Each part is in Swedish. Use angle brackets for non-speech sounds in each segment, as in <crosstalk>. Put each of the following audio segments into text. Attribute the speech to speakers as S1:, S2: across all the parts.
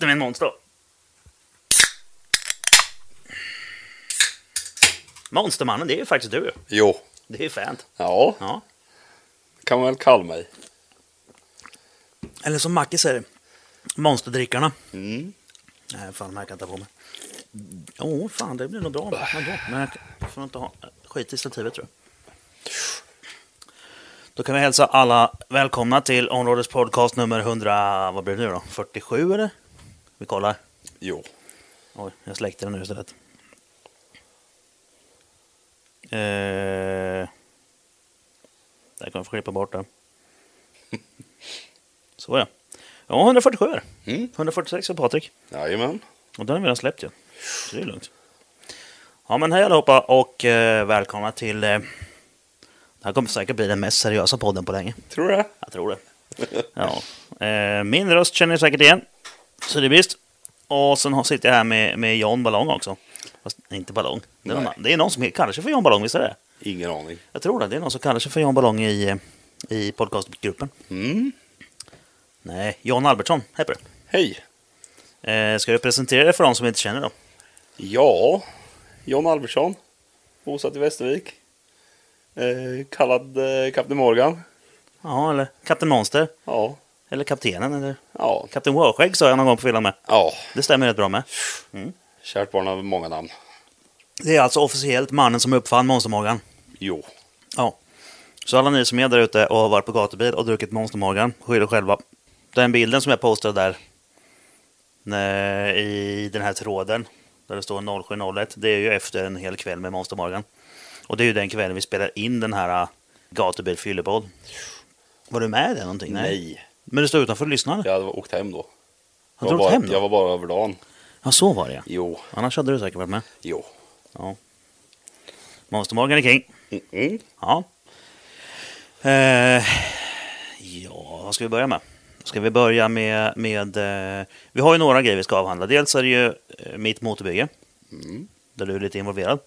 S1: annons då. Monstermannen, det är ju faktiskt du.
S2: Jo,
S1: Det är ju fränt.
S2: ja,
S1: Ja.
S2: kan man väl kalla mig.
S1: Eller som Macke säger, monsterdrickarna.
S2: Mm.
S1: Nej, fan, de här kan jag inte ha på mig. Åh, fan, det blir nog bra. Men då, men jag får inte ha skit i stativet, tror jag. Då kan vi hälsa alla välkomna till Områdets podcast nummer 100... Vad blir det nu då? 47, eller? Vi kollar.
S2: Jo,
S1: Oj, jag släckte den nu istället. Eh, där kan jag få klippa bort den. Så ja. Ja, 147 är det.
S2: Mm.
S1: 146 är Patrik.
S2: jajamän.
S1: Och den har vi redan släppt ju. Så det är lugnt. Ja men hej allihopa och eh, välkomna till... Eh, det här kommer säkert bli den mest seriösa podden på länge.
S2: Tror du det?
S1: Jag tror det. Ja. Eh, min röst känner ni säkert igen. Så det är visst. Och sen har- sitter jag här med, med John Ballong också. Fast inte Ballong. Det är, någon,
S2: Nej.
S1: annan. det är någon som kallar sig för John Ballong, visst är det?
S2: Ingen aning.
S1: Jag tror det. Det är någon som kallar sig för John Ballong i, eh, i podcastgruppen.
S2: Mm.
S1: Nej, John Albertsson heter det.
S2: Hej.
S1: Eh, ska jag presentera dig för de som inte känner dem?
S2: Ja, John Albertsson, bosatt i Västervik. Eh, kallad eh, Kapten Morgan.
S1: Ja, eller Kapten Monster.
S2: Ja,
S1: Eller Kaptenen, eller
S2: ja,
S1: Kapten Wårskägg sa jag någon gång på fyllan med.
S2: ja.
S1: Det stämmer rätt bra med.
S2: Kärt barn har många namn.
S1: Det är alltså officiellt mannen som uppfann Monstermorgan.
S2: Jo,
S1: Ja. Så alla ni som är där ute och har varit på gatubil och druckit Monster Morgan, skyll er själva. Den bilden som jag postade där när- i den här tråden, där det står 0701, det är ju efter en hel kväll med Monster Morgan. Och det är ju den kvällen vi spelar in den här äh, gatubil fyllepodd. Var du med i det någonting?
S2: nej.
S1: Men du stod utanför och lyssnade?
S2: Jag hade åkt hem då. Jag
S1: Har du
S2: var
S1: åkt
S2: bara, Jag
S1: hem då?
S2: var bara över dagen.
S1: Ja, så var det ja.
S2: Jo,
S1: Annars hade du säkert varit med.
S2: jo.
S1: Ja. Monster Morgan är king.
S2: Mm -mm.
S1: Ja. Eh, ja, vad ska vi börja med? Ska vi börja med... med eh, vi har ju några grejer vi ska avhandla. Dels är det ju eh, mitt motorbygge,
S2: Mm.
S1: där du är lite involverad.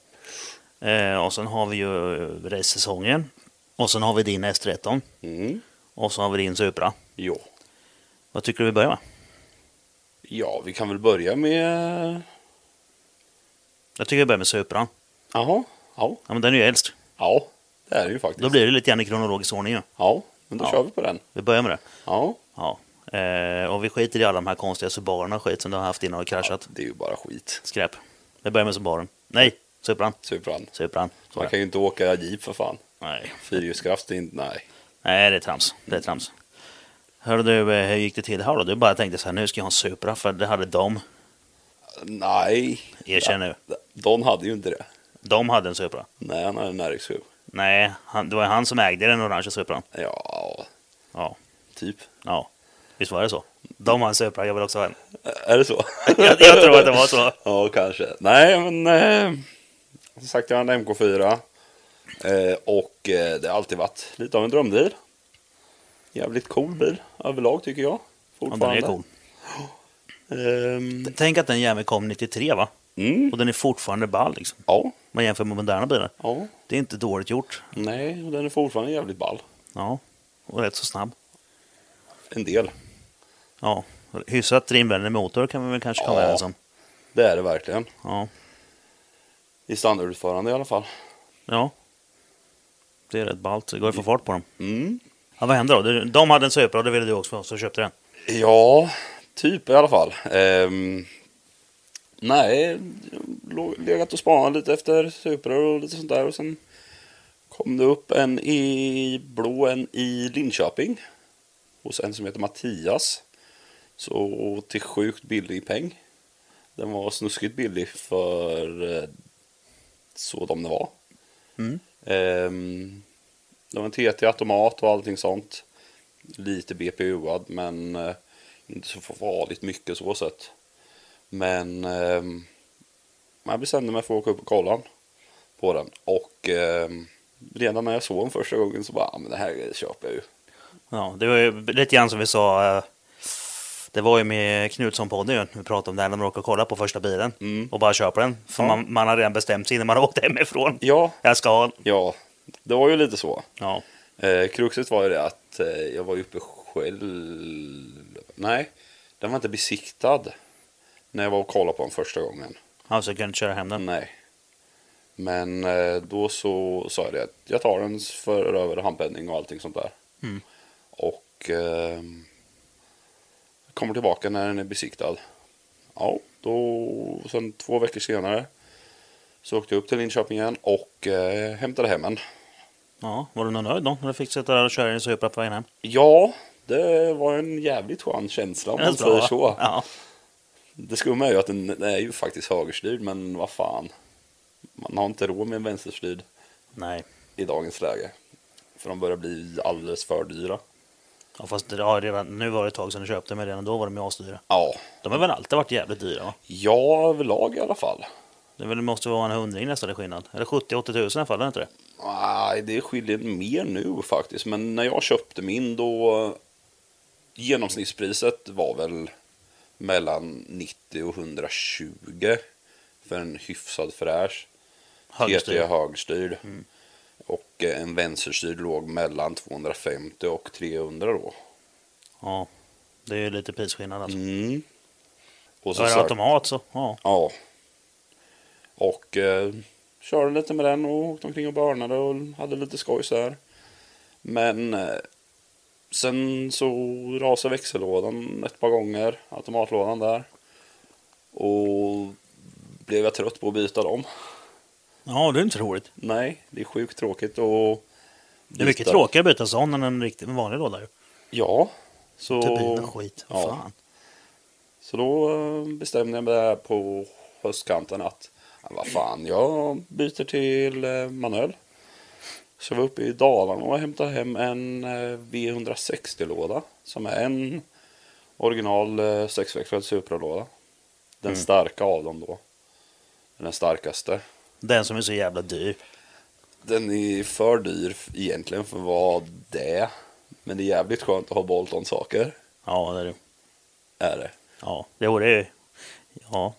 S1: Eh, och sen har vi ju eh, racesäsongen. Och sen har vi din S13.
S2: Mm.
S1: Och så har vi din Supra.
S2: Jo.
S1: Vad tycker du vi börjar med?
S2: Ja, vi kan väl börja med...
S1: Jag tycker vi börjar med Supran.
S2: Jaha, ja.
S1: Ja, men den är ju äldst.
S2: Ja, det är det ju faktiskt.
S1: Då blir det lite grann i kronologisk ordning ju.
S2: Ja, men då
S1: Ja.
S2: kör vi på den.
S1: Vi börjar med det.
S2: Ja,
S1: Ja. Eh, och vi skiter i alla de här konstiga Subarorna och skit som du har haft innan och kraschat.
S2: det är ju bara skit.
S1: Skräp. Det börjar med Subaren. Nej, Supran.
S2: Supran.
S1: Supran. Så
S2: Man
S1: är det.
S2: kan ju inte åka jeep för fan.
S1: Nej.
S2: Fyrhjulskraft är inte... Nej.
S1: Nej, det är trams. Det är trams. Hörde du, eh, hur gick det till här då? Du bara tänkte så här, nu ska jag ha en Supra, för det hade de.
S2: Nej.
S1: Erkänn nu.
S2: Don hade ju inte det.
S1: De hade en Supra.
S2: Nej, han hade en RX-7.
S1: Nej, han, det var ju han som ägde den orangea Supran.
S2: Ja,
S1: Ja.
S2: typ.
S1: ja. Visst var det så? De har en Supra, jag vill också ha en.
S2: Ä- Är det så?
S1: <laughs> Jag, jag tror att det var så.
S2: Ja, kanske. Nej, men... Eh, som sagt, jag hade en MK4. Eh, och eh, det har alltid varit lite av en drömbil. Jävligt cool bil överlag tycker jag.
S1: Ja, den är cool.
S2: Ehm,
S1: Tänk att den jäveln kom 93 va?
S2: mm,
S1: Och den är fortfarande ball liksom.
S2: ja,
S1: Man jämför med moderna bilar.
S2: ja.
S1: Det är inte dåligt gjort.
S2: Nej, och den är fortfarande jävligt ball.
S1: Ja. Och rätt så snabb.
S2: En del.
S1: Ja, hyfsat drivvänlig motor kan vi väl kanske komma
S2: Ja.
S1: överens om.
S2: Det är det verkligen.
S1: Ja.
S2: I standardutförande i alla fall.
S1: ja. Det är rätt ballt. Det går att få fart på dem.
S2: Mm.
S1: Ja, vad hände då? Du- De hade en Supra och det ville du också ha, så du köpte den.
S2: Ja, typ i alla fall. Ehm, nej, jag låg- legat och spanat lite efter Supra och lite sånt där. Och sen kom det upp en i blå, en i Linköping. Hos en som heter Mattias. Så till sjukt billig peng. Den var snuskigt billig för eh, så de det var.
S1: Mm.
S2: Ehm, det var en TT-automat och allting sånt. Lite BPU-ad men eh, inte så farligt mycket så sett. Men ehm, jag bestämde mig för att åka upp och kolla den på den. Och ehm, redan när jag såg den första gången så bara, "Ah, men det här köper jag ju.
S1: Ja, det var ju lite grann som vi sa. eh, Det var ju med Knutsson-podden ju, vi pratade om det här när man råkade kolla på första bilen
S2: Mm.
S1: och bara köpa den. För
S2: Ja.
S1: man, man har redan bestämt sig innan man <laughs> har åkt hemifrån.
S2: Ja,
S1: Jag ska ha den.
S2: ja, det var ju lite så.
S1: Ja.
S2: Eh, kruxet var ju det att eh, jag var ju uppe själv. Nej, den var inte besiktad. När jag var och kollade på den första gången.
S1: Alltså jag kunde inte köra hem den.
S2: Nej. Men eh, då så sa jag det att jag tar den för över handpenning och allting sånt där.
S1: Mm.
S2: Och eh, kommer tillbaka när den är besiktad. Ja, då sen två veckor senare så åkte jag upp till Linköping igen och eh, hämtade hem den.
S1: Ja, var du nog nöjd då? När du fick sitta där och köra din Supra på vägen hem?
S2: Ja, det var en jävligt skön känsla om man
S1: Det är bra,
S2: säger
S1: va?
S2: så.
S1: Ja.
S2: Det skumma är ju att den, den är ju faktiskt högerstyrd, men vad fan. Man har inte råd med en vänsterstyrd
S1: Nej.
S2: i dagens läge. För de börjar bli alldeles för dyra.
S1: Ja, fast det har redan, nu var det ett tag sedan du köpte men redan då var de ju asdyra.
S2: Ja,
S1: De har väl alltid varit jävligt dyra va?
S2: ja överlag i alla fall.
S1: Det är väl- det måste vara en hundring nästan i skillnad. Eller 70-80 tusen i alla fall, är det inte det?
S2: Nej, det skiljer mer nu faktiskt. Men när jag köpte min då... Genomsnittspriset var väl mellan 90 och 120 för en hyfsad fräsch. TT
S1: Högstyr.
S2: högstyrd. Och eh, en vänsterstyrd låg mellan 250 och 300 då.
S1: Ja. Det är ju lite prisskillnad alltså.
S2: Mm. Och
S1: Är det
S2: sagt-
S1: automat så, ja.
S2: Ja. Och eh, körde lite med den och åkte omkring och börnade och hade lite skoj så här. Men eh, sen så rasade växellådan ett par gånger, automatlådan där. Och blev jag trött på att byta dem.
S1: Ja, det är inte roligt.
S2: Nej, det är sjukt tråkigt och
S1: Det är mycket tråkigare att byta sån än en riktig en vanlig låda ju.
S2: Ja. Så...
S1: Turbin och skit.
S2: ja.
S1: Fan.
S2: Så då eh, bestämde jag mig där på höstkanten att "Ja, vad fan, jag byter till eh, manuell. Så jag var uppe i Dalarna och hämtade hem en eh, V160-låda som är en original eh, sexväxlad Supra-låda. Den
S1: Mm.
S2: starka av dem då. Den starkaste.
S1: Den som är så jävla dyr.
S2: Den är för dyr f- egentligen för vad det är. Men det är jävligt skönt att ha Bolton-saker.
S1: Ja, det är det.
S2: Är det.
S1: Ja, det vore ju... Ja.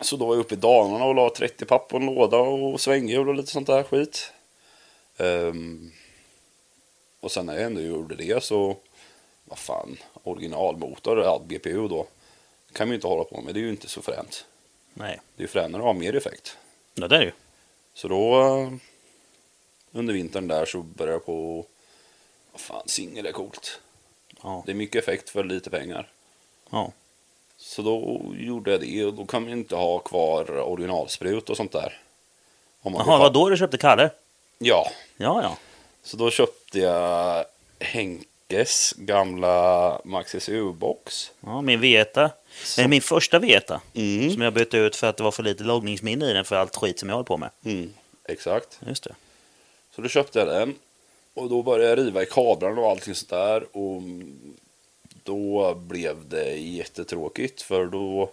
S2: Så då var jag uppe i Dalarna och la 30 papp på en låda och svänghjul och lite sånt där skit. Ehm, och sen när jag ändå gjorde det så, vad fan, originalmotor, ja, GPU då, kan man ju inte hålla på med. Det är ju inte så fränt.
S1: Nej.
S2: Det är ju fränare att ha mer effekt.
S1: Ja, det är det ju.
S2: Så då, eh, under vintern där så började jag på, vad fan, singel är coolt.
S1: Ja.
S2: Det är mycket effekt för lite pengar.
S1: Ja.
S2: Så då gjorde jag det och då kan man ju inte ha kvar originalsprut och sånt där. Om man vill
S1: Jaha,
S2: ha-
S1: det var då du köpte Kalle?
S2: Ja,
S1: Ja, ja.
S2: så då köpte jag Henkes gamla Maxis U-box.
S1: ja min Veta.
S2: Så-
S1: Nej, min första Veta.
S2: Mm.
S1: Som jag bytte ut för att det var för lite loggningsminne i den för allt skit som jag håller på med.
S2: Mm, exakt.
S1: Just det.
S2: Så då köpte jag den. Och då började jag riva i kablarna och allting sånt där. Och då blev det jättetråkigt. För då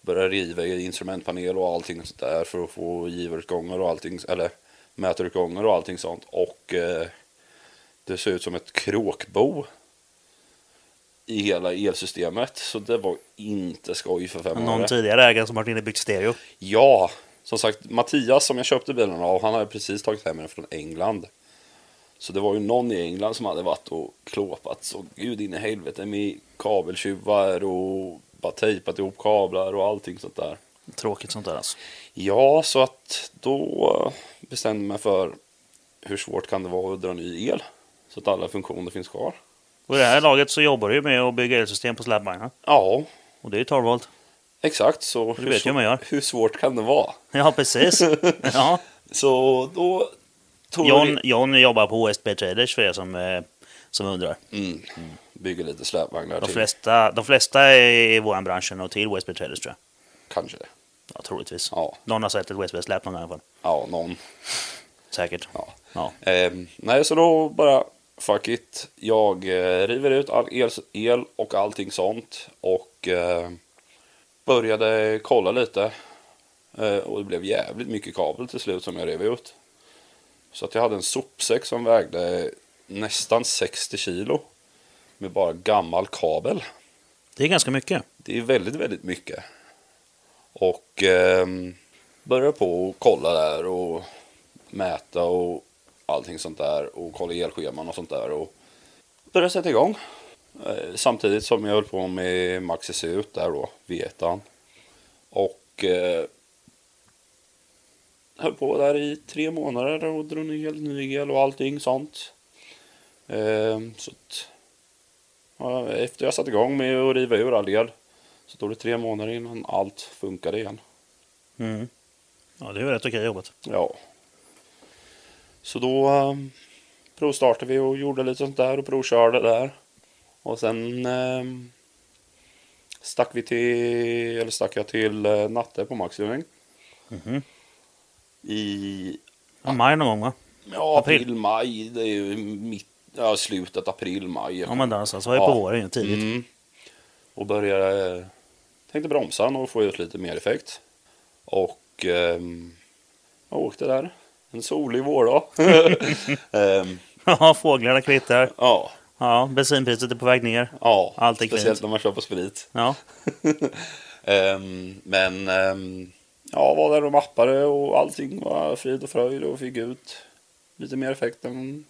S2: började jag riva i instrumentpanel och allting sånt där. För att få givarutgångar och allting. Eller mätarutgångar och allting sånt. Och eh, det ser ut som ett kråkbo. I hela elsystemet. Så det var inte skoj för fem
S1: Någon
S2: öre.
S1: tidigare ägare som varit inne och byggt stereo.
S2: Ja, som sagt, Mattias som jag köpte bilen av, han hade precis tagit hem den från England. Så det var ju någon i England som hade varit och klåpat så gud in i helvete med kabeltjuvar och bara tejpat ihop kablar och allting sånt där.
S1: Tråkigt sånt där alltså.
S2: Ja, så att då bestämde jag mig för hur svårt kan det vara att dra ny el? Så att alla funktioner finns kvar.
S1: Och i det här laget så jobbar du ju med att bygga elsystem på släpvagnar.
S2: Ja,
S1: Och det är ju 12 volt.
S2: exakt. Så
S1: Du
S2: hur,
S1: vet ju hur man gör.
S2: hur svårt kan det vara?
S1: <laughs> Ja,
S2: <laughs>
S1: precis. Ja.
S2: Så då tog jag-
S1: John, John jobbar på OSB Traders för er som, eh, som undrar.
S2: Mm. Bygger lite släpvagnar
S1: De
S2: till.
S1: flesta, de flesta i vår bransch och till OSB Traders tror jag.
S2: Kanske det.
S1: Ja, troligtvis.
S2: Ja,
S1: Någon har sett ett OSB-släp någon gång i alla fall.
S2: ja någon.
S1: Säkert.
S2: Ja.
S1: Ja.
S2: Ehm, nej, så då bara fuck it. Jag eh, river ut all el, el och allting sånt. Och eh, började kolla lite. Eh, och det blev jävligt mycket kabel till slut som jag rev ut. Så att jag hade en sopsäck som vägde nästan 60 kilo. Med bara gammal kabel.
S1: Det är ganska mycket.
S2: Det är väldigt, väldigt mycket. Och ehm, började på att kolla där och mäta och allting sånt där och kolla elscheman och sånt där och började sätta igång. Eh, samtidigt som jag höll på med Maxi ut där då, V1. Och eh, höll på där i tre månader och drog nygel, nygel och allting sånt. Eh, så att, ja, efter jag satte igång med att riva ur all el så tog det tre månader innan allt funkade igen.
S1: Mm. Ja, det är ju rätt okej jobbat.
S2: Ja. Så då eh, provstartade vi och gjorde lite sånt där och provkörde där. Och sen eh, stack vi till, eller stack jag till eh, Natte på Maxlöning.
S1: Mhm.
S2: I
S1: Ja, maj någon gång va?
S2: ja, april.
S1: April.
S2: maj, det är ju mitt, ja, slutet april, maj.
S1: Ja, men där någonstans. Det var ju
S2: Ja.
S1: på våren ju, tidigt.
S2: Mm. Och började, eh, tänkte bromsa och få ut lite mer effekt. Och ehm, jag åkte där. En solig vårdag.
S1: <laughs>
S2: Ehm,
S1: Ja, fåglarna kvittrar.
S2: ja,
S1: Ja, bensinpriset är på väg ner.
S2: ja.
S1: Allt är
S2: speciellt
S1: klint.
S2: när man kör på sprit. <laughs>
S1: Ja,
S2: Ehm, men ehm, ja, var där och mappade och allting var frid och fröjd och fick ut lite mer effekt än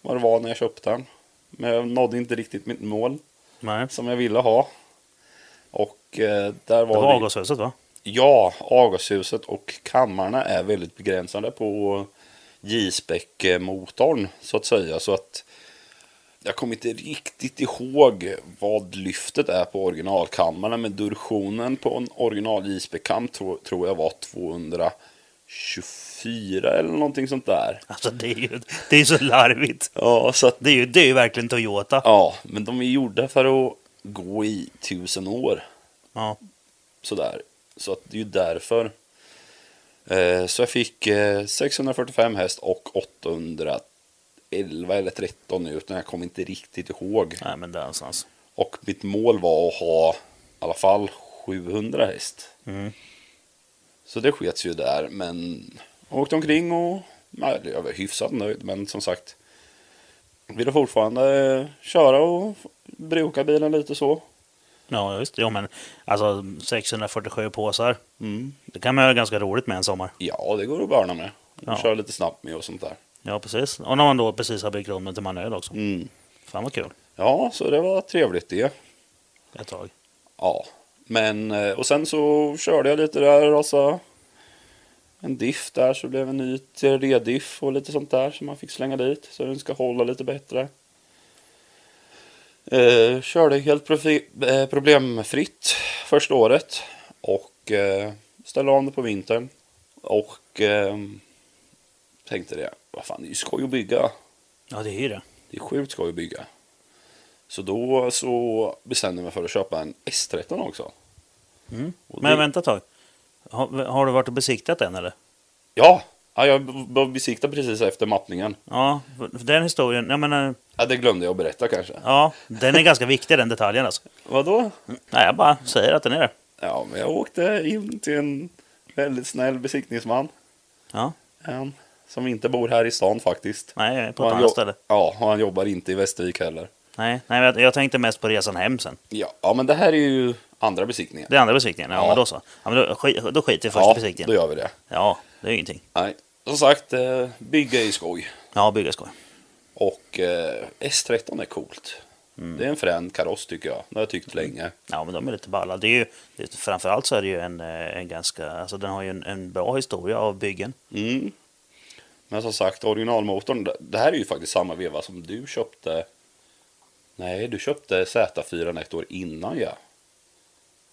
S2: vad det var när jag köpte den. Men jag nådde inte riktigt mitt mål
S1: nej.
S2: som jag ville ha. Och eh, där
S1: Det
S2: var,
S1: var
S2: det...
S1: avgashuset va?
S2: Ja, avgashuset och kammarna är väldigt begränsade på J-spec-motorn så att säga. Så att jag kommer inte riktigt ihåg vad lyftet är på originalkammarna. Men dursionen på en original J-spec-kam tro, tror jag var 224 eller någonting sånt där.
S1: Alltså det är ju det är ju så larvigt.
S2: Ja, så att,
S1: Det är ju, det är ju verkligen Toyota.
S2: ja, men de är gjorda för att gå i tusen år.
S1: Ja.
S2: sådär. Så att det är ju därför. Eh, så jag fick eh, 645 häst och 811 eller 13 ut. men Jag kommer inte riktigt ihåg.
S1: Nej, men där någonstans.
S2: Och mitt mål var att ha i alla fall 700 häst.
S1: Mm.
S2: Så det skets ju där. Men jag åkte omkring och nej, jag var hyfsat nöjd. Men som sagt. Ville fortfarande eh, köra och f- bruka bilen lite så.
S1: Ja, just det. Jo, men alltså 647 påsar. Det kan man göra ganska roligt med en sommar.
S2: Mm. Ja, det går att börna med. Och
S1: Ja.
S2: Köra lite snabbt med och sånt där.
S1: Ja, precis. Och när man då precis har byggt om den till manuell också.
S2: Mm.
S1: Fan vad kul.
S2: Ja, så det var trevligt det.
S1: Ett tag.
S2: Ja, men eh, och sen så körde jag lite där och så en diff där så blev en ny 3D-diff och lite sånt där som man fick slänga dit så den ska hålla lite bättre. Eh, körde helt profi- eh, problemfritt första året och eh, ställde om det på vintern och eh, tänkte det, vad fan det är ju skoj att bygga.
S1: Ja, det är ju det.
S2: Det är sjukt skoj att bygga. Så då så bestämde jag mig för att köpa en S13 också.
S1: Mm.
S2: Och
S1: Men
S2: det-
S1: vänta ett tag. Har, har du varit och besiktat den eller?
S2: Ja, ja jag b- b- besiktade precis efter mappningen.
S1: Ja, för för den historien. Jag menar,
S2: Ja, det glömde jag att berätta kanske.
S1: ja, den är ganska viktig den detaljen alltså.
S2: Vadå?
S1: Nej, jag bara säger att den är det.
S2: Ja, men jag åkte in till en väldigt snäll besiktningsman.
S1: Ja,
S2: En som inte bor här i stan faktiskt.
S1: nej, jag är på
S2: Och
S1: ett
S2: han
S1: annat
S2: jo-
S1: ställe.
S2: Ja, och han jobbar inte i Västervik heller.
S1: Nej, nej, men jag- jag tänkte mest på resan hem sen.
S2: Ja, ja men det här är ju andra besiktningen.
S1: Det är andra besiktningen, ja,
S2: Ja.
S1: men då så. Ja, men då, sk- då skiter vi i första
S2: Ja,
S1: besiktningen.
S2: då gör vi det.
S1: Ja, det är ju ingenting.
S2: Nej, som sagt, eh, bygga i skoj.
S1: Ja, bygga skoj.
S2: Och eh, S13 är coolt.
S1: Mm.
S2: Det är en frän kaross tycker jag. Det har jag tyckt länge.
S1: Ja, men de är lite balla. Det är ju, det, framförallt så är det ju en, eh, en ganska... Alltså den har ju en, en bra historia av byggen.
S2: Mm. Men som sagt, originalmotorn. det- Det här är ju faktiskt samma veva som du köpte. Nej, du köpte Z4 ett år innan ja.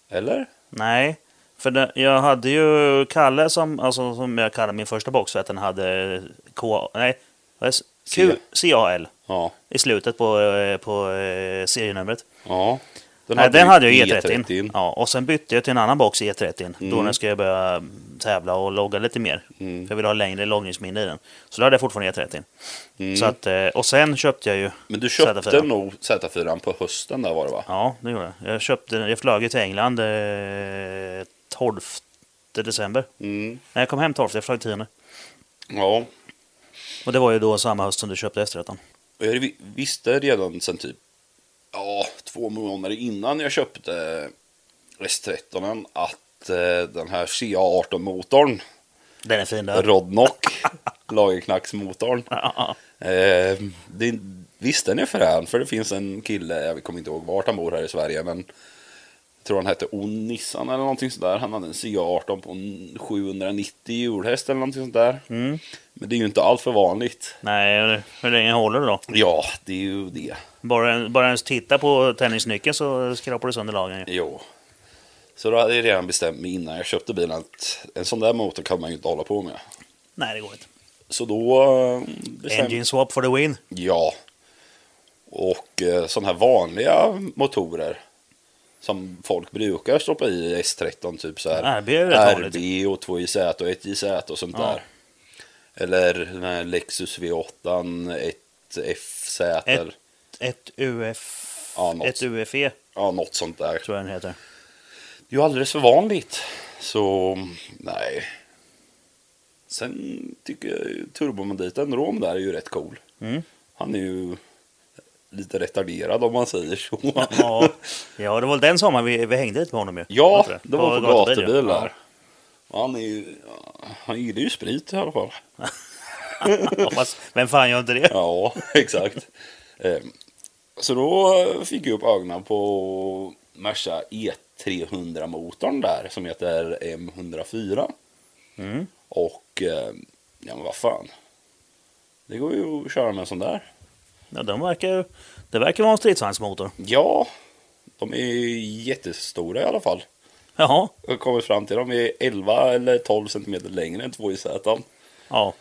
S2: Eller?
S1: Nej, för det, jag hade ju Kalle som, alltså, som jag kallar min första box för att den hade eh, K... Nej, vad är det? Q, CAL
S2: Ja.
S1: i slutet på, eh, på eh, serienumret.
S2: ja.
S1: Den, Nej, den
S2: ju E
S1: hade jag ju
S2: E30.
S1: E30. Ja, och sen bytte jag till en annan box E30 då
S2: Mm.
S1: när jag skulle börja tävla och logga lite mer.
S2: Mm.
S1: För jag ville ha längre loggningsminne i den. Så då hade jag fortfarande E30.
S2: Mm.
S1: Så att, eh, och sen köpte jag ju...
S2: Men du köpte
S1: Z4.
S2: nog Z4 på hösten där var det va?
S1: Ja, det gjorde jag. Jag, köpte, jag flög ju till England eh, 12 december.
S2: Mm.
S1: Nej, jag kom hem 12, jag flög 10.
S2: Ja.
S1: Och det var ju då samma höst som du köpte E S13.
S2: Och jag vi- visste redan sen typ ja, två månader innan jag köpte S13 att eh, den här CA18-motorn,
S1: Den är fin där.
S2: Rodnock, lagerknacksmotorn,
S1: Ja,
S2: eh, det, visst den är frän för det finns en kille, jag kommer inte ihåg vart han bor här i Sverige, men tror han hette Onissan eller någonting sådär. Han hade en C18 på en 790 hjulhäst eller någonting sådär.
S1: Mm.
S2: Men det är ju inte allt för vanligt.
S1: Nej, hur länge håller det då?
S2: Ja, det är ju det.
S1: Bara, bara ens titta på tennisnyckeln så skrapar du sönder lagen ju.
S2: Jo. Så då hade jag redan bestämt mig innan jag köpte bilen att en sån där motor kan man ju inte hålla på med.
S1: Nej, det går inte.
S2: Så då eh, bestämde
S1: Engine swap for the win.
S2: Ja. Och eh, sådana här vanliga motorer som folk brukar stoppa i S13, typ så här.
S1: RB är rätt vanligt.
S2: RB och 2JZ och 1JZ och sånt
S1: Ja.
S2: där. Eller den här Lexus V8, 1FZ,
S1: Ett-
S2: eller,
S1: Ett UF...
S2: Ja, något.
S1: ett UFE
S2: ja, något sånt där.
S1: tror jag den
S2: <laughs>
S1: heter.
S2: Det är ju alldeles för vanligt. Så nej. Sen tycker jag turbomanditen Rom där är ju rätt cool.
S1: Mm.
S2: Han är ju lite retarderad om man säger så.
S1: Ja, ja, det var den sommaren vi, vi hängde lite på honom ju.
S2: <laughs> Ja,
S1: inte
S2: det var på
S1: gatubil, ju.
S2: gatubilar. Han, är ju, han gillar ju sprit i alla fall.
S1: Ja, fast vem fan gör inte det?
S2: Ja, <laughs> exakt. Ehm, Så då fick jag upp ögonen på Merca E300-motorn där som heter M104.
S1: Mm.
S2: Och ehm, ja, men vad fan. Det går ju att köra med en sån där.
S1: Ja, de verkar, det verkar vara en stridsvagnsmotor.
S2: Ja, de är ju jättestora i alla fall.
S1: Jaha,
S2: Jag har kommit fram till de är 11 eller 12 centimeter längre än 2JZ
S1: ja.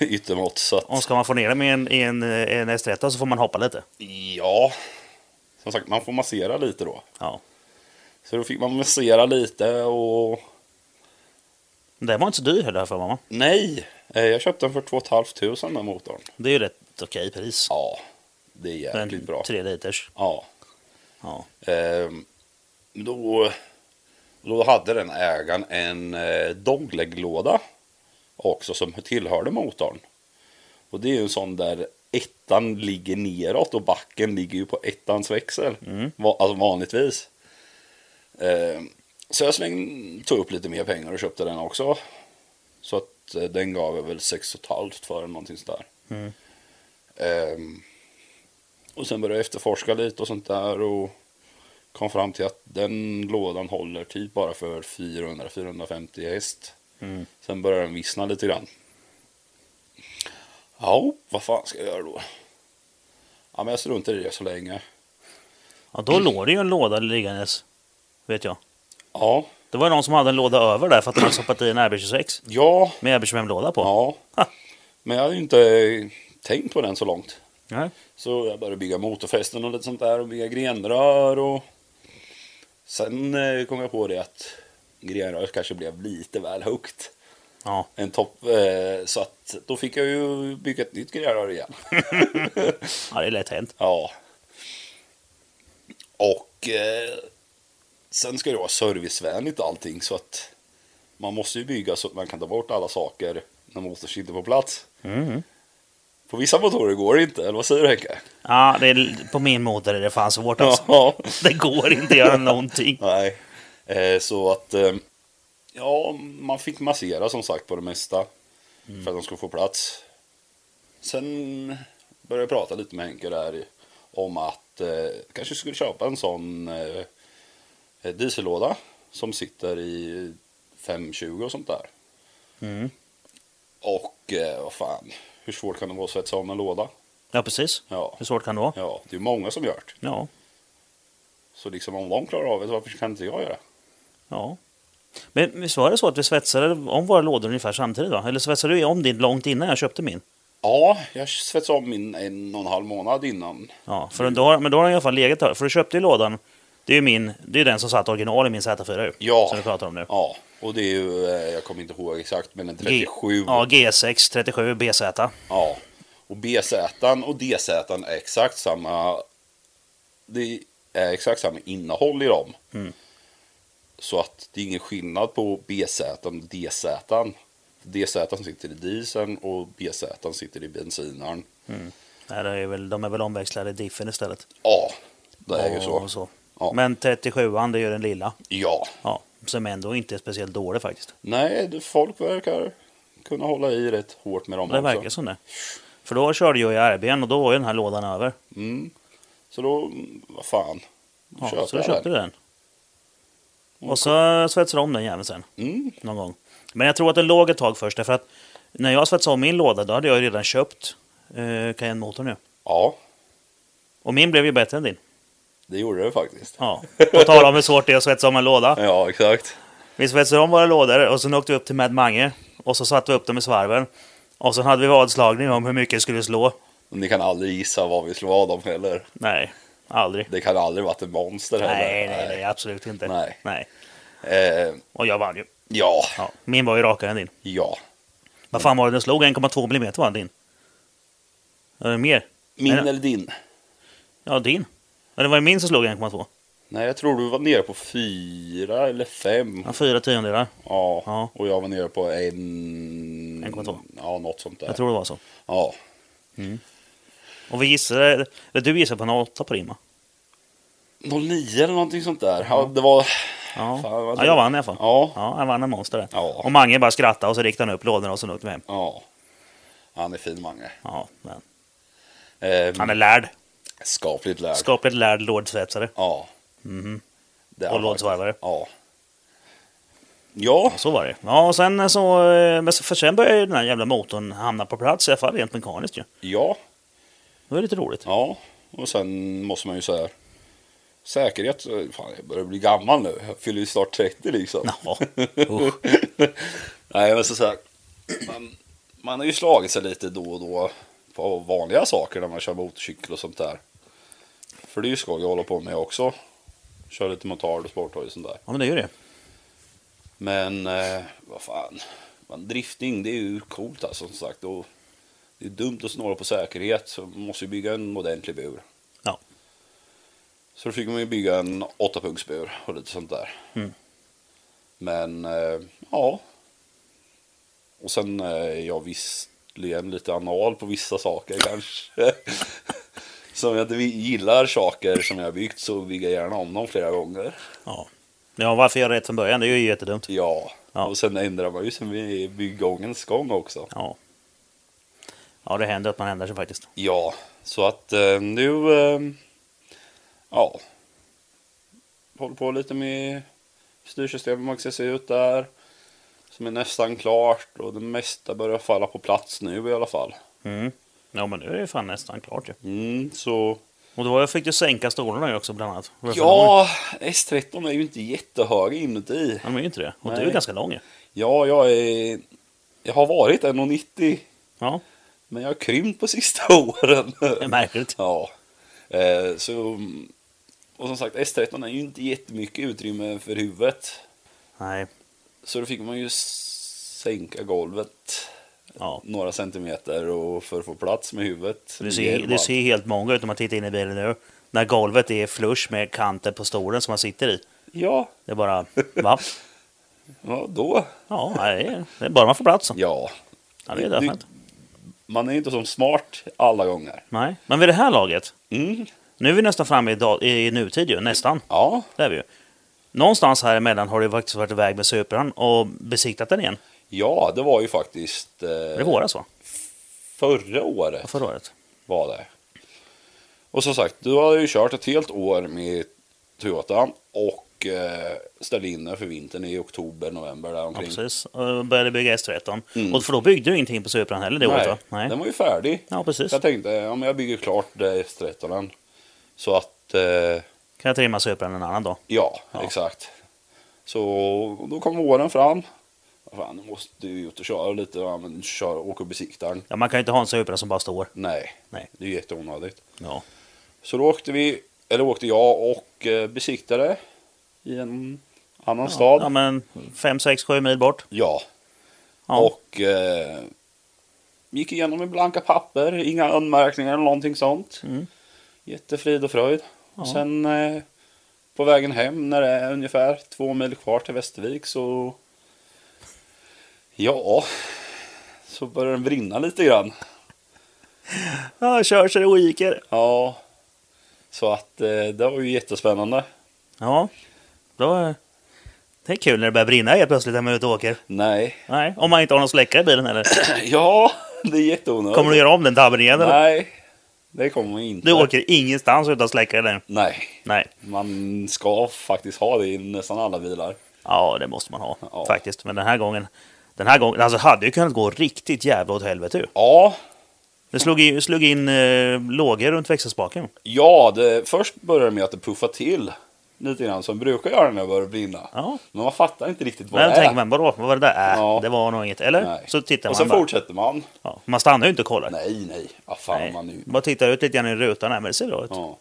S2: yttermått. Så att...
S1: Och ska man få ner dem i en, i en, eh, en S13 så får man hoppa lite.
S2: Ja. Som sagt, man får massera lite då.
S1: Ja.
S2: Så då fick man massera lite och...
S1: Den var inte så dyr heller för mamma.
S2: Nej! eh, Jag köpte den för 2 500 den här motorn.
S1: Det är ju rätt okej pris.
S2: Ja, det är
S1: Men
S2: jäkligt bra.
S1: Tre liters.
S2: Ja.
S1: Ja.
S2: ehm, Då, då hade den ägaren en eh, dogleglåda också som tillhörde motorn. Och det är ju en sån där ettan ligger neråt och backen ligger ju på ettans växel.
S1: Mm.
S2: Va- Alltså vanligtvis. Ehm, Så jag slängde, tog upp lite mer pengar och köpte den också. Så att eh, den gav jag väl 6,5 för eller någonting sådär.
S1: Mm.
S2: Ehm, och sen började jag efterforska lite och sånt där och kom fram till att den lådan håller typ bara för 400-450 häst.
S1: Mm.
S2: Sen började den vissna lite grann. Ja, vad fan ska jag göra då? Ja, men jag struntar i det så länge.
S1: ja, då låg det ju en låda liggandes. Vet jag.
S2: Ja,
S1: Det var någon som hade en låda över där för att de hade stoppat i en RB26
S2: ja,
S1: med RB25-låda på.
S2: ja.
S1: Ha.
S2: Men jag hade ju inte tänkt på den så långt.
S1: Nej.
S2: Så jag började bygga motorfästen och lite sånt där och bygga grenrör och sen eh, kom jag på det att grenröret kanske blev lite väl högt.
S1: Ja.
S2: En topp, eh, så att då fick jag ju bygga ett nytt grenrör igen.
S1: ja, det är lätt hänt.
S2: Ja. Och eh, sen ska det vara servicevänligt allting så att man måste ju bygga så att man kan ta bort alla saker när motorn sitter på plats.
S1: Mm.
S2: På vissa motorer går det inte, eller vad säger du Henke?
S1: Ja, det är, på min motor är det fan svårt alltså.
S2: Ja.
S1: Det går inte
S2: <laughs>
S1: att göra någonting.
S2: Nej, eh, så att eh, ja, man fick massera som sagt på det mesta för att de skulle få plats. Sen började jag prata lite med Henke där i- om att eh, kanske skulle köpa en sån eh, eh, diesellåda som sitter i 520 och sånt där.
S1: Mm.
S2: Och eh, vad fan, hur svårt kan det vara att svetsa om en låda?
S1: Ja, precis.
S2: Ja,
S1: Hur svårt kan det vara?
S2: ja det är ju många som gör det.
S1: Ja.
S2: Så liksom om de klarar av det, varför kan inte jag göra det?
S1: ja. Men visst var det så att vi svetsade om våra lådor ungefär samtidigt? Va? Eller svetsade du om din långt innan jag köpte min?
S2: Ja, jag svetsade om min en och en halv månad innan.
S1: Ja, för då, har- men då har den i alla fall legat där. För du köpte ju lådan. Det är ju min, det är den som satt original i min Z4 ju.
S2: Ja.
S1: Som vi pratar om nu.
S2: Ja, och det är ju, eh, jag kommer inte ihåg exakt, men en
S1: G-
S2: 37.
S1: Ja, G6, 37, BZ.
S2: Ja. Och BZ och DZ är exakt samma. Det är exakt samma innehåll i dem.
S1: Mm.
S2: Så att det är ingen skillnad på BZ och DZ. DZ sitter i dieseln och BZ sitter i bensinaren.
S1: Nej, det är väl, de är väl omväxlade i diffen istället.
S2: Ja, det är ju
S1: Och
S2: så.
S1: så.
S2: Ja.
S1: Men 37an, det är ju den lilla.
S2: Ja,
S1: Ja, som ändå inte är speciellt dålig faktiskt.
S2: nej, det- folk verkar kunna hålla i rätt hårt med dem
S1: Det verkar som det. För då körde jag i RB'n och då var ju den här lådan över.
S2: Mm. Så då, mm, vad fan. Då
S1: Ja,
S2: köper
S1: så då
S2: jag
S1: köpte
S2: den.
S1: du den. Och så svetsade de om den jäveln sen.
S2: Mm.
S1: Någon gång. Men jag tror att det låg ett tag först. Därför att när jag svetsade om min låda, då hade jag ju redan köpt eh, Cayenne-motor nu.
S2: Ja,
S1: Och min blev ju bättre än din.
S2: det gjorde det faktiskt.
S1: Ja. På tal om hur svårt det är att svetsa om en låda.
S2: Ja, exakt.
S1: Vi svetsade om våra lådor och sen åkte vi upp till Mad Mange. Och så satte vi upp dem i svarven. Och sen hade vi vadslagning om hur mycket det skulle slå.
S2: Och ni kan aldrig gissa vad vi slår vad om heller.
S1: Nej, aldrig.
S2: Det kan aldrig varit ett monster heller.
S1: Nej, nej, nej, absolut inte.
S2: Nej.
S1: nej.
S2: Eh,
S1: Och jag vann ju.
S2: ja,
S1: Ja. Min var ju rakare än din.
S2: ja.
S1: Vad fan var det den slog? 1,2 mm var din? Eller mer?
S2: Min
S1: Nej,
S2: eller din?
S1: Ja, din. Ja, det var ju min som slog 1,2.
S2: Nej, jag tror du var nere på fyra eller fem.
S1: Ja, fyra tiondelar.
S2: Ja.
S1: Ja.
S2: och jag var nere på en...
S1: 1,2.
S2: Ja, något sånt där.
S1: Jag tror det var så.
S2: Ja,
S1: Och vi gissade... Eller du gissade på en 8 på din, va?
S2: 09 eller någonting sånt där. Ja, det var...
S1: Ja.
S2: Fan, vad
S1: ja, jag vann i alla fall.
S2: Ja.
S1: Ja, han vann en monster där.
S2: Ja.
S1: Och Mange bara skrattade och så riktade han upp lådorna och så åkte vi hem.
S2: Ja. Han är fin Mange.
S1: Ja, men.
S2: Ehm,
S1: Mm. Han är lärd.
S2: skapligt lärd.
S1: Skapligt lärd lordsvetsare.
S2: ja. Det är
S1: Och
S2: han
S1: lådsvarvare.
S2: faktiskt. Ja. Ja,
S1: Så var det. Ja, och sen så... eh, Men så- för sen började ju den här jävla motorn hamna på plats, i alla fall rent mekaniskt ju.
S2: ja,
S1: Det var lite roligt.
S2: ja. Och sen måste man ju säga säkerhet. Fan, jag börjar bli gammal nu. Jag fyller ju snart 30 liksom.
S1: Ja. Usch.
S2: <laughs> Nej, men så, så här, man, man har ju slagit sig lite då och då på vanliga saker när man kör motorcykel och sånt där. För det är ju skoj att hålla på med också. Kör lite motard och sporthoj och sånt där.
S1: Ja, men det är ju det.
S2: Men eh, vad fan. Man, driftning det är ju coolt alltså, som sagt. Och det är dumt att snåla på säkerhet. Så man måste ju bygga en ordentlig bur.
S1: Ja.
S2: Så då fick man ju bygga en 8-punktsbur och lite sånt där.
S1: Mm.
S2: Men eh, ja. Och sen eh, jag visserligen lite anal på vissa saker kanske. <laughs> som jag inte gillar saker som jag byggt så bygger jag gärna om dem flera gånger.
S1: Ja. Ja, varför göra rätt från början? Det är ju jättedumt.
S2: Ja,
S1: Ja.
S2: och sen ändrar man ju sen vid byggångens gång också.
S1: Ja. Ja, det händer att man ändrar sig faktiskt.
S2: Ja, så att eh, nu, eh, ja, håller på lite med styrsystemet man ska se ut där. Som är nästan klart och det mesta börjar falla på plats nu i alla fall.
S1: Mm. Ja, men nu är det ju fan nästan klart ju.
S2: Mm, så
S1: Och då var jag- fick du sänka stolarna ju också bland annat. Var det för lång?
S2: ja, S13 är ju inte jättehög inuti.
S1: Ja, de är ju inte det. Och du är
S2: Nej.
S1: ganska lång ju.
S2: Ja, jag är, jag har varit 1,90
S1: Ja,
S2: men jag har krympt på sista <laughs> åren.
S1: det är märkligt.
S2: Ja. Eh, så, och som sagt, S13 är ju inte jättemycket utrymme för huvudet.
S1: Nej,
S2: Så då fick man ju s- sänka golvet
S1: ja.
S2: några centimeter och för att få plats med huvudet.
S1: Du ser, du ser helt många ut om man tittar in i bilen nu. När golvet är flush med kanten på stolen som man sitter i.
S2: Ja,
S1: Det är bara, va?
S2: ja då?
S1: Ja, nej, det är bara man får plats.
S2: Ja.
S1: Ja, det är det. fint.
S2: Man är inte som smart alla gånger.
S1: Nej, men vid det här laget.
S2: Mm.
S1: Nu är vi nästan framme i, dag, i nutid ju, nästan.
S2: Ja,
S1: Det är vi ju. Någonstans här emellan har du faktiskt varit iväg med Supran och besiktat den igen.
S2: ja, det var ju faktiskt eh,
S1: Var det våras va?
S2: förra året
S1: Förra året?
S2: var det. Och som sagt, du har ju kört ett helt år med Toyota och eh, ställde in den för vintern i oktober, november
S1: Ja,
S2: däromkring.
S1: precis. Och började bygga S13.
S2: Mm.
S1: Och för då byggde du ingenting på Supran heller det året va?
S2: Nej,
S1: Nej.
S2: den var ju färdig.
S1: Ja, precis.
S2: Så jag tänkte, ja, men jag bygger klart eh, S13. Så att, eh,
S1: Kan jag trimma Supran en annan dag?
S2: ja,
S1: Ja.
S2: exakt. Så då kom våren fram. Vad Fan, nu måste du ut och köra lite, ja, men kör, åka och besikta den.
S1: Ja, man kan ju inte ha en Supra som bara står.
S2: Nej,
S1: Nej.
S2: det är ju jätteonödigt.
S1: Ja.
S2: Så då åkte vi, eller åkte jag och eh, besiktade i en annan stad.
S1: Ja, men 5, 6, 7 mil bort.
S2: Ja,
S1: Ja.
S2: och eh, gick igenom med blanka papper, inga anmärkningar eller någonting sånt.
S1: Mm.
S2: Jättefrid och fröjd.
S1: Ja.
S2: Och sen eh, på vägen hem när det är ungefär två mil kvar till Västervik så... Ja, så börjar den brinna lite grann.
S1: Ja, kör så det oiker.
S2: Ja, så att eh, det var ju jättespännande.
S1: Ja. Då... Det är kul när det börjar brinna helt plötsligt när man är ute och åker.
S2: Nej,
S1: Nej,
S2: <clears throat>
S1: om man inte har någon släckare i bilen eller?
S2: ja, det är jätteonödigt.
S1: Kommer du göra om den tabben igen eller?
S2: Nej, Det kommer man inte.
S1: Du åker ingenstans utan släckare nu.
S2: Nej,
S1: Nej.
S2: man ska faktiskt ha det i nästan alla bilar.
S1: Ja, det måste man ha
S2: Ja.
S1: faktiskt. Men den här gången. Den här gången, alltså hade ju kunnat gå riktigt jävla åt helvete ju.
S2: Ja,
S1: Det slog, i, slog in eh, lågor runt växelspaken.
S2: ja det, först började det med att det puffade till lite grann som det brukar göra när det börjar brinna.
S1: Ja.
S2: Men man fattar inte riktigt vad
S1: Men
S2: det
S1: tänker
S2: är.
S1: man, vadå, vad var det där? Äh,
S2: Ja.
S1: Det var nog inget. Eller?
S2: Nej.
S1: Så tittar
S2: och
S1: man
S2: sen
S1: bara.
S2: fortsätter man.
S1: Ja, man stannar ju inte och kollar.
S2: Nej, nej. Ah, fan,
S1: Nej.
S2: man är ju...
S1: Bara tittar ut lite grann i rutan här, men det ser bra ut.
S2: ja.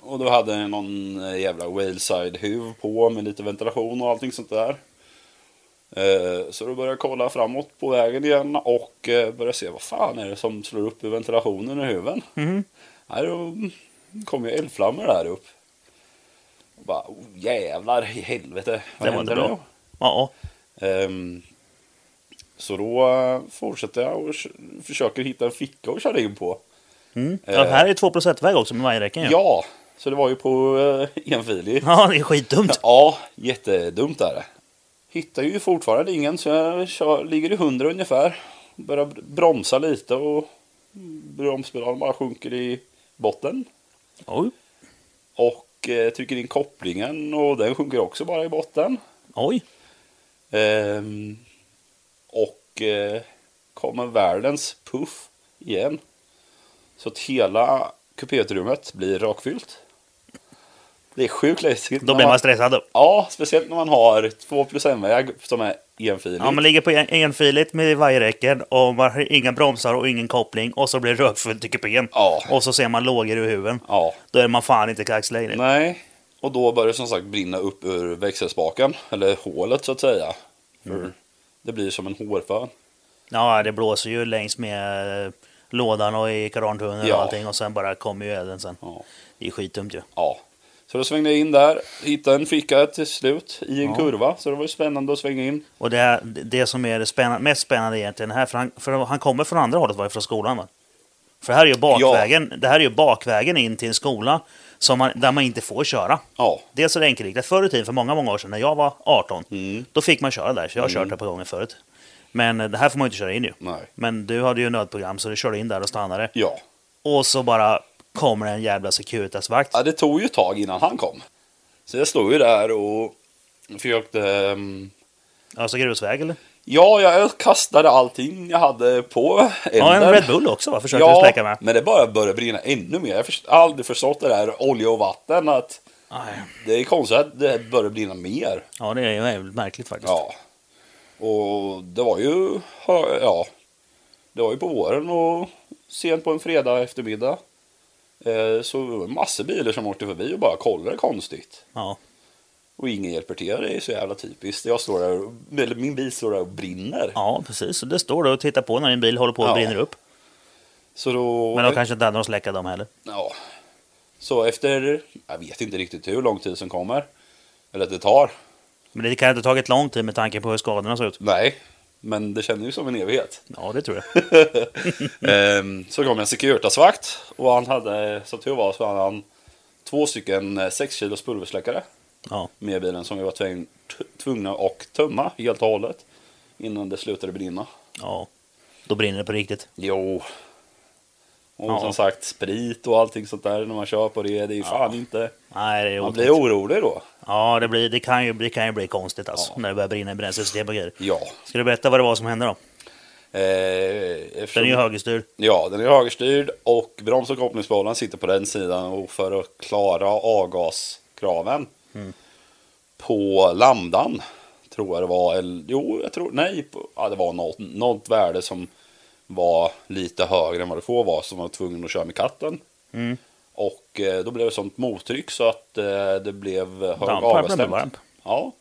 S2: Och då hade jag någon eh, jävla Waleside-huv på med lite ventilation och allting sånt där. Eh, Så då började jag kolla framåt på vägen igen och eh, började se vad fan är det som slår upp i ventilationen i huven.
S1: Mhm.
S2: Nej, då kom ju eldflammor där upp. Och bara, oh, jävlar i helvete.
S1: Det var
S2: händer
S1: inte bra. Ja,
S2: nu? Ehm, så då eh, fortsätter jag och s- försöker hitta en ficka att köra in på.
S1: mm.
S2: Eh.
S1: ja, här är ju 2 väg också med vajerräcken ju.
S2: Ja, så det var ju på eh, enfilig.
S1: ja, det är skitdumt.
S2: Ja, jättedumt är det. Hittar ju fortfarande ingen så jag kör, ligger i hundra ungefär. Börjar br- bromsa lite och bromspedalen bara sjunker i botten.
S1: Oj,
S2: Och eh, trycker in kopplingen och den sjunker också bara i botten.
S1: oj.
S2: Ehm, och eh, kommer världens puff igen. Så att hela kupéutrymmet blir rakfyllt. Det är sjukt läskigt.
S1: Då
S2: när
S1: blir man stressad. då.
S2: Ja, speciellt när man har två plus en-väg som är enfilig.
S1: Ja, man ligger på en- enfiligt med vajerräcken och man har inga bromsar och ingen koppling och så blir det rökfullt i kupén.
S2: Ja.
S1: Och så ser man lågor i huven.
S2: ja.
S1: Då är man fan inte kax längre.
S2: Nej. Och då börjar det som sagt brinna upp ur växelspaken, eller hålet så att säga. För
S1: Mm.
S2: Det blir som en hårfön.
S1: Ja, det blåser ju längs med eh, lådan och i karantunneln
S2: Ja.
S1: och allting och sen bara kommer ju elden sen.
S2: Ja.
S1: Det är skitdumt ju.
S2: ja. Så då svängde jag in där, hittade en ficka till slut i en
S1: Ja.
S2: kurva. Så det var ju spännande att svänga in.
S1: Och det, här, det som är det spännande, mest spännande egentligen här, för han, för han kommer från andra hållet, var det från skolan va? För här är ju bakvägen, det här är ju bakvägen in till en skola som man, där man inte får köra.
S2: Ja.
S1: Dels är det enkelriktat. Förr i tiden, för många, många år sedan, när jag var 18,
S2: Mm.
S1: då fick man köra där. Så jag har kört där på gånger förut. Men eh, det här får man ju inte köra in ju.
S2: Nej.
S1: Men du hade ju nödprogram, så du körde in där och stannade.
S2: Ja.
S1: Och så bara kommer det en jävla Securitas-vakt.
S2: ja, det tog ju ett tag innan han kom. Så jag stod ju där och försökte... ehm,
S1: Alltså grusväg eller?
S2: Ja, jag kastade allting jag hade på
S1: Ja, en
S2: elden.
S1: Red Bull också va? Försökte du släcka med.
S2: men det bara börjar brinna ännu mer. Jag har först- aldrig förstått det där olja och vatten. Att
S1: Aj.
S2: det är konstigt att det börjar brinna mer.
S1: Ja, det är ju jävligt märkligt faktiskt.
S2: Ja. Och det var ju, ja, det var ju på våren och sent på en fredag eftermiddag. Eh, Så det var massor bilar som åkte förbi och bara kollade konstigt.
S1: Ja.
S2: Och ingen hjälper till. Det är så jävla typiskt. Jag står där, och- eller min bil står där och brinner.
S1: Ja, precis. Och det står du och tittar på när din bil håller på att
S2: Ja.
S1: brinner upp.
S2: Så då...
S1: Men de kanske inte hade någon släcka dem heller.
S2: Ja. Så efter, jag vet inte riktigt hur lång tid som kommer. Eller att det tar.
S1: Men det kan inte ha tagit lång tid med tanke på hur skadorna såg ut.
S2: Nej. Men det kändes ju som en evighet.
S1: Ja, det tror
S2: <laughs>
S1: jag. Mm.
S2: Ehm, så kom en Securitasvakt. Och han hade, som tur var, så hade han två stycken eh, 6 kilos pulversläckare.
S1: Ja.
S2: Med i bilen som vi var tving, t- tvungna att tömma helt och hållet. Innan det slutade brinna.
S1: ja. Då brinner det på riktigt.
S2: Jo. Och
S1: Ja.
S2: som sagt sprit och allting sånt där när man kör på det. Det är ju fan inte...
S1: Nej, det är
S2: Man
S1: otäckt.
S2: blir orolig då.
S1: Ja, det, blir, det, kan ju, det kan ju bli konstigt alltså.
S2: Ja.
S1: När det börjar brinna i bränslesystem och grejer.
S2: Ja.
S1: Ska du berätta vad det var som hände då?
S2: Ehm,
S1: Den
S2: eftersom-
S1: är ju högerstyrd.
S2: Ja, den är högerstyrd och broms och kopplingsbollen sitter på den sidan och för att klara avgaskraven
S1: Mm.
S2: på lambdan tror jag det var, eller jo, jag tror, nej, på, ja, det var något, något värde som var lite högre än vad det får vara som var tvungen att köra med katten.
S1: Mm.
S2: Och eh, då blev det sånt mottryck så att eh, det blev hög
S1: Damp,
S2: avgasdämp.
S1: damp, damp.
S2: Ja,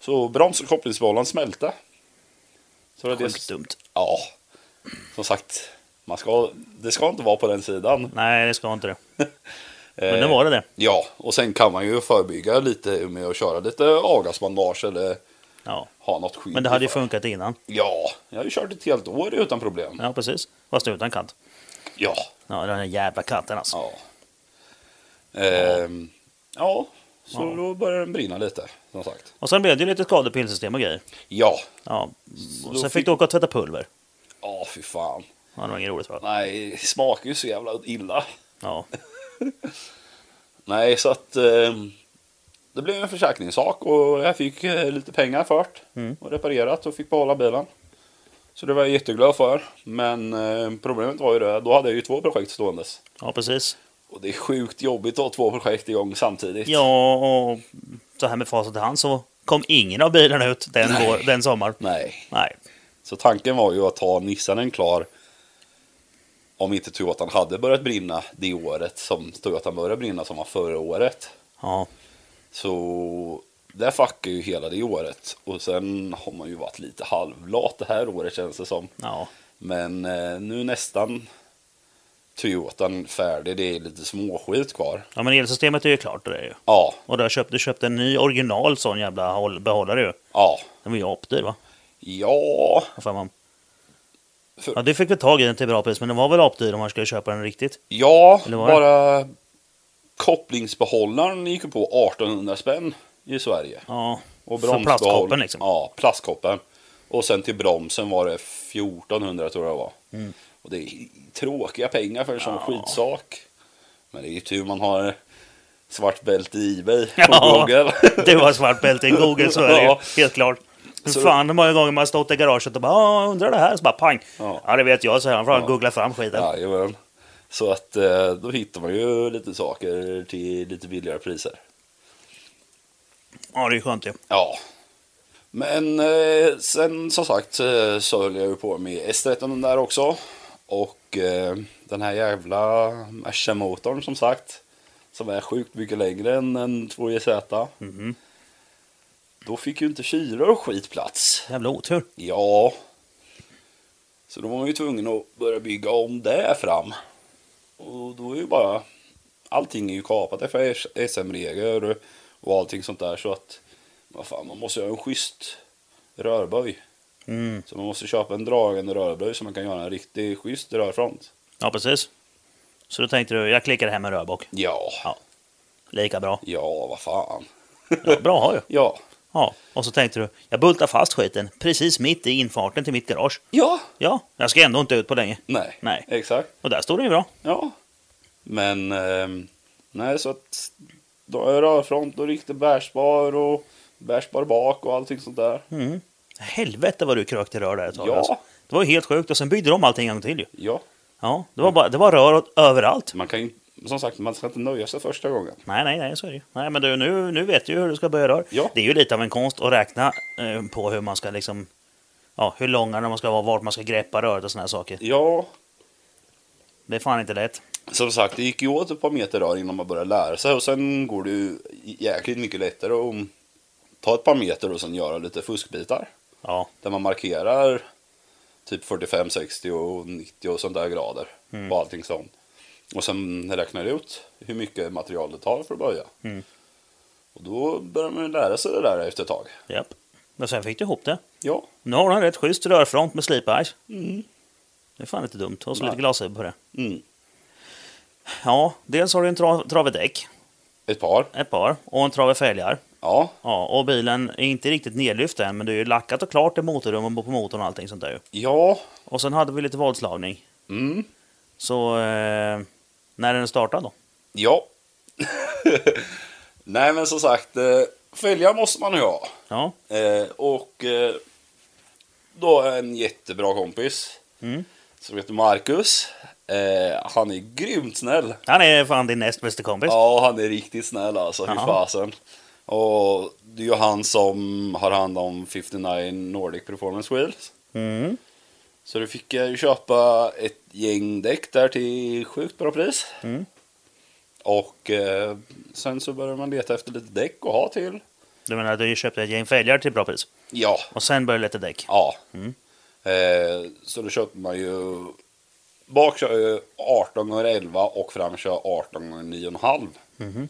S2: så broms och kopplingsbollen smälte. Så det var
S1: Sjukt
S2: det
S1: dumt.
S2: Ja, som sagt. Man ska, det ska inte vara på den sidan.
S1: Nej, det ska inte det.
S2: Eh,
S1: Men nu var det det.
S2: Ja, och sen kan man ju förebygga lite med att köra lite avgasbandage eller
S1: Ja.
S2: ha något skydd.
S1: Men det hade ju
S2: ifall-
S1: funkat innan.
S2: Ja, jag har ju kört ett helt år utan problem.
S1: Ja, precis. Fast utan kant.
S2: Ja.
S1: Ja, den där jävla katten alltså.
S2: Ja, Ehm, ja så
S1: Ja.
S2: då börjar den brinna lite, som sagt.
S1: Och sen blev det ju lite skadepillsystem och grejer.
S2: Ja,
S1: Ja. Och
S2: då
S1: sen fick
S2: fick-
S1: du åka och tvätta pulver.
S2: ja fy fan.
S1: Ja, det var inget roligt va?
S2: Nej, det smakar ju så jävla illa.
S1: Ja.
S2: Nej, så att eh, det blev en försäkringssak och jag fick eh, lite pengar fört
S1: Mm.
S2: och reparerat och fick behålla bilen. Så det var jag jätteglad för. Men eh, problemet var ju det, då hade jag ju två projekt ståendes. <laughs>
S1: ja, precis.
S2: Och det är sjukt jobbigt att ha två projekt igång samtidigt.
S1: Ja, och så här med facit i hand så kom ingen av bilarna ut den,
S2: Nej.
S1: vår, den sommaren.
S2: Nej,
S1: Nej.
S2: så tanken var ju att ha Nissanen klar om inte Toyotan hade börjat brinna det året som Toyotan började brinna som var förra året.
S1: Ja,
S2: Så där fuckar ju hela det året. Och sen har man ju varit lite halvlat det här året känns det som.
S1: ja.
S2: Men eh, nu är nästan Toyotan färdig. Det är lite småskit kvar.
S1: ja men elsystemet är ju klart. Det är ju.
S2: Ja,
S1: Och du har köpt, du köpte en ny original sån jävla håll- behållare ju.
S2: ja,
S1: Den var ju apdyr va?
S2: ja.
S1: Vad fan man...
S2: För-
S1: Ja, det fick vi tag i den till bra pris, men den var väl apdyr om man skulle köpa den riktigt?
S2: Ja,
S1: Eller var det?
S2: bara kopplingsbehållaren gick ju på 1800 spänn i Sverige.
S1: Ja,
S2: Och
S1: För
S2: bromsbehåll-
S1: plastkoppen, liksom.
S2: Ja, plastkoppen. Och sen till bromsen var det 1400 tror jag det var.
S1: Mm.
S2: Och det är tråkiga pengar för en sån
S1: Ja.
S2: skitsak. Men det är ju tur man har svart bälte i Ebay på
S1: <laughs> Ja.
S2: Google.
S1: det var svart bälte i Google, så är
S2: <laughs>
S1: det
S2: Ja.
S1: ju. Helt klart.
S2: Så-
S1: Hur fan hur många gånger man har stått i garaget och bara "Ah, undrar det här, så bara pang.
S2: Ja.
S1: Ja, det vet jag, så han får
S2: Ja.
S1: googla fram skiten. Ja.
S2: Jajamän. Så att eh, då hittar man ju lite saker till lite billigare priser.
S1: det är skönt ju.
S2: Ja. Men eh, sen som sagt eh, så höll jag ju på med S13 där också. Och eh, den här jävla Merca-motorn som sagt. Som är sjukt mycket längre än en 2JZ.
S1: Mhm.
S2: Då fick ju inte kylar och skit plats.
S1: Jävla otur.
S2: Ja. Så då var man ju tvungen att börja bygga om det fram. Och då är ju bara... Allting är ju kapat efter SM-regler och allting sånt där så att... Vad fan, man måste göra en schysst rörböj.
S1: Mm.
S2: Så man måste köpa en dragande rörböj så man kan göra en riktig schysst rörfront.
S1: Ja, precis. Så då tänkte du, jag klickar hem en rörbock.
S2: Ja,
S1: Lika bra.
S2: ja, vad fan.
S1: Ja, bra har ju.
S2: Ja.
S1: Ja, och så tänkte du, jag bultar fast skiten precis mitt i infarten till mitt garage.
S2: Ja.
S1: Ja, jag ska ändå inte ut på länge.
S2: Nej.
S1: Nej.
S2: Exakt.
S1: Och där stod den ju bra.
S2: Ja. Men ehm, nej, så att då är rörfront och riktig bärsbar och bärsbar bak och allting sånt där.
S1: Mm. Helvete vad du krökte rör där ett tag.
S2: Ja.
S1: Alltså. Det var ju helt sjukt och sen byggde de allting en gång till ju.
S2: Ja,
S1: Ja, det var, bara, det var rör åt, överallt.
S2: man kan ju som sagt, man ska inte nöja sig första gången.
S1: Nej, nej, nej, så är det ju. Nej, men du, nu, nu vet du ju hur du ska böja rör.
S2: Ja.
S1: Det är ju lite av en konst att räkna eh, på hur man ska liksom... Ja, hur långa de ska vara, vart man ska greppa röret och såna här saker.
S2: Ja,
S1: Det är fan inte lätt.
S2: som sagt, det gick ju åt ett par meter rör innan man började lära sig och sen går det ju jäkligt mycket lättare att ta ett par meter och sen göra lite fuskbitar.
S1: Ja,
S2: Där man markerar typ 45, 60 och 90 och sånt där grader
S1: Mm.
S2: på allting sånt. Och sen räknar jag ut hur mycket material det tar för att böja.
S1: Mm.
S2: Och då börjar man ju lära sig det där efter ett tag.
S1: japp. Men sen fick du ihop det.
S2: Ja.
S1: Nu har du en rätt schysst rörfront med slipage.
S2: Mm.
S1: Det är fan inte dumt. Och så
S2: Nej.
S1: lite glasögon på det.
S2: Mm.
S1: Ja, dels har du en tra- trave däck,
S2: Ett par.
S1: ett par, och en trave fälgar.
S2: Ja.
S1: Ja, och bilen är inte riktigt nedlyft än, men det är ju lackat och klart i motorrummet och på motorn och allting sånt där ju.
S2: Ja.
S1: Och sen hade vi lite vadslagning.
S2: Mm.
S1: Så... Eh, när är den startad då?
S2: Ja. <laughs> Nej men som sagt, eh, fälgar måste man ju ha.
S1: Ja.
S2: Eh, Och eh, då har jag en jättebra kompis
S1: Mm.
S2: som heter Marcus. Eh, Han är grymt snäll.
S1: Han är fan din näst bästa kompis.
S2: Ja, han är riktigt snäll alltså. Hur
S1: Ja.
S2: fasen. Och det är ju han som har hand om 59 Nordic Performance Wheels.
S1: Mm.
S2: Så då fick jag ju köpa ett gäng däck där till sjukt bra pris.
S1: Mm.
S2: Och eh, sen så började man leta efter lite däck att ha till.
S1: Du menar att du köpte ett gäng fälgar till bra pris?
S2: Ja,
S1: Och sen började lite däck?
S2: ja.
S1: Mm.
S2: Eh, så då köpte man ju... Bak kör jag ju 18 gånger 11 och fram kör jag 18 gånger 9,5.
S1: Mhm.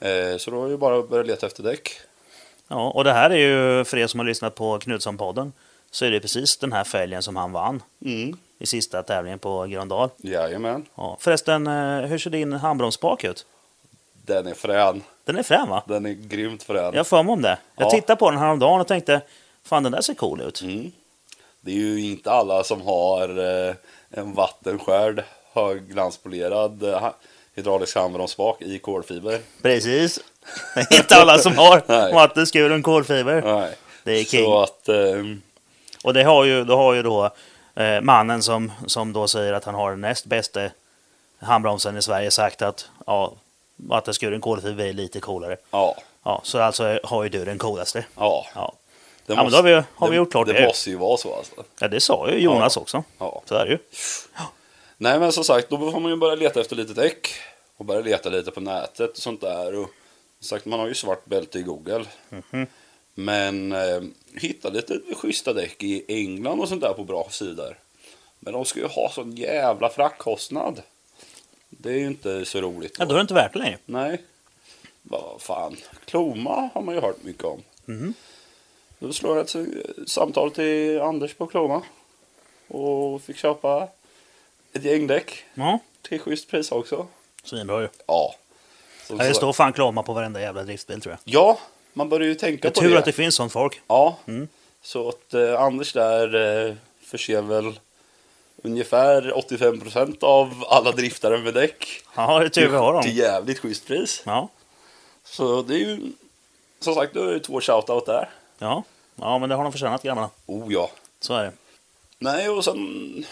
S2: Eh, så då var det ju bara att börja leta efter däck.
S1: Ja, och det här är ju, för er som har lyssnat på Knutsson-podden, så är det precis den här fälgen som han vann
S2: Mm.
S1: i sista tävlingen på Gröndal.
S2: Jajamän.
S1: Ja. Förresten, eh, hur ser din handbromsspak ut?
S2: Den är frän.
S1: Den är frän va?
S2: Den är grymt frän.
S1: Jag har för mig om det. Jag
S2: Ja.
S1: tittade på den häromdagen och tänkte, fan den där ser cool ut.
S2: Mm. Det är ju inte alla som har eh, en vattenskärd högglanspolerad eh, ha- hydraulisk handbromsspak i
S1: <laughs>
S2: kolfiber.
S1: Precis. Det är inte alla som har
S2: Nej.
S1: matte, skur och kolfiber.
S2: Nej.
S1: Det är king.
S2: Så att, ehm,
S1: Och det har ju, då har ju då eh, mannen som, som då säger att han har den näst bästa handbromsen i Sverige sagt att ja, vattenskuren kolfiber är lite coolare.
S2: ja,
S1: Ja, så alltså har ju du den coolaste.
S2: ja.
S1: Ja,
S2: Det
S1: men då har vi- har vi gjort klart
S2: det.
S1: det.
S2: Det måste ju vara så alltså.
S1: ja det sa ju Jonas också.
S2: Ja.
S1: Så är det ju.
S2: Nej men som sagt, då får man ju börja leta efter litet äck. Och börja leta lite på nätet och sånt där. Och som sagt, man har ju svart bälte i Google.
S1: Mhm.
S2: Men eh, hitta lite schyssta däck i England och sånt där på bra sidor. Men de ska ju ha sån jävla fraktkostnad. Det är ju inte så roligt.
S1: Ja, då är det inte värt det längre.
S2: Nej. Vad fan. Kloma har man ju hört mycket om.
S1: Mhm.
S2: Då slår jag ett eh, samtal till Anders på Kloma. Och fick köpa ett gäng däck
S1: Ja,
S2: till schysst pris också.
S1: svinbra ju.
S2: Ja. Så,
S1: Ja, det står fan klama på varenda jävla driftbil tror jag.
S2: Ja, man börjar ju tänka
S1: Det är
S2: på
S1: tur
S2: det.
S1: att det finns sånt folk.
S2: Ja.
S1: Mm.
S2: Så att eh, Anders där eh, förser väl ungefär 85% av alla driftare med däck.
S1: Ja, det är tur vi har
S2: Till
S1: dem.
S2: jävligt schysst pris.
S1: Ja,
S2: Så det är ju, som sagt, då är det två shoutout där.
S1: ja. ja, men det har de förtjänat grabbarna.
S2: Oh ja.
S1: Så är det.
S2: Nej, och sen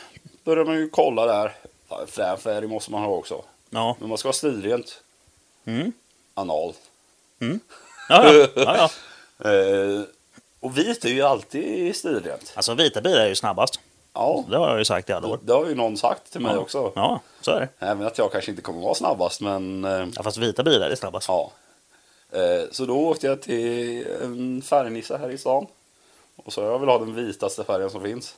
S2: börjar man ju kolla där. Ja, Frän färg måste man ha också.
S1: Ja.
S2: Men man ska ha stilrent.
S1: Mm.
S2: Anal.
S1: Ja, ja. ja, ja.
S2: Eh, och vit är ju alltid stilrent.
S1: Alltså vita bilar är ju snabbast.
S2: Ja,
S1: Det har jag ju sagt i alla år.
S2: det har ju någon sagt till mig
S1: Ja.
S2: också.
S1: Ja, så är det.
S2: Även att jag kanske inte kommer vara snabbast, men eh,
S1: Ja, fast vita bilar är snabbast.
S2: ja. Eh, så då åkte jag till en färgnisse här i stan. Och så jag vill ha den vitaste färgen som finns.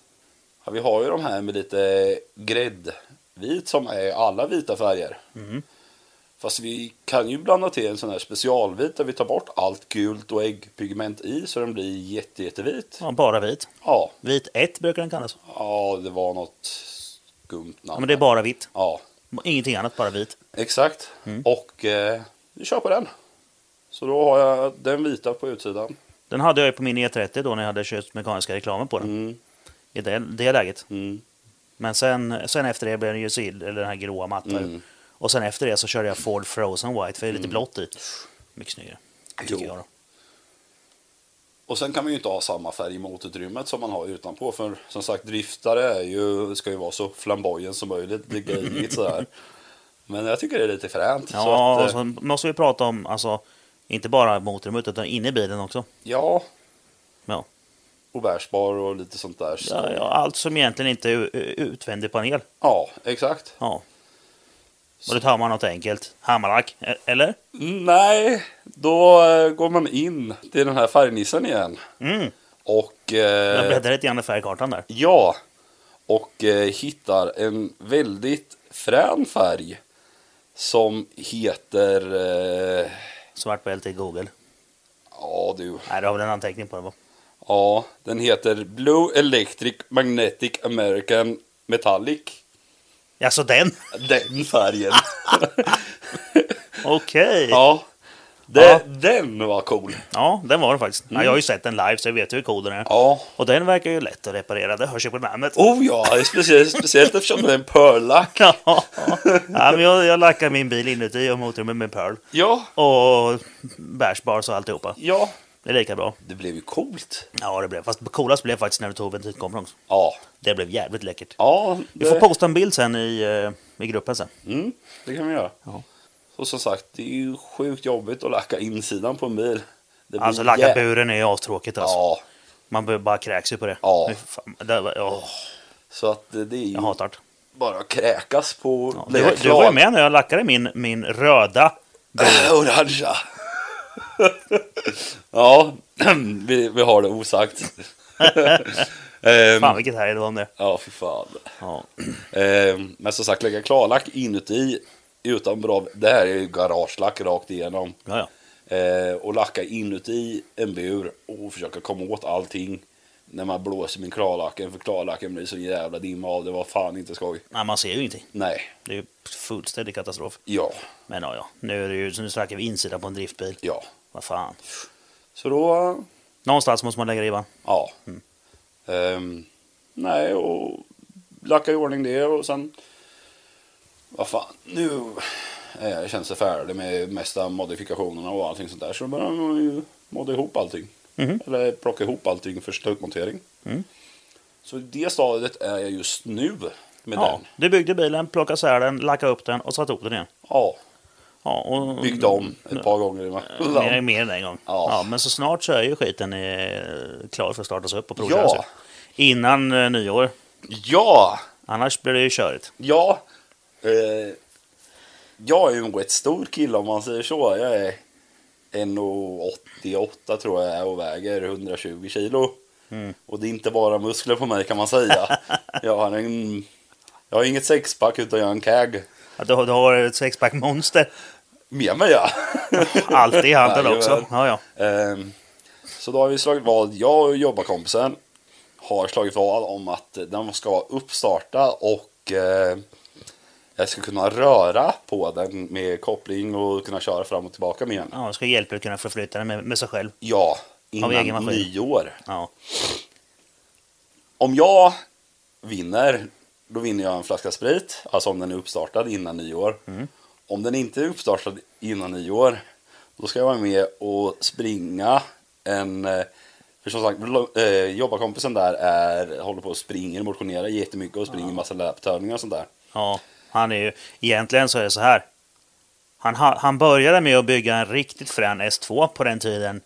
S2: Ja, vi har ju de här med lite gräddvit som är alla vita färger.
S1: Mm.
S2: Fast vi kan ju blanda till en sån här specialvit där vi tar bort allt gult och äggpigment i så den blir jätte, jättevit.
S1: Ja, bara vit.
S2: Ja,
S1: Vit 1 brukar den kallas.
S2: ja det var något skumt namn.
S1: Ja, men det är bara vitt.
S2: Ja,
S1: Ingenting annat, bara vit.
S2: Exakt.
S1: Mm.
S2: Och eh, vi kör på den. Så då har jag den vita på utsidan.
S1: Den hade jag ju på min E30 då när jag hade köpt mekaniska reklamen på den.
S2: Mm.
S1: I det, det läget.
S2: Mm.
S1: Men sen, sen efter det blev den ju sil, eller den här gråa matta. ju.
S2: Mm.
S1: Och sen efter det så körde jag Ford Frozen White, för det är lite blått i. Mycket snyggare.
S2: Jo.
S1: Tycker jag då.
S2: Och sen kan man ju inte ha samma färg i motutrymmet som man har utanpå. För som sagt, driftare är ju, ska ju vara så flamboyant som möjligt. Det är gayigt sådär. Men jag tycker det är lite fränt. så
S1: Ja,
S2: att, eh,
S1: och så måste vi prata om, alltså, inte bara motorrummet utan inne i bilen också.
S2: ja.
S1: Ja.
S2: Och bärsbar och lite sånt där. Så-
S1: Ja, ja, allt som egentligen inte är u- utvändig panel.
S2: ja, exakt.
S1: Ja. Och då tar man något enkelt. Hammarlack, e- eller?
S2: Nej, då eh, går man in till den här färgnissen igen.
S1: Mm.
S2: Och... eh,
S1: Jag bläddrar lite grann i färgkartan där.
S2: Ja, och eh, hittar en väldigt frän färg som heter... Eh,
S1: Svart bälte i Google.
S2: ja, du.
S1: Nej, du har väl en anteckning på det va?
S2: Ja, den heter Blue Electric Magnetic American Metallic.
S1: Ja,
S2: <laughs>
S1: så den?
S2: Den <laughs> färgen.
S1: Okej. Ja.
S2: ja, det,
S1: Ja.
S2: den var cool.
S1: den var det faktiskt. Ja, jag har ju sett den live så jag vet ju hur cool den är.
S2: Mm. Ja.
S1: Och den verkar ju lätt att reparera, det hörs ju på namnet.
S2: Oh ja, speciellt, speciellt eftersom det är en pearlack.
S1: <laughs> Ja, men jag, jag lackar min bil inuti och motorrummet med Pearl.
S2: Ja,
S1: Och bärsbars och alltihopa.
S2: ja.
S1: Det är lika bra.
S2: Det blev ju coolt.
S1: Ja, det blev. Fast coolast blev faktiskt när du tog ventilkameran också.
S2: Ja,
S1: Det blev jävligt läckert.
S2: ja.
S1: Vi får posta en bild sen i, eh, i gruppen sen.
S2: Mm, det kan vi göra.
S1: Ja.
S2: Och som sagt, det är ju sjukt jobbigt att lacka insidan på en bil. Det blir
S1: Alltså lacka
S2: jä-
S1: buren är ju astråkigt alltså.
S2: Ja,
S1: Man bör- bara kräks ju på det.
S2: Ja.
S1: Fy Fan, det var, åh,
S2: så att det det är ju
S1: jag hatar det.
S2: bara att kräkas på...
S1: Ja, du, var- du var
S2: <laughs>
S1: ju med när jag lackade min, min röda.
S2: Orangea. <laughs> ja, <clears throat> vi, vi har det
S1: <laughs>
S2: osagt. Ehm,
S1: Fan vilket härligt det var om det.
S2: ja, för fan.
S1: Ja.
S2: Ehm, men som sagt, lägga klarlack inuti utan bra... Det här är ju garagelack rakt igenom.
S1: Ja, ja.
S2: eh, och lacka inuti en bur och försöka komma åt allting när man blåser med klarlacken för klarlacken blir så jävla dimma av det var fan inte skoj.
S1: Nej, man ser ju ingenting.
S2: Nej,
S1: Det är ju fullständig katastrof.
S2: ja,
S1: Men ja, ja. Nu, är det ju, så nu snackar vi insida på en driftbil.
S2: ja.
S1: Vad fan.
S2: Så då,
S1: Någonstans måste man lägga ribban.
S2: ja. Mm. Ehm, nej, och lacka i ordning det och sen vad fan, nu är jag, känns det färdig med mesta modifikationerna och allting sånt där. Så då börjar man ju modda ihop allting.
S1: Mhm.
S2: Eller plocka ihop allting för slutmontering.
S1: Mm.
S2: Så i det stadiet är jag just nu med
S1: Ja,
S2: den.
S1: du byggde bilen, plockade isär den, lackade upp den och satte ihop den igen.
S2: Ja,
S1: Ja, och,
S2: byggt om
S1: Mm.
S2: ett par gånger
S1: Mer,
S2: emellan.
S1: mer än en gång. Ja.
S2: Ja.
S1: men så snart så är ju skiten eh, klar för att startas upp och provköras.
S2: Ja.
S1: Innan eh, nyår.
S2: Ja,
S1: Annars blir det ju körigt.
S2: ja. Eh, jag är ju en rätt stor kille om man säger så. Jag är 1,88 tror jag är och väger 120 kilo.
S1: Mm.
S2: Och det är inte bara muskler på mig kan man säga. jag, har en, jag har inget sexpack utan jag har en kag
S1: Att du, har- du har
S2: <laughs>
S1: ett sexpack-monster
S2: med mig. Ja.
S1: alltid i handen
S2: Jajamän.
S1: också. Ja, ja.
S2: Ehm, så då har vi slagit vad, jag och jobbarkompisen har slagit vad om att den ska vara uppstartad och eh, jag ska kunna röra på den med koppling och kunna köra fram och tillbaka med den.
S1: ja, ska hjälpa dig att kunna förflytta den med, med sig själv.
S2: Ja,
S1: Av egen
S2: innan
S1: maskin.
S2: nyår.
S1: Ja.
S2: Om jag vinner, då vinner jag en flaska sprit. Alltså om den är uppstartad innan nyår.
S1: Mm.
S2: Om den inte är uppstartad innan nyår, då ska jag vara med och springa en... eh, För som sagt, lo- eh, jobbarkompisen där är, håller på och springer, motionerar jättemycket och springer massa löptövningar och sånt där.
S1: ja, han är ju... Egentligen så är det så här. Han, ha- han började med att bygga en riktigt frän S2 på den tiden.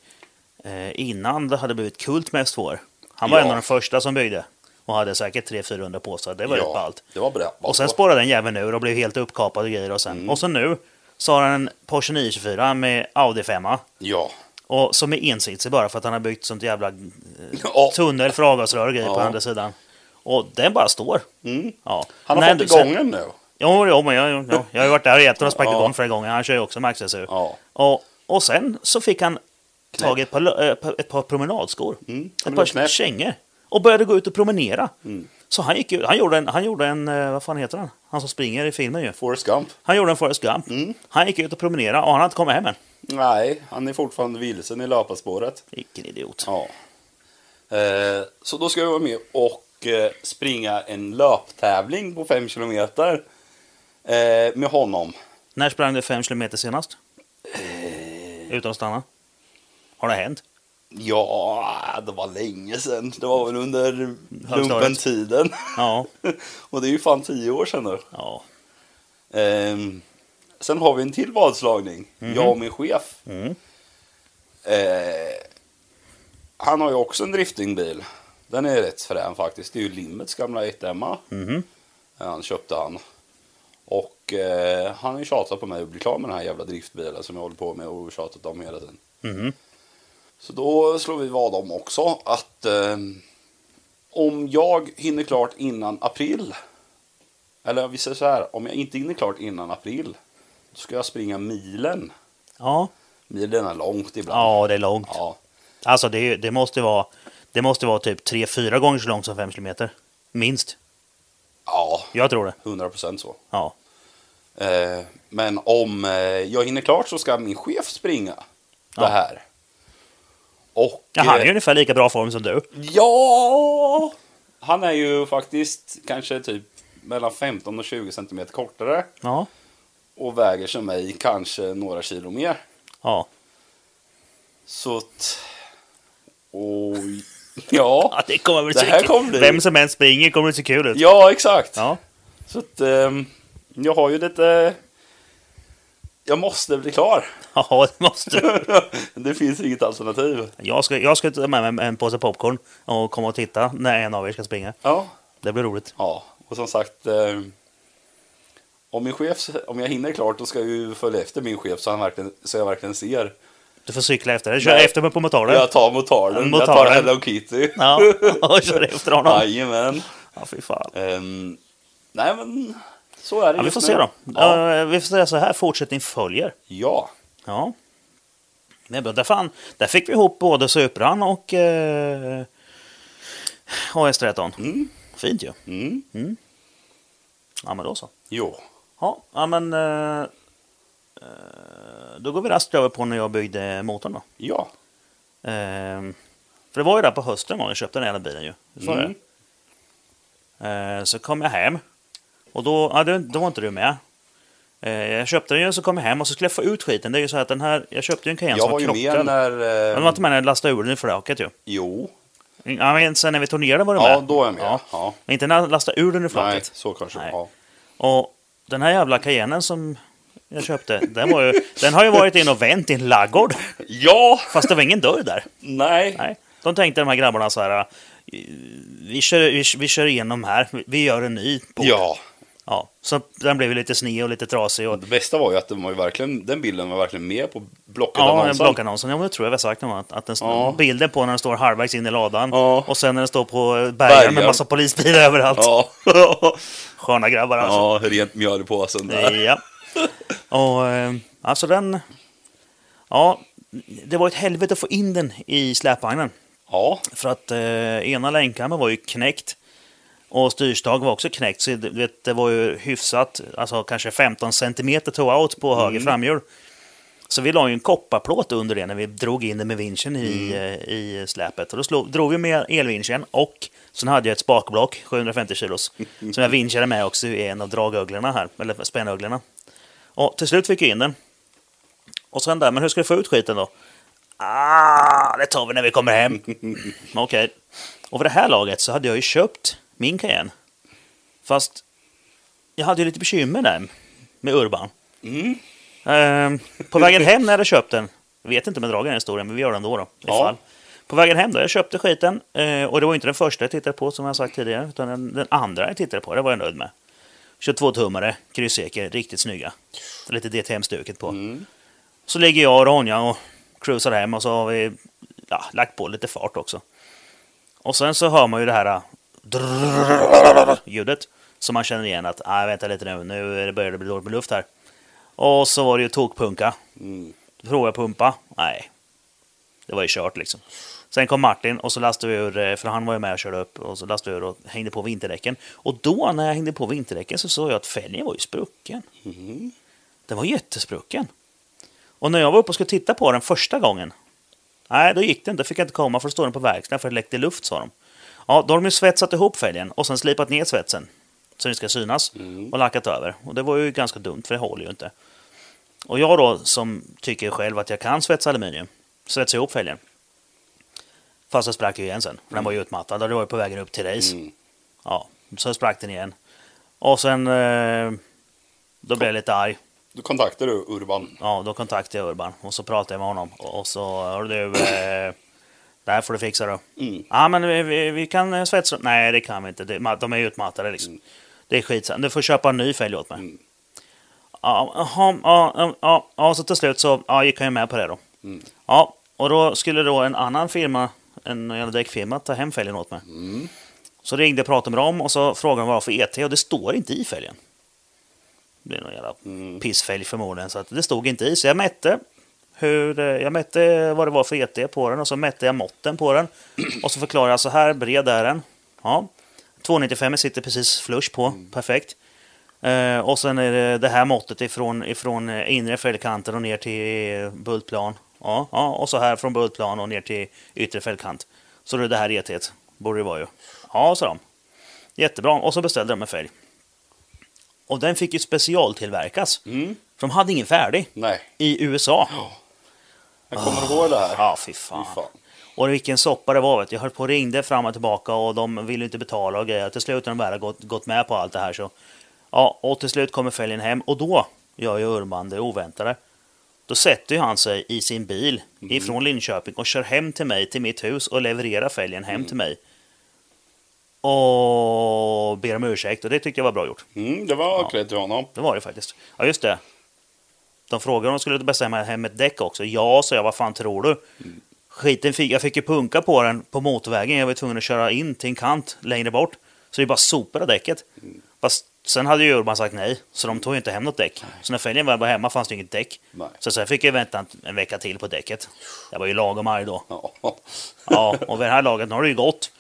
S1: Eh, innan det hade blivit kult med S2. Han var
S2: Ja.
S1: en av de första som byggde. Och hade säkert 300-400 påsar. Det var rätt ballt.
S2: det var bra.
S1: Och sen spårade den jäveln ur och blev helt uppkapad och grejer. Och, sen.
S2: Mm.
S1: och så nu så har han en Porsche 924 med Audi 5
S2: Ja.
S1: och som är ensitsig bara för att han har byggt sånt jävla eh,
S2: Ja.
S1: tunnel för avgasrör och grejer på
S2: Ja.
S1: andra sidan. Och den bara står.
S2: Mm.
S1: Ja.
S2: Han har
S1: Nej,
S2: fått
S1: du-
S2: igång den nu.
S1: Jo, jo, men jag, jo, jag har ju varit där och hjälpt honom att sparka
S2: Ja.
S1: igång flera gånger. Han kör ju också med accessor.
S2: Ja.
S1: Och, och sen så fick han
S2: Knäpp.
S1: tag i ett par, lö- eh, pa- ett par promenadskor.
S2: Mm,
S1: Ett
S2: men Mm.
S1: par
S2: det är knäpp.
S1: kängor. Och började gå ut och promenera. Så han gick ut, han gjorde en, han gjorde en eh, vad fan heter han? Han som springer i filmen ju.
S2: Forrest Gump.
S1: Han gjorde en Forrest Gump.
S2: Mm.
S1: Han gick ut och promenerade och han har inte kommit hem än.
S2: Nej, han är fortfarande vilsen i löparspåret.
S1: Vilken idiot.
S2: Ja. Eh, så då ska jag vara med och eh, springa en löptävling på 5 kilometer eh, med honom.
S1: När sprang du 5 kilometer senast?
S2: Eh,
S1: Utan att stanna? Har det hänt?
S2: Ja, det var länge sedan. Det var väl under lumpentiden.
S1: Ja.
S2: och det är ju fan tio år sedan nu.
S1: ja.
S2: Ehm, sen har vi en till vadslagning. Jag och min chef.
S1: Mm.
S2: Eh, han har ju också en driftingbil. Den är rätt frän faktiskt. Det är ju Limmets gamla 1-Emma.
S1: Mhm.
S2: Han köpte han. Och eh, han har ju tjatat på mig att bli klar med den här jävla driftbilen som jag håller på med och tjatat om hela tiden.
S1: Mhm.
S2: Så då slår vi vad om också att eh, om jag hinner klart innan april. Eller vi säger så här, om jag inte hinner klart innan april. Då ska jag springa milen.
S1: Ja.
S2: Milen är långt ibland.
S1: ja, det är långt.
S2: Ja,
S1: Alltså det, är ju- det måste vara Det måste vara typ 3-4 gånger så långt som 5 kilometer. Minst.
S2: ja
S1: Jag tror det.
S2: 100% så.
S1: Ja.
S2: Eh, men om eh, jag hinner klart så ska min chef springa
S1: Ja.
S2: det här. Och...
S1: ja han är
S2: eh,
S1: ju i ungefär lika bra form som du.
S2: Ja! Han är ju faktiskt kanske typ mellan 15 och 20 centimeter kortare
S1: Ja.
S2: och väger som mig kanske några kilo mer.
S1: Ja.
S2: Så att... Och... Ja,
S1: ja det kommer bli
S2: Det
S1: så
S2: här
S1: kul.
S2: kommer bli-
S1: Vem som än springer kommer det se kul ut.
S2: ja exakt.
S1: Ja. <laughs>
S2: Så att ehm, jag har ju lite... Jag måste bli klar. <laughs>
S1: Ja, det måste du.
S2: det finns inget alternativ.
S1: Jag ska, jag ska ta med mig en påse popcorn och komma och titta när en av er ska springa.
S2: Ja,
S1: Det blir roligt.
S2: Ja, och som sagt. Eh, om min chef, om jag hinner klart då ska jag ju följa efter min chef så, han verkligen, så jag verkligen ser.
S1: Du får cykla efter det. Kör
S2: Nej.
S1: efter mig på motorn.
S2: Jag tar motarden, jag tar
S1: Motarden.
S2: Hello Kitty.
S1: <laughs> Ja,
S2: <laughs>
S1: och kör efter honom.
S2: Jajamän.
S1: Ja, fy fan.
S2: Ehm, nej men, så är det
S1: Ja, vi
S2: just
S1: får
S2: nu.
S1: se då.
S2: Ja.
S1: Eh, Vi får säga så här, fortsättning följer.
S2: ja.
S1: Ja. Det är bra. Där, fan, där fick vi ihop både Supran och eh, AS13.
S2: Mm.
S1: Fint ju.
S2: Mm.
S1: Ja, men då så.
S2: Jo.
S1: Ja, ja men... Eh, eh, då går vi raskt över på när jag byggde motorn då.
S2: Ja.
S1: Ehm, för det var ju där på hösten var jag köpte den här jävla bilen ju. Visst var det? Eh,
S2: Mm.
S1: Ehm, så kom jag hem. Och då, ja, det, då var inte du med. Eh, Jag köpte den ju så kom jag hem och så skulle jag få ut skiten. Det är ju så här att den här, jag köpte ju en Cayenne
S2: Jag
S1: som
S2: var
S1: var
S2: ju med
S1: krockad. Men
S2: när...
S1: den
S2: Eh,
S1: var inte med när jag lastade ur den i flaket ju.
S2: Jo.
S1: Ja, men sen när vi turnerade var den
S2: Ja,
S1: med.
S2: då är jag med.
S1: Ja.
S2: Ja.
S1: Men inte när jag lastade ur den i
S2: Nej,
S1: flaket.
S2: så kanske.
S1: Nej.
S2: Ja.
S1: Och den här jävla Cayennen som jag köpte, den, var ju, den har ju varit in och vänt i en laggård.
S2: ja,
S1: Fast det var ingen dörr där.
S2: nej.
S1: Nej. De tänkte de här grabbarna så här. eh, Vi kör, vi, vi kör igenom här, vi gör en ny. På.
S2: Ja,
S1: ja. Så den blev ju lite sned och lite trasig. Och,
S2: det bästa var ju att den, var ju verkligen, den bilden var verkligen med på blocket
S1: ja,
S2: annonsen.
S1: en blockannonsen. Ja, men det tror jag vi har sagt om att, att den,
S2: Ja.
S1: bilden på när den står halvvägs in i ladan
S2: Ja.
S1: och sen när den står på eh, bergen med
S2: Bergar.
S1: massa polisbilar överallt.
S2: Ja,
S1: <laughs> Sköna grabbar alltså.
S2: ja rent mjöl i påsen där.
S1: Ja. Och eh, alltså den... Ja, det var ett helvete att få in den i släpvagnen.
S2: Ja,
S1: För att eh, ena länkarmen var ju knäckt. Och styrstag var också knäckt. Så det, du vet, det var ju hyfsat, alltså kanske 15 centimeter toe-out på höger framhjul. Så vi la ju en kopparplåt under det när vi drog in den med vinschen i, eh, i släpet. Och då slog, drog vi med elvinschen och sen hade jag ett spakblock, 750 kilos, som jag vinschade med också i en av dragöglorna här, eller spännöglorna. Och till slut fick jag in den. Och sen där, men hur ska vi få ut skiten då? Ah, det tar vi när vi kommer hem. Mm, Okej. Och för det här laget så hade jag ju köpt min Cayenne. Fast jag hade ju lite bekymmer där med Urban. Ehm, på vägen hem när jag hade köpt den, jag vet inte om jag drar den historien, men vi gör den då. då
S2: Ja.
S1: ifall. På vägen hem då, jag köpte skiten. eh, Och det var inte den första jag tittade på som jag sagt tidigare, utan den, den andra jag tittade på, det var jag nöjd med. 22-tummare, krysseker, riktigt snygga. Lite DTM-stuket på. Så ligger jag och Ronja och cruisar hem och så har vi ja, lagt på lite fart också. Och sen så hör man ju det här ah, drrrrrrrrrrrrrrrrrrrrrrrrrrrljudet som man känner igen att ah, vänta lite nu, nu är det- börjar det bli dåligt med luft här. Och så var det ju tokpunka.
S2: Mm.
S1: Provade jag pumpa? Nej. Det var ju kört liksom. Sen kom Martin och så lastade vi ur, eh, för han var ju med och körde upp, och så lastade vi ur och hängde på vinterdäcken. Och då när jag hängde på vinterdäcken så såg jag att fälgen var ju sprucken. Den var jättesprucken. Och när jag var uppe och skulle titta på den första gången, nej då gick det inte, fick jag inte komma för då stod den på verkstaden för det läckte luft sa de. Ja, då har de ju svetsat ihop fälgen och sen slipat ner svetsen så den ska synas och lackat över. Och det var ju ganska dumt för det håller ju inte. Och jag då som tycker själv att jag kan svetsa aluminium, svetsade ihop fälgen. Fast så sprack ju igen sen, för den var ju utmattad och det var ju på vägen upp till race.
S2: Mm.
S1: Ja, så sprack den igen. Och sen... Eh, då blev jag lite arg.
S2: Då kontaktade du Urban.
S1: Ja, då kontaktade jag Urban och så pratade jag med honom. Och och så, hör du, eh, det här får du fixa då.
S2: Mm.
S1: Ja, men vi, vi, vi kan eh, svetsa. Nej, det kan vi inte. Det, de är utmattade liksom. Det är skitsamma. Du får köpa en ny fälg åt mig.
S2: Mm.
S1: Ja, jaha, ja, ja, ja, ja, så till slut så ja, gick han ju med på det då.
S2: Mm.
S1: Ja, och då skulle då en annan firma, en jävla däckfirma, ta hem fälgen åt mig.
S2: Mm.
S1: Så ringde jag och pratade med dem och så frågade de vad det var för ET och det står inte i fälgen. Det är någon jävla pissfälg förmodligen, så att det stod inte i. Så jag mätte, hur, eh, jag mätte vad det var för ET på den och så mätte jag måtten på den. <clears throat> Och så förklarade jag så här bred är den. Ja. 295 sitter precis flush på, perfekt. Eh, och sen är det det här måttet ifrån, ifrån eh, inre fälgkanten och ner till eh, bultplan. Ja, ja, och så här från bultplan och ner till yttre fälgkant. Så det är det här ET, borde det vara ju. Ja, sa de. Jättebra. Och så beställde de en fälg. Och den fick ju specialtillverkas.
S2: Mm.
S1: För de hade ingen färdig
S2: Nej,
S1: i USA.
S2: jag kommer ihåg det här.
S1: Ah. Ja, fy fan.
S2: Fy fan.
S1: Och vilken soppa det var. Vet. du. Jag höll på och ringde fram och tillbaka och de ville inte betala och grejer. Till slut har de bara gått, gått med på allt det här. Så. Ja, och till slut kommer fälgen hem och då gör ju Urban det oväntade. Då sätter ju han sig i sin bil
S2: Mm.
S1: ifrån Linköping och kör hem till mig, till mitt hus och levererar fälgen
S2: Mm.
S1: hem till mig. Och ber om ursäkt och det tyckte jag var bra gjort.
S2: Mm, det var ja. till honom.
S1: Det var det faktiskt. Ja, just det. De frågade om de skulle bestämma hem ett däck också. Ja, sa jag. Vad fan tror du? Skiten fick, jag fick ju punka på den på motorvägen. Jag var tvungen att köra in till en kant längre bort. Så det bara sopade däcket. Fast sen hade ju Urban sagt nej, så de tog ju inte hem något däck. Så när fälgen väl var hemma fanns det inget däck.
S2: Nej.
S1: Så sen fick jag vänta en- en vecka till på däcket. Jag var ju lagom arg då.
S2: <laughs> Ja.
S1: Ja, och vid det här laget, nu har det ju gått,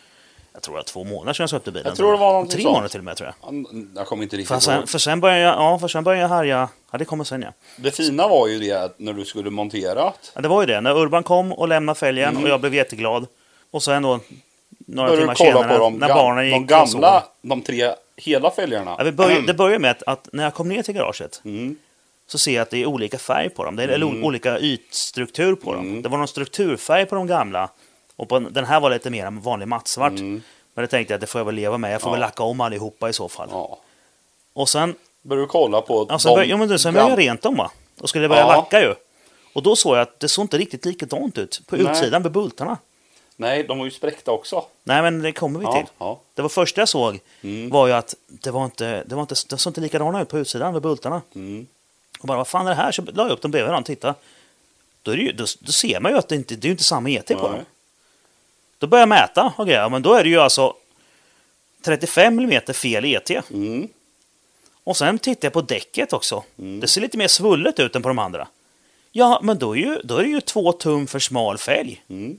S1: jag tror det var två månader sedan jag köpte bilen.
S2: Jag tror det var någonting
S1: Tre
S2: sånt.
S1: månader till och med tror jag.
S2: Han- Jag kommer inte riktigt
S1: För
S2: ihåg.
S1: sen, för sen började jag, ja, för sen började jag härja. Ja, det kommer sen ja.
S2: Det fina var ju det att när du skulle montera. att-
S1: ja det var ju det, när Urban kom och lämnade fälgen och jag blev jätteglad. Och sen då, några
S2: Mm. Började
S1: timmar
S2: du kolla
S1: senare,
S2: på de,
S1: när
S2: gam-
S1: barnen gick
S2: de
S1: och sov.
S2: gamla, de tre hela fälgarna.
S1: Ja, vi började, det började med att, att när jag kom ner till garaget
S2: Mm.
S1: så ser jag att det är olika färg på dem. Det är, Eller o- olika ytstruktur på dem.
S2: Mm.
S1: Det var någon strukturfärg på de gamla. Och på, den här var lite mer en vanlig mattsvart. Men det tänkte jag att det får jag väl leva med. Jag får
S2: Mm. Ja.
S1: väl lacka om allihopa i så fall.
S2: Ja.
S1: Och sen,
S2: Börjar du kolla på...
S1: alltså, bör, jo, men du, sen
S2: gam-
S1: började jag rent dem va? Och skulle börja
S2: Ja.
S1: lacka ju. Och då såg jag att det såg inte riktigt likadant ut på
S2: Nej.
S1: utsidan med bultarna.
S2: Nej, de var ju spräckta också.
S1: Nej, men det kommer vi
S2: Ja,
S1: till.
S2: ja.
S1: Det var första jag såg
S2: Mm.
S1: var ju att det var inte, det var inte, det såg inte likadana ut på utsidan med bultarna.
S2: Mm.
S1: Och bara, vad fan är det här? Så la jag upp dem bredvid varandra och tittade. Då, är det ju, då, då ser man ju att det inte det är ju inte samma ET på
S2: Nej.
S1: dem. Då börjar jag mäta och grejer. Ja, Men då är det ju alltså 35 mm fel ET.
S2: Mm.
S1: Och sen tittar jag på däcket också. Det ser lite mer svullet ut än på de andra. Ja, men då är, ju, då är det ju två tum för smal fälg.
S2: Mm.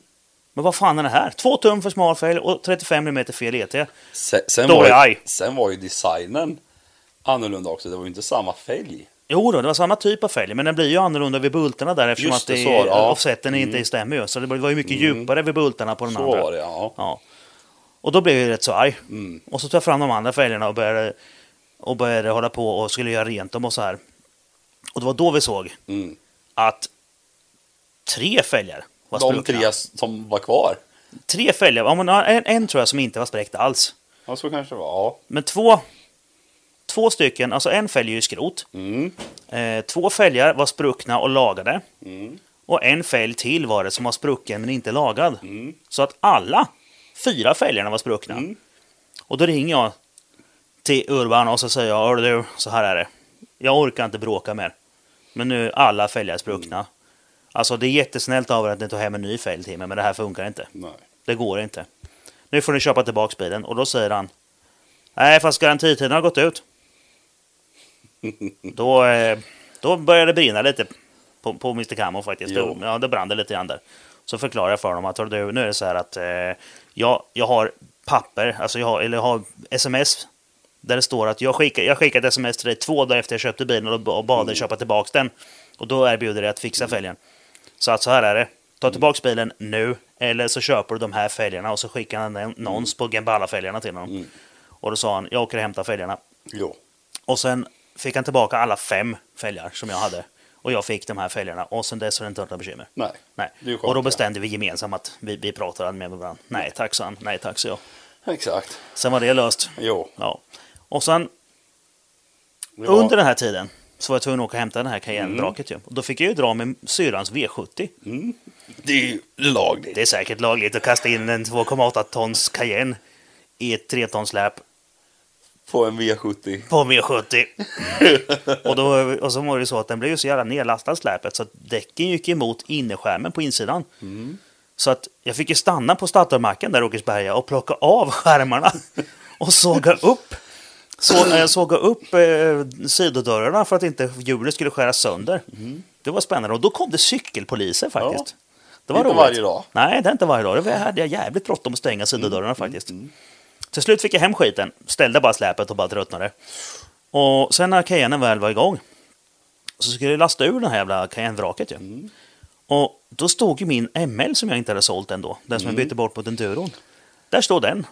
S1: Men vad fan är det här? Två tum för smal fälg och 35 mm fel ET.
S2: Sen, sen,
S1: Då är
S2: var
S1: jag
S2: ju,
S1: arg.
S2: sen var ju designen annorlunda också. Det var ju inte samma fälg.
S1: Jo då, det var samma typ av fälg, men den blir ju annorlunda vid bultarna där eftersom
S2: Just
S1: att det,
S2: det, så var det, ja. Mm.
S1: offseten inte stämmer ju. Så det var ju mycket djupare vid bultarna på den
S2: Så
S1: andra.
S2: var det, Mm. ja.
S1: Ja. Och då blev jag ju rätt så arg. Och så tog jag fram de andra fälgarna och började, och började hålla på och skulle göra rent dem och så här. Och det var då vi såg
S2: Mm.
S1: att tre fälgar var
S2: De
S1: spruckna. Tre,
S2: tre som var kvar.
S1: fälgar, ja, men en, en tror jag som inte var spräckt alls.
S2: Ja, så kanske det var. Ja.
S1: Men två, två stycken, alltså en fälg är ju skrot.
S2: Mm.
S1: Eh, två fälgar var spruckna och lagade.
S2: Mm,
S1: Och en fälg till var det som var sprucken men inte lagad. Så att alla fyra fälgarna var spruckna. Och då ringer jag till Urban och så säger jag, "Hörru du, så här är det. Jag orkar inte bråka mer. Men nu är alla fälgar spruckna. Alltså det är jättesnällt av er att ni tar hem en ny fälg till mig, men det här funkar inte.
S2: Nej.
S1: Det går inte. Nu får ni köpa tillbaka bilen. Och då säger han. Nej, fast garantitiden har gått ut. då, eh, då började det brinna lite på, på Mr. Camo faktiskt.
S2: Jo.
S1: Ja, det brann det lite grann där. Så förklarar jag för honom att "Hör du, nu är det så här att eh, jag, jag har papper, alltså jag har, eller jag har sms där det står att jag skickade, jag skickade ett sms till dig två dagar efter jag köpte bilen och ba- och bad dig köpa tillbaka den. Och då erbjuder jag att fixa fälgen. Så att så här är det.
S2: Mm.
S1: Ta tillbaka bilen nu, eller så köper du de här fälgarna och så skickar han en
S2: Mm.
S1: annons på Gamballa-fälgarna till honom. Och då sa han, jag åker och hämtar fälgarna.
S2: Jo.
S1: Och sen fick han tillbaka alla fem fälgar som jag hade. Och jag fick de här fälgarna och sen dess har det inte varit några bekymmer.
S2: Nej.
S1: Nej.
S2: Det är ju skönt,
S1: Och då
S2: ja.
S1: bestämde vi gemensamt att vi, vi pratade med varandra. Nej tack, sa han. Nej tack, sa jag.
S2: Exakt.
S1: Sen var det löst.
S2: Jo.
S1: Ja. Och sen
S2: det var- Mm.
S1: under den här tiden så var jag tvungen att åka och hämta den här Cayenne-draket ju. Och då fick jag ju dra med syrrans V70.
S2: Det är ju lagligt.
S1: Det är säkert lagligt att kasta in en 2,8 tons Cayenne i ett 3 tons släp
S2: På en V70.
S1: på min 70. och, då, och så var det ju så att den blev ju så jävla nedlastad släpet så att däcken gick emot innerskärmen på insidan. Så att jag fick ju stanna på Statoilmacken där i Åkersberga och plocka av skärmarna och såga upp. Så, eh, såga upp eh, sidodörrarna för att inte hjulet skulle skära sönder. Det var spännande. Och då kom det cykelpoliser faktiskt.
S2: Ja.
S1: Det var
S2: Inte
S1: roligt.
S2: varje dag. Mm,
S1: Nej, det är inte varje dag. Det hade jag jävligt bråttom att stänga sidodörrarna faktiskt. Till slut fick jag hem skiten, ställde bara släpet och bara tröttnade. Och sen när Cayennen väl var igång så skulle jag lasta ur det här jävla Cayenne-vraket ju.
S2: Mm.
S1: Och då stod ju min ML som jag inte hade sålt ändå, den som
S2: Mm.
S1: jag bytte bort mot enduron. Där stod den.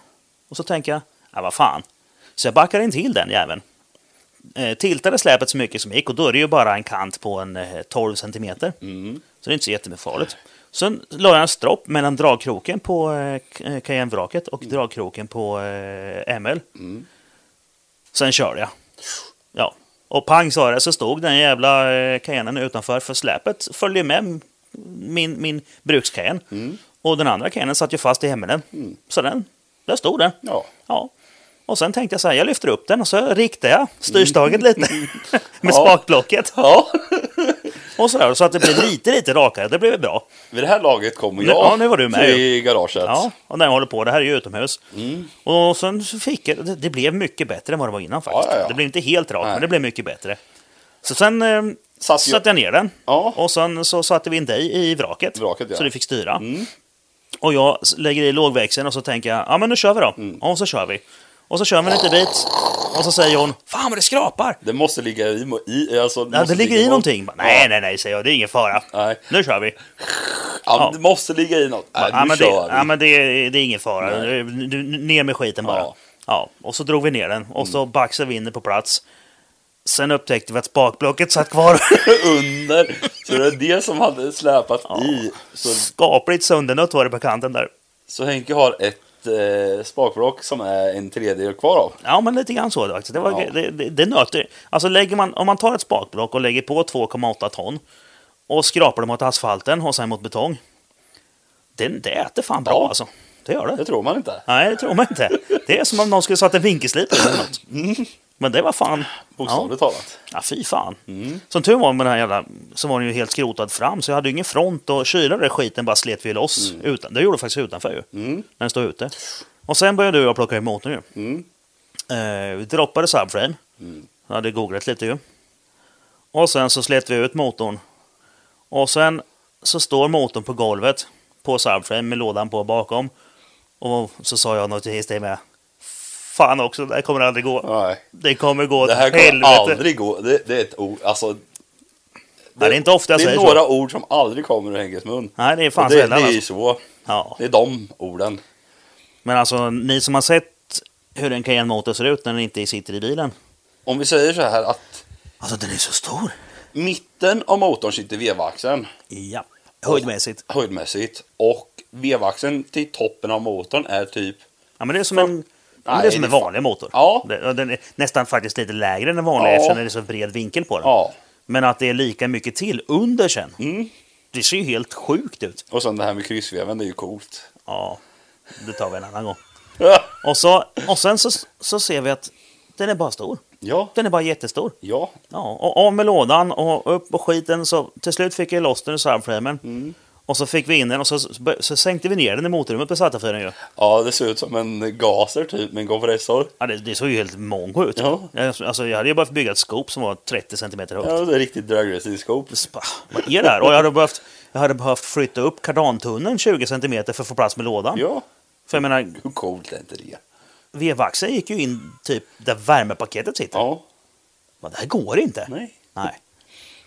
S1: Och så tänker jag, ja vad fan. Så jag backar in till den jäveln. Eh, tiltade släpet så mycket som gick och då är det ju bara en kant på en eh, 12 centimeter. Så det är inte så jättefarligt. Sen la jag en stropp mellan dragkroken på eh, K- eh, Cayenne-vraket och dragkroken på eh, ML. Sen körde jag. Ja. Och pang sa det, så stod den jävla eh, Cayennen utanför. För släpet följde med min, min brukskajen. Och den andra kajennen satt ju fast i hemmen. Så den, där stod den.
S2: Ja.
S1: Ja. Och sen tänkte jag så här, jag lyfter upp den och så riktar jag
S2: <laughs>
S1: styrstaget lite med
S2: Ja.
S1: spakblocket.
S2: Ja. <laughs>
S1: Och så, där, så att det blir lite, lite rakare. Det blev bra.
S2: Vid det här laget kommer
S1: Nu-
S2: jag
S1: ja, nu var du med
S2: till garaget.
S1: Ja, och när jag håller på, det här är ju utomhus.
S2: Mm.
S1: Och sen så fick jag, det, det blev mycket bättre än vad det var innan faktiskt.
S2: Ja, ja, ja.
S1: Det blev inte helt rakt,
S2: Nej.
S1: men det blev mycket bättre. Så sen eh,
S2: Satt ju-
S1: satte jag ner den.
S2: Ja.
S1: Och sen så satte vi in dig i vraket.
S2: Vraket, ja. Mm.
S1: Så du fick styra. Och jag s- lägger i lågväxeln och så tänker jag, ja men nu kör vi då.
S2: Mm.
S1: Och så kör vi. Och så kör vi en liten bit. Och så säger hon, fan vad det skrapar!
S2: Det måste ligga i... i alltså,
S1: Ja,
S2: måste
S1: det ligger i
S2: något-
S1: någonting. Bara, Nej, nej, nej, säger jag, det är ingen fara.
S2: Nej.
S1: Nu kör vi.
S2: Ja,
S1: Ja.
S2: Det måste ligga i något. Nej,
S1: Ja,
S2: nu
S1: men det,
S2: kör vi.
S1: ja, men det, det är ingen fara.
S2: Nej.
S1: Du- du- Ner med skiten bara. Ja.
S2: Ja. Mm.
S1: och så drog vi ner den och så baxade vi in den på plats. Sen upptäckte vi att spakblocket
S2: <laughs>
S1: satt kvar.
S2: <laughs> under. Så det var det som hade släpat i. Så,
S1: Skapligt söndernött var det på kanten där.
S2: så Henke har ett eh, spakblock som är en tredjedel kvar av.
S1: Ja, men lite grann så det faktiskt. Det, var,
S2: Ja.
S1: det, det, det nöter. Alltså lägger man, om man tar ett spakblock och lägger på 2,8 ton och skrapar det mot asfalten och sen mot betong. Den, det äter fan bra
S2: Ja.
S1: alltså. Det gör
S2: Det
S1: det.
S2: tror man inte.
S1: Nej, det tror man inte. Det är som om någon skulle satt en vinkelslip eller något. Men det var fan... Ja,
S2: Mm. Bokstavligt talat.
S1: ja fy fan. Som tur var med den här jävla... Så var den ju helt skrotad fram, så jag hade ju ingen front och kyla den där skiten bara slet vi loss.
S2: Mm.
S1: Utan, det gjorde jag faktiskt utanför ju. När den stod ute. Och sen började du och jag plocka emot den ju.
S2: Mm.
S1: Eh, vi droppade subframe. Jag hade googlat lite ju. Och sen så slet vi ut motorn. Och sen så står motorn på golvet på subframe med lådan på bakom. Och så sa jag något till dig med. Fan också, det här kommer aldrig gå.
S2: Nej.
S1: Det kommer gå åt
S2: Det här
S1: helvete.
S2: kommer aldrig gå. Det, det är ett ord. Alltså, det,
S1: Nej, det är inte ofta jag
S2: det är
S1: säger
S2: några
S1: så.
S2: ord som aldrig kommer ur Henkes mun.
S1: Nej, det är
S2: Och
S1: fan
S2: det, det
S1: sällan
S2: är ju
S1: alltså.
S2: så.
S1: Ja.
S2: Det är de orden.
S1: Men alltså, ni som har sett hur en Cayenne-motor ser ut när den inte sitter i bilen.
S2: Om vi säger så här att
S1: Alltså, den är så stor.
S2: mitten av motorn sitter vevaxeln
S1: Ja. Höjdmässigt.
S2: höjdmäxigt och vevaxeln till toppen av motorn är typ
S1: Ja, men det är som en, ja, men det är
S2: Nej,
S1: som
S2: det
S1: en
S2: fan-
S1: vanlig motor.
S2: Ja.
S1: Det- och Den är nästan faktiskt lite lägre än den vanliga
S2: Ja.
S1: eftersom det är så bred vinkel på den.
S2: ja.
S1: Men att det är lika mycket till under sen.
S2: Mm.
S1: Det ser ju helt sjukt ut.
S2: Och sen det här med kryssveven, det är ju coolt. <laughs>
S1: Ja, det tar vi en annan gång.
S2: Ja.
S1: Och, så, och sen så, så ser vi att den är bara stor.
S2: Ja.
S1: Den är bara jättestor.
S2: Ja.
S1: Ja, och av med lådan och upp och skiten. Så till slut fick jag loss den ur subframen.
S2: Mm.
S1: Och så fick vi in den och så, så, så sänkte vi ner den i motorrummet på SATA-fyren ju.
S2: Ja, det ser ut som en gaser typ med en kompressor.
S1: Ja, det, det såg ju helt mongo ut.
S2: Ja.
S1: Jag, alltså, jag hade ju behövt bygga ett skop som var 30 cm högt.
S2: Ja, det är riktigt drag racing scope.
S1: Spa, Vad är det här? Och jag hade behövt, jag hade behövt flytta upp kardantunneln 20 cm för att få plats med lådan.
S2: Ja.
S1: För jag menar,
S2: Hur coolt är inte det?
S1: vevaxeln gick ju in typ där värmepaketet sitter.
S2: Ja.
S1: Men det här går inte.
S2: Nej.
S1: Nej.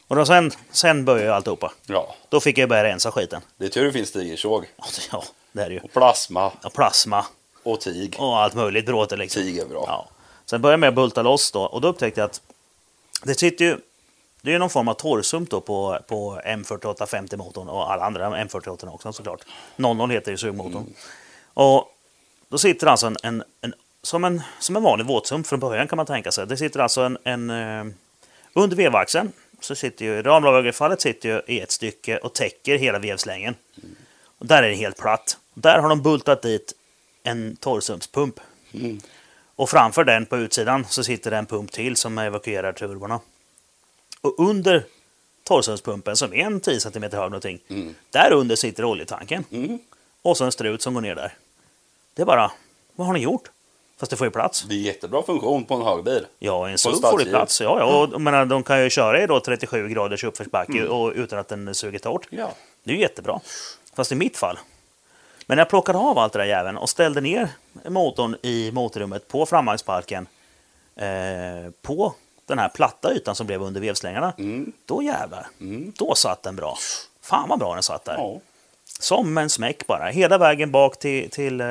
S1: Och då sen, sen började ju alltihopa.
S2: Ja.
S1: Då fick jag börja rensa skiten.
S2: Det är tur det finns tigersåg.
S1: Ja, det- Ja, det är det ju.
S2: Och plasma
S1: Ja, plasma
S2: och tig.
S1: och allt möjligt bråte liksom.
S2: Tig är bra.
S1: Ja. Sen började jag med att bulta loss då och då upptäckte jag att det sitter ju... Det är ju någon form av torrsump då på, på M4850 motorn och alla andra M48 också såklart. 00 heter ju sugmotorn.
S2: Mm.
S1: Och då sitter alltså en, en, en, som en... Som en vanlig våtsump från början kan man tänka sig. Det sitter alltså en... en eh, under vevaxeln så sitter ju ramlagerfallet sitter ju i ett stycke och täcker hela vevslängen. Och där är det helt platt. Där har de bultat dit en torrsumpspump. Och framför den på utsidan så sitter det en pump till som evakuerar turborna. Och under torrsumpspumpen som är en 10 cm hög någonting. Där under sitter oljetanken.
S2: Mm.
S1: Och så en strut som går ner där. Det är bara, vad har ni gjort? Fast det får ju plats.
S2: Det är jättebra funktion på en högbil.
S1: Ja, en
S2: en
S1: SUV får det
S2: stadsjeep.
S1: plats. Ja, ja. Och, jag menar, de kan ju köra i då 37 graders uppförsbacke och, utan att den suger torrt.
S2: Ja.
S1: Det är ju jättebra. Fast i mitt fall. Men när jag plockade av allt det där jäveln och ställde ner motorn i motorrummet på framvagnsparken eh, på den här platta ytan som blev under vevslängarna. Då jävlar, då satt den bra. Fan vad bra den satt där.
S2: Ja.
S1: Som en smäck bara. Hela vägen bak till, till eh,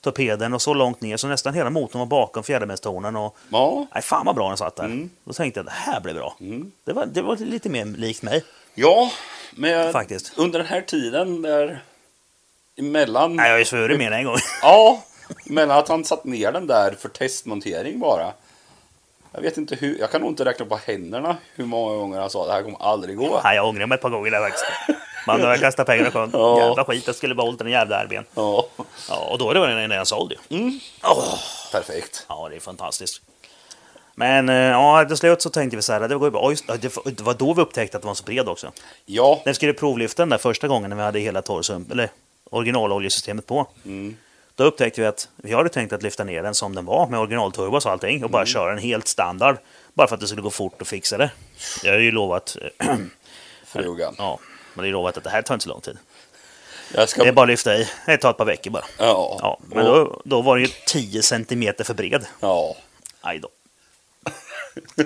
S1: torpeden och så långt ner så nästan hela motorn var bakom fjädermästornen. Och,
S2: Ja.
S1: Nej, fan vad bra den satt där. Då tänkte jag det här blir bra. Det, var, det var lite mer likt mig.
S2: Ja, men jag,
S1: Faktiskt.
S2: under den här tiden där emellan...
S1: Nej, jag har ju svurit mer än en gång.
S2: Ja, mellan att han satt ner den där för testmontering bara. Jag vet inte hur, jag kan nog inte räkna på händerna hur många gånger han sa det här kommer aldrig gå.
S1: Nej, jag ångrar mig ett par gånger där faktiskt. Man har kastat pengar i sjön.
S2: Ja.
S1: Jävla skit, jag skulle behållit den jävla RB'n.
S2: Ja,
S1: Ja, och då är det den redan såld ju.
S2: perfekt.
S1: Ja, det är fantastiskt. Men eh, ja, till slut så tänkte vi så här, det går ju bra. Ja, just, ja, det var då vi upptäckte att den var så bred också.
S2: Ja,
S1: När vi skulle provlyfta den där första gången när vi hade hela torrsump, eller originaloljesystemet på. Då upptäckte vi att vi hade tänkt att lyfta ner den som den var med originalturbos och allting och bara köra den helt standard. Bara för att det skulle gå fort och fixa det. Jag har ju lovat, eh,
S2: frugan.
S1: <clears throat> ja, men det är lovat att det här tar inte så lång tid.
S2: Jag
S1: Det är
S2: ska...
S1: bara att lyfta i. Det tar ett par veckor bara.
S2: Ja.
S1: Ja, men
S2: och-
S1: då, då var den ju 10 centimeter för bred.
S2: ja. <laughs>
S1: Aj då.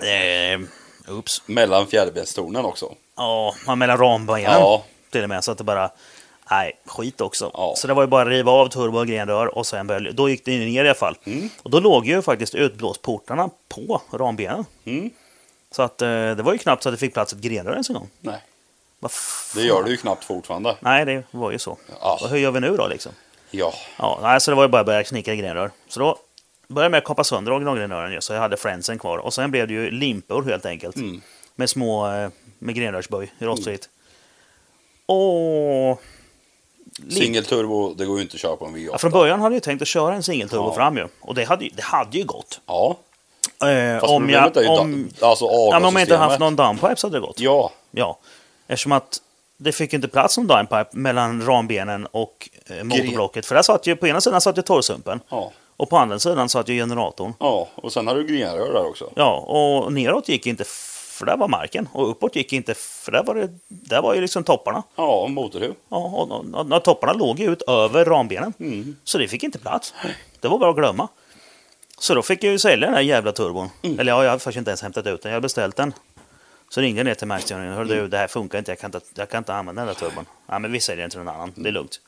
S1: Ehm, Oops.
S2: Mellan fjäderbenstornen också.
S1: Ja, man mellan rambenen
S2: Ja.
S1: till och med. Så att det bara... Nej, skit också.
S2: Ja.
S1: Så det var ju bara att riva av turbo och grenrör och sen började, Då gick det ju ner i alla fall.
S2: Mm.
S1: Och då låg ju faktiskt utblåsportarna på rambenen.
S2: Mm.
S1: Så att eh, det var ju knappt så att det fick plats ett grenrör ens en gång.
S2: Nej.
S1: Vad fan?
S2: Det gör det ju knappt fortfarande.
S1: Nej, det var ju så.
S2: Ja.
S1: Och hur gör vi nu då liksom?
S2: Ja.
S1: Ja, nej, så det var ju bara att börja knicka i grenrör. Så då började jag med att kapa sönder originalgrenrören ju, så jag hade fränsen kvar. Och sen blev det ju limpor helt enkelt.
S2: Mm.
S1: Med små, eh, med grenrörsböj i rostfritt.
S2: Mm.
S1: Och... Lim-
S2: Singelturbo, det går ju inte att köra på en V8.
S1: Ja, från början hade jag ju tänkt att köra en singelturbo
S2: Ja.
S1: fram ju. Och det hade ju, det hade ju gått.
S2: Ja.
S1: Eh,
S2: Fast
S1: om jag,
S2: problemet är ju
S1: om,
S2: da- alltså
S1: ja, men om jag inte
S2: avgassystemet.
S1: haft någon downpipe så hade det gått.
S2: Ja.
S1: Ja. Eftersom att det fick ju inte plats någon downpipe mellan rambenen och eh, motorblocket. För där satt ju, på ena sidan satt ju torrsumpen.
S2: Ja.
S1: Och på andra sidan satt ju generatorn.
S2: Ja. Och sen har du grenrör där också.
S1: Ja, och neråt gick inte för där var marken. Och uppåt gick inte för där var, det, där var ju liksom topparna.
S2: Ja, och motorhuv.
S1: Ja, och, och, och, och topparna låg ju ut över rambenen. Så det fick inte plats. Det var bara att glömma. Så då fick jag ju sälja den här jävla turbon. Eller ja, jag hade faktiskt inte ens hämtat ut den. Jag hade beställt den. Så ringde jag ner till marknadsgörningen. Hörru du, det här funkar inte. Jag kan inte, jag kan inte använda den där turbon. Ja, men vi säljer den till någon annan. Det är lugnt.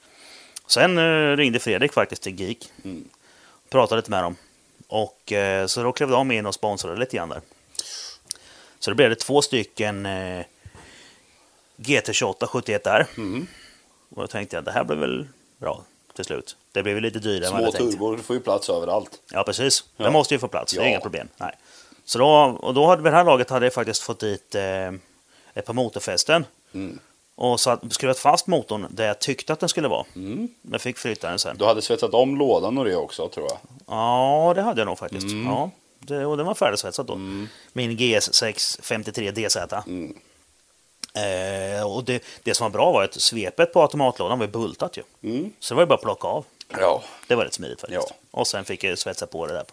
S1: Sen eh, ringde Fredrik faktiskt till GIK. Pratade lite med dem. Och eh, så då klev de in och sponsrade lite grann där. Så då blev det två stycken eh, GT28 71 r och då tänkte jag det här blev väl bra till slut. Det blev ju lite dyrare än vad jag
S2: Små
S1: hade tänkt.
S2: turbor får ju plats överallt.
S1: Ja, precis.
S2: Ja.
S1: Det måste ju få plats, det är
S2: Ja.
S1: inga problem. Nej. Så då, och då hade vi det här laget hade jag faktiskt fått dit eh, ett par motorfästen.
S2: Mm.
S1: Och satt, skruvat fast motorn där jag tyckte att den skulle vara.
S2: Mm.
S1: Men fick flytta den sen.
S2: Du hade svetsat om lådan och det också tror jag.
S1: Ja, det hade jag nog faktiskt.
S2: Mm.
S1: Ja, det, och den var färdigsvetsad då. Min GS6 53 DZ.
S2: Mm.
S1: Eh, och det, det som var bra var att svepet på automatlådan var ju bultat ju. Så det var ju bara att plocka av.
S2: Ja.
S1: Det var rätt smidigt faktiskt.
S2: Mm. Ja.
S1: Och sen fick jag svetsa på det där.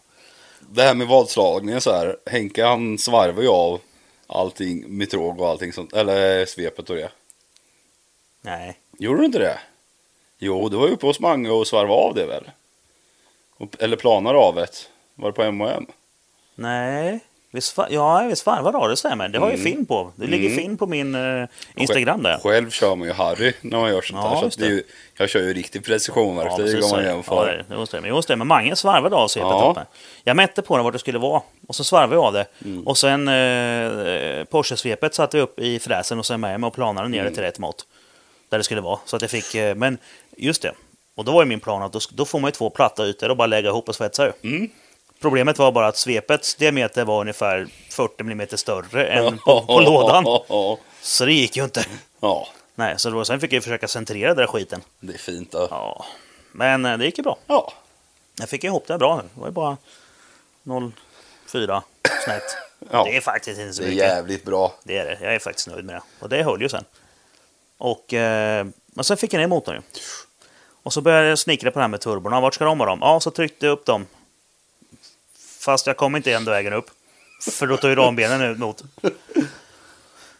S2: Det här med vadslagningen så här. Henke han svarvar ju av allting, mitrog och allting sånt. Eller svepet och det.
S1: Nej,
S2: Gjorde du inte det? Jo, du var ju uppe hos Mange och svarvade av det väl? Och- Eller planar av det. Var det på M&M?
S1: nej. Vi svar- ja, vi svarvade av det stämmer. Det har ju film på. Det ligger film på min eh, Instagram där.
S2: Själv kör man ju Harry när man gör sånt
S1: Ja,
S2: här. Så
S1: just
S2: att det är ju, jag kör ju riktig
S1: Ja,
S2: precisionsverktyg
S1: precis.
S2: om man
S1: så. Ja,
S2: jämför.
S1: det det stämmer. Jo, stämmer. Mange svarvade av svepet
S2: Ja.
S1: uppe. Jag mätte på den vart det skulle vara och så svarvade jag av det.
S2: Mm.
S1: Och sen eh, Porsche-svepet satte vi upp i fräsen och sen med mig och planade ner det
S2: Mm.
S1: till rätt mått. Där det skulle vara. Så att jag fick, eh, men just det. Och då var ju min plan att då, sk- då får man ju två platta ytor och bara lägga ihop och svetsa ju.
S2: Mm.
S1: Problemet var bara att svepets diameter var ungefär 40 mm större än på,
S2: <laughs>
S1: på lådan. Så det gick ju inte.
S2: Ja,
S1: Nej, så då, sen fick jag ju försöka centrera den där skiten.
S2: det är fint. Då. Ja.
S1: Ja. Men eh, det gick ju bra. Jag fick ihop det bra nu. Det var ju bara 0,4 snett.
S2: Ja.
S1: Det är faktiskt inte så
S2: det är
S1: mycket.
S2: jävligt bra.
S1: Det är det. Jag är faktiskt nöjd med det. Och det höll ju sen. Och, eh, men sen fick jag ner motorn ju. Och så började jag snickra på det här med turborna. Vart ska de vara? Dem? Ja, så tryckte jag upp dem. Fast jag kom inte ända vägen upp. För då tog ju rambenen ut mot.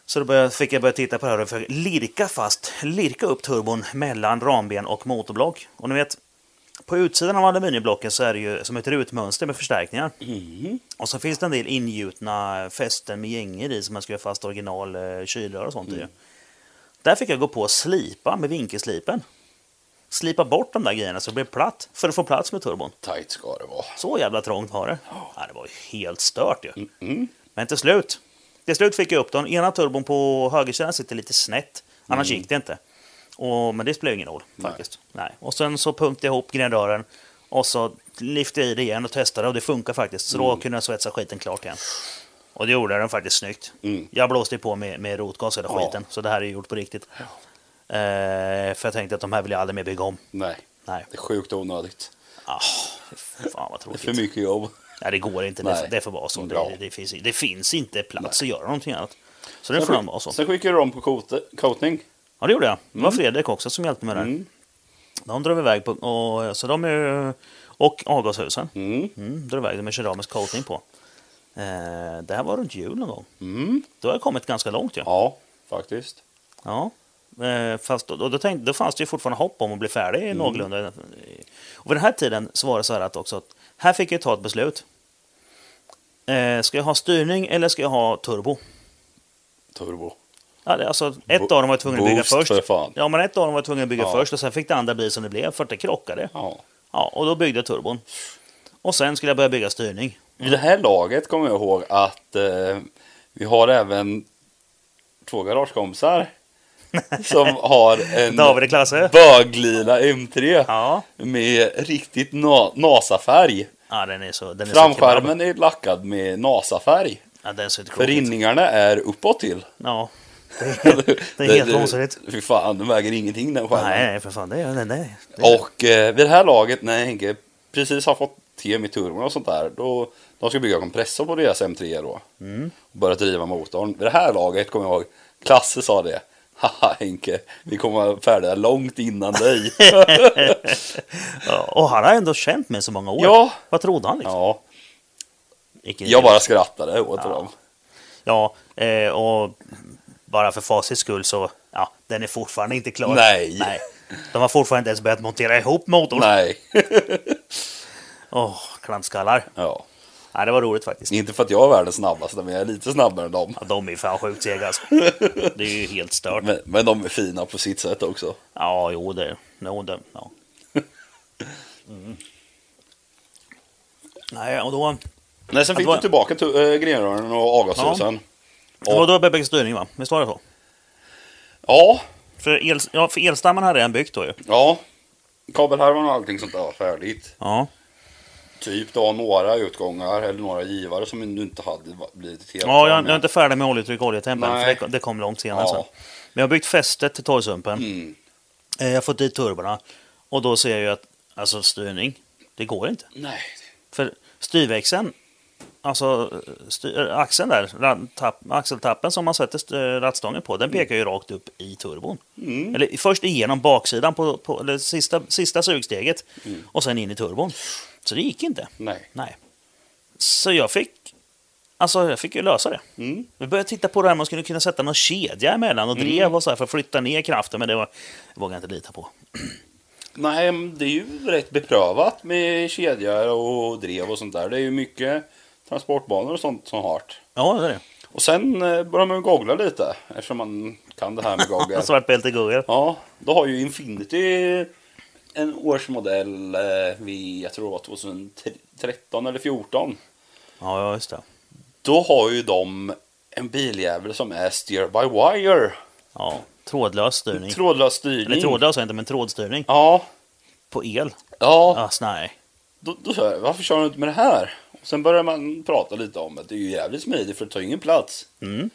S1: Så då började, fick jag börja titta på det här och försöka lirka fast, lirka upp turbon mellan ramben och motorblock. Och ni vet, på utsidan av aluminiumblocken så är det ju som ett rutmönster med förstärkningar. Och så finns det en del ingjutna fästen med gänger i som man ska göra fast original eh, kylrör och sånt i. Där fick jag gå på och slipa med vinkelslipen. Slipa bort de där grejerna så det blev platt för att få plats med turbon.
S2: Tight ska det vara.
S1: Så jävla trångt var det. Ja, det var ju helt stört ju.
S2: Mm,
S1: Men till slut. Till slut fick jag upp den. Ena turbon på högersidan sitter lite snett. Annars
S2: Mm.
S1: gick det inte. Och, men det spelar ju ingen roll faktiskt. Nej. Och sen så punktade jag ihop grenrören. Och så lyfte jag i det igen och testade och det funkar faktiskt. Så
S2: Mm.
S1: då kunde jag svetsa skiten klart igen. Och det gjorde den faktiskt snyggt. Jag blåste ju på med, med rotgas hela
S2: Mm. Ja.
S1: skiten. Så det här är ju gjort på riktigt. Eh, för jag tänkte att de här vill jag aldrig mer bygga om.
S2: Nej,
S1: Nej.
S2: det är sjukt onödigt.
S1: Ah, fy fan vad
S2: Det är
S1: tråkigt.
S2: för mycket jobb.
S1: Nej, det går inte.
S2: Nej.
S1: Det, det får vara så.
S2: Bra.
S1: Det, det, finns, det finns inte plats att göra någonting annat. Så det
S2: Sen,
S1: får nog vara så.
S2: skick, sen skickar du dem på coat- coatning.
S1: Ja, det gjorde jag. Det var Fredrik också som hjälpte mig där.
S2: Mm.
S1: De drar iväg på... Och, så de är, och avgashusen.
S2: Mm.
S1: Mm, drar iväg dem med keramisk coating på. Eh, det här var runt jul någon gång.
S2: Mm.
S1: Då har jag kommit ganska långt ju. Ja.
S2: Ja, faktiskt.
S1: Eh, fast då, då, då, tänkte, då fanns det ju fortfarande hopp om att bli färdig
S2: Mm.
S1: någorlunda. Och vid den här tiden så var det så här att också att här fick jag ta ett beslut. Eh, ska jag ha styrning eller ska jag ha turbo?
S2: Turbo.
S1: Ja, det- Alltså, ett av dem var jag tvungen att bygga
S2: Boost
S1: först.
S2: för fan.
S1: Ja, men ett av dem var jag tvungen att bygga
S2: Ja.
S1: först och sen fick det andra bli som det blev för att det krockade.
S2: Ja.
S1: Ja, och då byggde jag turbon. Och sen skulle jag börja bygga styrning.
S2: Vid det här laget kommer jag ihåg att eh, vi har även två garagekompisar <laughs> som har en
S1: David i Klasse.
S2: böglila M3
S1: Ja,
S2: med riktigt na- NASA-färg.
S1: ja den är så... Den är Så kebab.
S2: Framskärmen är lackad med NASA-färg.
S1: ja, den ser inte cool
S2: För
S1: ut.
S2: rinningarna är uppåt till. <laughs>
S1: Ja. Det är, det är helt vansinnigt.
S2: Fy fan, den väger ingenting den skärmen.
S1: Nej, nej, för fan. Det är den där.
S2: Och eh, vid det här laget när Henke precis har fått tem i turbon och sånt där. Då, de ska bygga kompressor på deras M3 då.
S1: Mm.
S2: Och börja driva motorn. Vid det här laget kommer jag ihåg. Klasse sa det. <laughs> Haha Henke, vi kommer vara färdiga långt innan
S1: <laughs>
S2: dig.
S1: Ja, och han har ändå känt mig så många
S2: <laughs>
S1: år.
S2: Ja.
S1: Vad trodde han liksom?
S2: ja,
S1: Icke
S2: jag bara skrattade åt dem.
S1: Ja, eh, och bara för facits skull så, ja, den är fortfarande inte klar.
S2: Nej.
S1: De har fortfarande inte ens börjat montera ihop motorn.
S2: Nej.
S1: Åh, klantskallar.
S2: Ja.
S1: Nej, det var roligt faktiskt.
S2: Inte för att jag är världens snabbaste, men jag är lite snabbare än dem.
S1: Ja, de är fan sjukt
S2: <laughs>
S1: sega alltså. Det är ju helt stört.
S2: Men, men de är fina på sitt sätt också.
S1: Ja, jo det. No, det ja. Mm. Nej, och då,
S2: Nej, sen
S1: Ja, det
S2: fick
S1: var-
S2: du typ- tillbaka tu- äh, grenrören och avgashusen.
S1: det var då jag började bygga styrning va? Visst var det så?
S2: Ja,
S1: För, el, ja, för elstammen hade jag redan byggt då ju.
S2: ja. Kabelhärvan och allting sånt där var färdigt.
S1: Ja.
S2: Typ du har några utgångar eller några givare som du inte hade va- blivit helt
S1: Ja, jag,
S2: av
S1: jag är
S2: med.
S1: inte färdig med oljetryck och oljetempel.
S2: Nej.
S1: för Det, kom- det kom långt senare.
S2: Ja.
S1: Sen. Men jag har byggt fästet till torgsumpen.
S2: Mm.
S1: Eh, Jag har fått dit turborna. Och då ser jag ju att alltså, styrning, det går inte.
S2: Nej.
S1: För styrväxeln, alltså styr, eh, axeln där, ra- tapp, axeltappen som man sätter st- rattstången på, den pekar ju rakt upp i turbon.
S2: Mm.
S1: Eller först igenom baksidan på, på eller sista, sista sugsteget
S2: Mm.
S1: och sen in i turbon. Så det gick inte.
S2: Nej.
S1: Nej. Så jag fick, alltså jag fick ju lösa det.
S2: Mm.
S1: Vi började titta på det här man skulle kunna sätta någon kedja emellan och drev
S2: Mm.
S1: och så här för att flytta ner kraften, men det var, det vågade jag inte lita på.
S2: Nej, men det är ju rätt beprövat med kedjor och drev och sånt där. Det är ju mycket transportbanor och sånt som har det.
S1: Ja, det är det.
S2: Och sen eh, börjar man ju googla lite eftersom man kan det här <laughs> med Google.
S1: Svartbälte Google.
S2: Ja, då har ju Infinity en årsmodell eh, vid, jag tror det var 2013 eller 14.
S1: Ja, ja, just det.
S2: Då har ju de en biljävel som är steer by wire.
S1: Ja, trådlös styrning.
S2: Trådlös styrning.
S1: Eller trådlös är inte, men trådstyrning.
S2: Ja,
S1: På el?
S2: ja.
S1: Alltså, nej.
S2: Då, då sa jag, varför kör du inte med det här? Och sen börjar man prata lite om att det är ju jävligt smidigt för det tar ingen plats.
S1: Mm.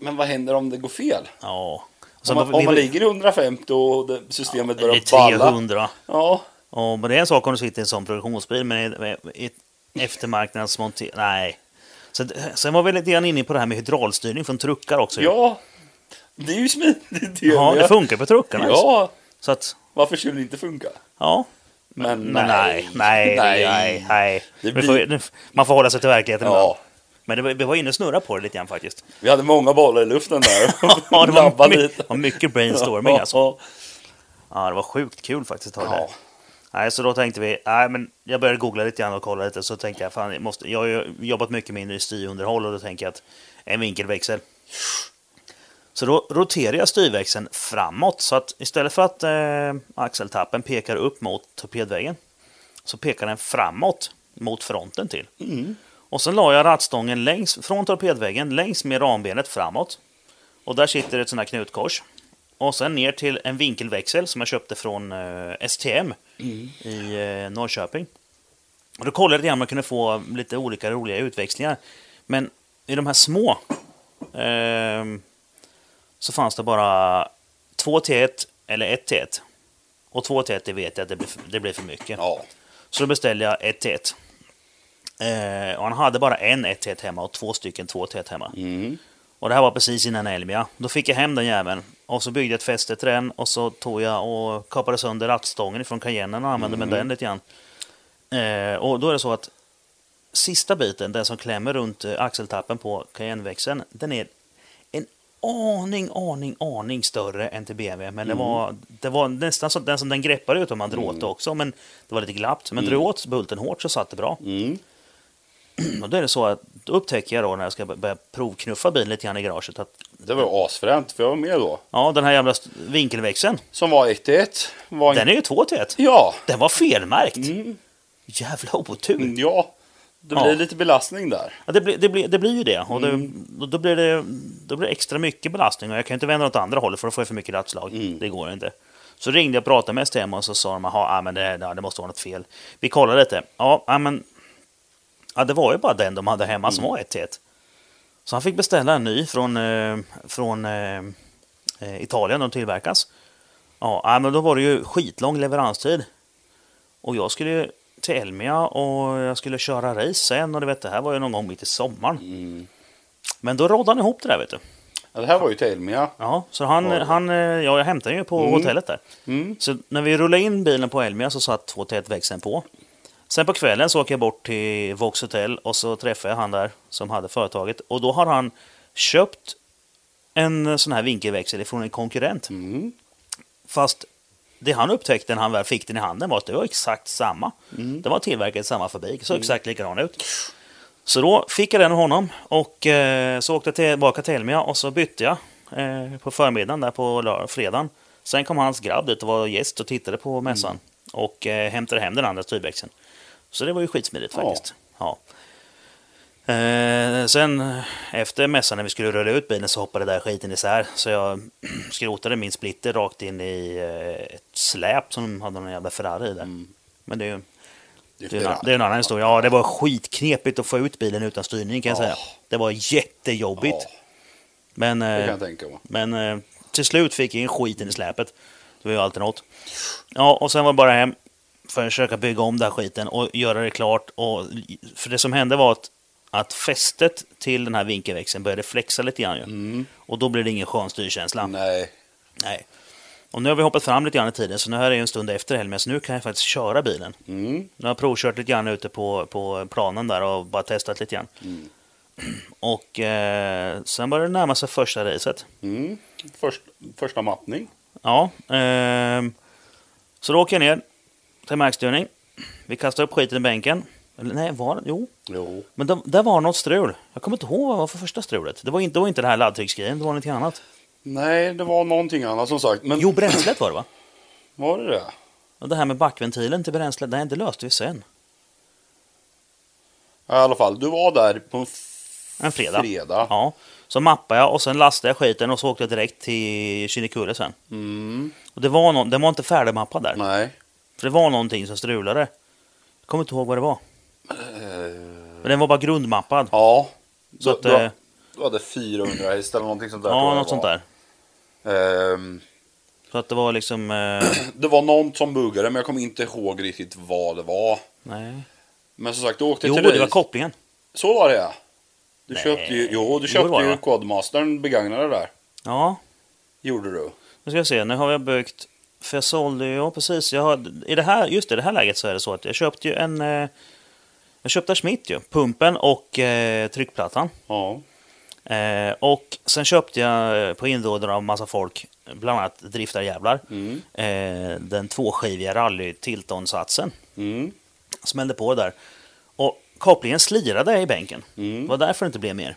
S2: Men vad händer om det går fel?
S1: Ja. Och
S2: Om
S1: sen
S2: man,
S1: då-
S2: om man
S1: vi-
S2: ligger i 150 och det, systemet
S1: det
S2: börjar
S1: är
S2: balla.
S1: 300.
S2: Ja,
S1: Ja, men det är en sak om du sitter i en sån produktionsbil, men i, i ett eftermarknadsmonter... Nej. Sen, sen var vi lite grann inne på det här med hydraulstyrning från truckar också. ju.
S2: ja. Det är ju smidigt. <laughs>
S1: ja
S2: med.
S1: det funkar på truckarna. alltså.
S2: Ja,
S1: Så att,
S2: varför skulle det inte funka?
S1: ja.
S2: Men,
S1: Men nej, nej, nej, nej. nej.
S2: Det
S1: Vi får-
S2: blir-
S1: nu- Man får hålla sig till verkligheten. ibland.
S2: Ja,
S1: Men det, var- vi var inne och snurrade på det lite grann faktiskt.
S2: vi hade många bollar i luften där.
S1: <laughs> Ja, det var,
S2: Labbade
S1: my,
S2: lite.
S1: var mycket brainstorming alltså.
S2: Ja,
S1: Ja, det var sjukt kul faktiskt. att ha det
S2: ja.
S1: där. Nej, så då tänkte vi, nej men jag började googla lite grann och kolla lite, så tänkte jag, fan, jag, måste, jag har ju jobbat mycket mindre i styrunderhåll och då tänker jag att en vinkelväxel. Så då roterar jag styrväxeln framåt, så att istället för att eh, axeltappen pekar upp mot torpedvägen, så pekar den framåt mot fronten till. Och sen la jag rattstången längs, från torpedväggen längs med rambenet framåt. Och där sitter ett sånt här knutkors. Och sen ner till en vinkelväxel som jag köpte från eh, STM i eh, Norrköping. Och då kollade jag lite grann om jag kunde få lite olika roliga utväxlingar. Men i de här små ehm, så fanns det bara 2 T1 eller 1 T1. Och 2 T1 det vet jag att det blir för, det blir för mycket.
S2: ja.
S1: Så då beställde jag 1 T1. Eh, och han hade bara en 1 T1 hemma och två stycken 2 T1 hemma.
S2: Mm.
S1: Och det här var precis innan Elmia. Då fick jag hem den jäveln. Och så byggde jag ett fäste till den och så tog jag och kapade sönder rattstången från Cayennen och använde med den lite grann. Eh, och då är det så att sista biten, den som klämmer runt eh, axeltappen på Cayenneväxeln, den är en aning, aning, aning större än till BMW. Men
S2: Mm.
S1: det, var, det var nästan så, den som den greppade ut om man drog åt det också, men det var lite glappt. Men drog åt bulten hårt så satt det bra.
S2: Mm.
S1: <clears throat> Och då är det så att Då upptäcker jag då när jag ska börja provknuffa bilen lite grann i garaget att
S2: Det var ju asfränt, för jag var med då.
S1: ja, den här jävla st- vinkelväxeln,
S2: Som var 1 till 1. Var
S1: den är ju 2 till 1.
S2: Ja.
S1: Den var felmärkt!
S2: Mm.
S1: Jävla otur!
S2: Ja. Det
S1: Ja.
S2: blir lite belastning där.
S1: Ja, det, blir, det, blir, det blir ju det. Och det, då, då, blir det då blir det extra mycket belastning. Och jag kan ju inte vända åt andra hållet för då får jag för mycket rattslag. Det går inte. Så ringde jag och pratade med STM och så sa de att ah, men det, ja, det måste vara något fel. Vi kollade lite. Ja, ja, men, ja, det var ju bara den de hade hemma som var 1 1 Så han fick beställa en ny från, eh, från eh, eh, Italien, de tillverkas. Ja, ja, men då var det ju skitlång leveranstid. Och jag skulle ju till Elmia och jag skulle köra race sen och du vet, det här var ju någon gång mitt i sommaren. Men då råddade han ihop det där vet du.
S2: Ja, det här var ju till Elmia.
S1: Ja, så han,
S2: Ja.
S1: han eh, ja, jag hämtade ju på hotellet där.
S2: Mm.
S1: Så när vi rullade in bilen på Elmia så satt 231 växeln på. Sen på kvällen så åker jag bort till Vox Hotel och så träffar jag han där som hade företaget. Och då har han köpt en sån här vinkelväxel från en konkurrent.
S2: Mm.
S1: Fast det han upptäckte när han väl fick den i handen var att det var exakt samma.
S2: Mm.
S1: Den var tillverkad i samma fabrik, så exakt likadan ut. Så då fick jag den av honom och eh, så åkte jag tillbaka till Elmia och så bytte jag eh, på förmiddagen där på lör- fredagen. Sen kom hans grabb dit och var gäst och tittade på mässan och eh, hämtade hem den andra styrväxeln. Så det var ju skitsmidigt
S2: Ja.
S1: faktiskt. Ja. Eh, sen efter mässan när vi skulle rulla ut bilen så hoppade där skiten isär. Så jag <clears throat> skrotade min splitter rakt in i eh, ett släp som hade någon jävla Ferrari i där. Men det är ju det är, en, det är en annan historia. Ja, det var skitknepigt att få ut bilen utan styrning kan jag
S2: Ja.
S1: säga. Det var jättejobbigt.
S2: Ja,
S1: Men,
S2: det kan
S1: eh,
S2: jag tänka mig.
S1: men eh, till slut fick jag in skiten i släpet. Det var ju alltid något. Ja, och sen var det bara hem för att försöka bygga om den här skiten och göra det klart. Och, för det som hände var att, att fästet till den här vinkelväxeln började flexa lite grann. Ju. Och då blev det ingen skön styrkänsla.
S2: Mm. Nej.
S1: Nej. Och nu har vi hoppat fram lite grann i tiden, så nu här är ju en stund efter helgen, så nu kan jag faktiskt köra bilen.
S2: Mm.
S1: Nu har jag provkört lite grann ute på, på planen där och bara testat lite grann. <clears throat> Och eh, sen började det närma sig första racet.
S2: Mm. Först, första mappning.
S1: Ja, ehm, så då åker jag ner till markstyrning. Vi kastar upp skiten i bänken. Eller nej, var det? Jo.
S2: Jo.
S1: Men det, där var något strul. Jag kommer inte ihåg vad det var för första strulet. Det var inte, det var inte det här laddtrycksgrejen, det var någonting annat.
S2: Nej, det var någonting annat som sagt. Men
S1: Jo, bränslet var det va?
S2: var det det?
S1: Och det här med backventilen till bränslet, nej, det löste vi sen.
S2: Ja, I alla fall, du var där på en, f-
S1: En fredag.
S2: fredag.
S1: Ja. Så mappade jag och sen lastade jag skiten och så åkte jag direkt till Kinnekulle sen.
S2: Mm.
S1: Och det var, någon, den var inte färdigmappad där.
S2: Nej.
S1: För det var någonting som strulade. Jag kommer inte ihåg vad det var.
S2: Eh,
S1: Men den var bara grundmappad.
S2: ja.
S1: Så
S2: du,
S1: att,
S2: du,
S1: eh,
S2: du hade 400 häst eller någonting sånt där. tror
S1: Ja,
S2: jag
S1: något
S2: det
S1: sånt
S2: var.
S1: där.
S2: Ehm,
S1: Så att det var liksom... Eh, <clears throat>
S2: det var någon som buggade, men jag kommer inte ihåg riktigt vad det var.
S1: nej.
S2: Men som sagt, du åkte
S1: Jo,
S2: till
S1: det
S2: race.
S1: var kopplingen.
S2: Så var det ja. Du
S1: Nej.
S2: köpte ju, jo,
S1: Jo,
S2: du köpte
S1: det var det.
S2: ju Codemastern begagnade där.
S1: Ja,
S2: Gjorde du.
S1: nu ska jag se. Nu har jag byggt... För jag sålde ju... Ja, precis. Jag har, i det här, just i det här läget så är det så att jag köpte ju en... Eh, jag köpte Schmidt ju. Pumpen och eh, tryckplattan.
S2: Ja.
S1: Eh, och sen köpte jag eh, på inrådan av massa folk, bland annat driftarjävlar, eh, den tvåskiviga rally-Tilton-satsen.
S2: Mm.
S1: Smällde på där. Och kopplingen slirade i bänken.
S2: Mm.
S1: Det var därför det inte blev mer.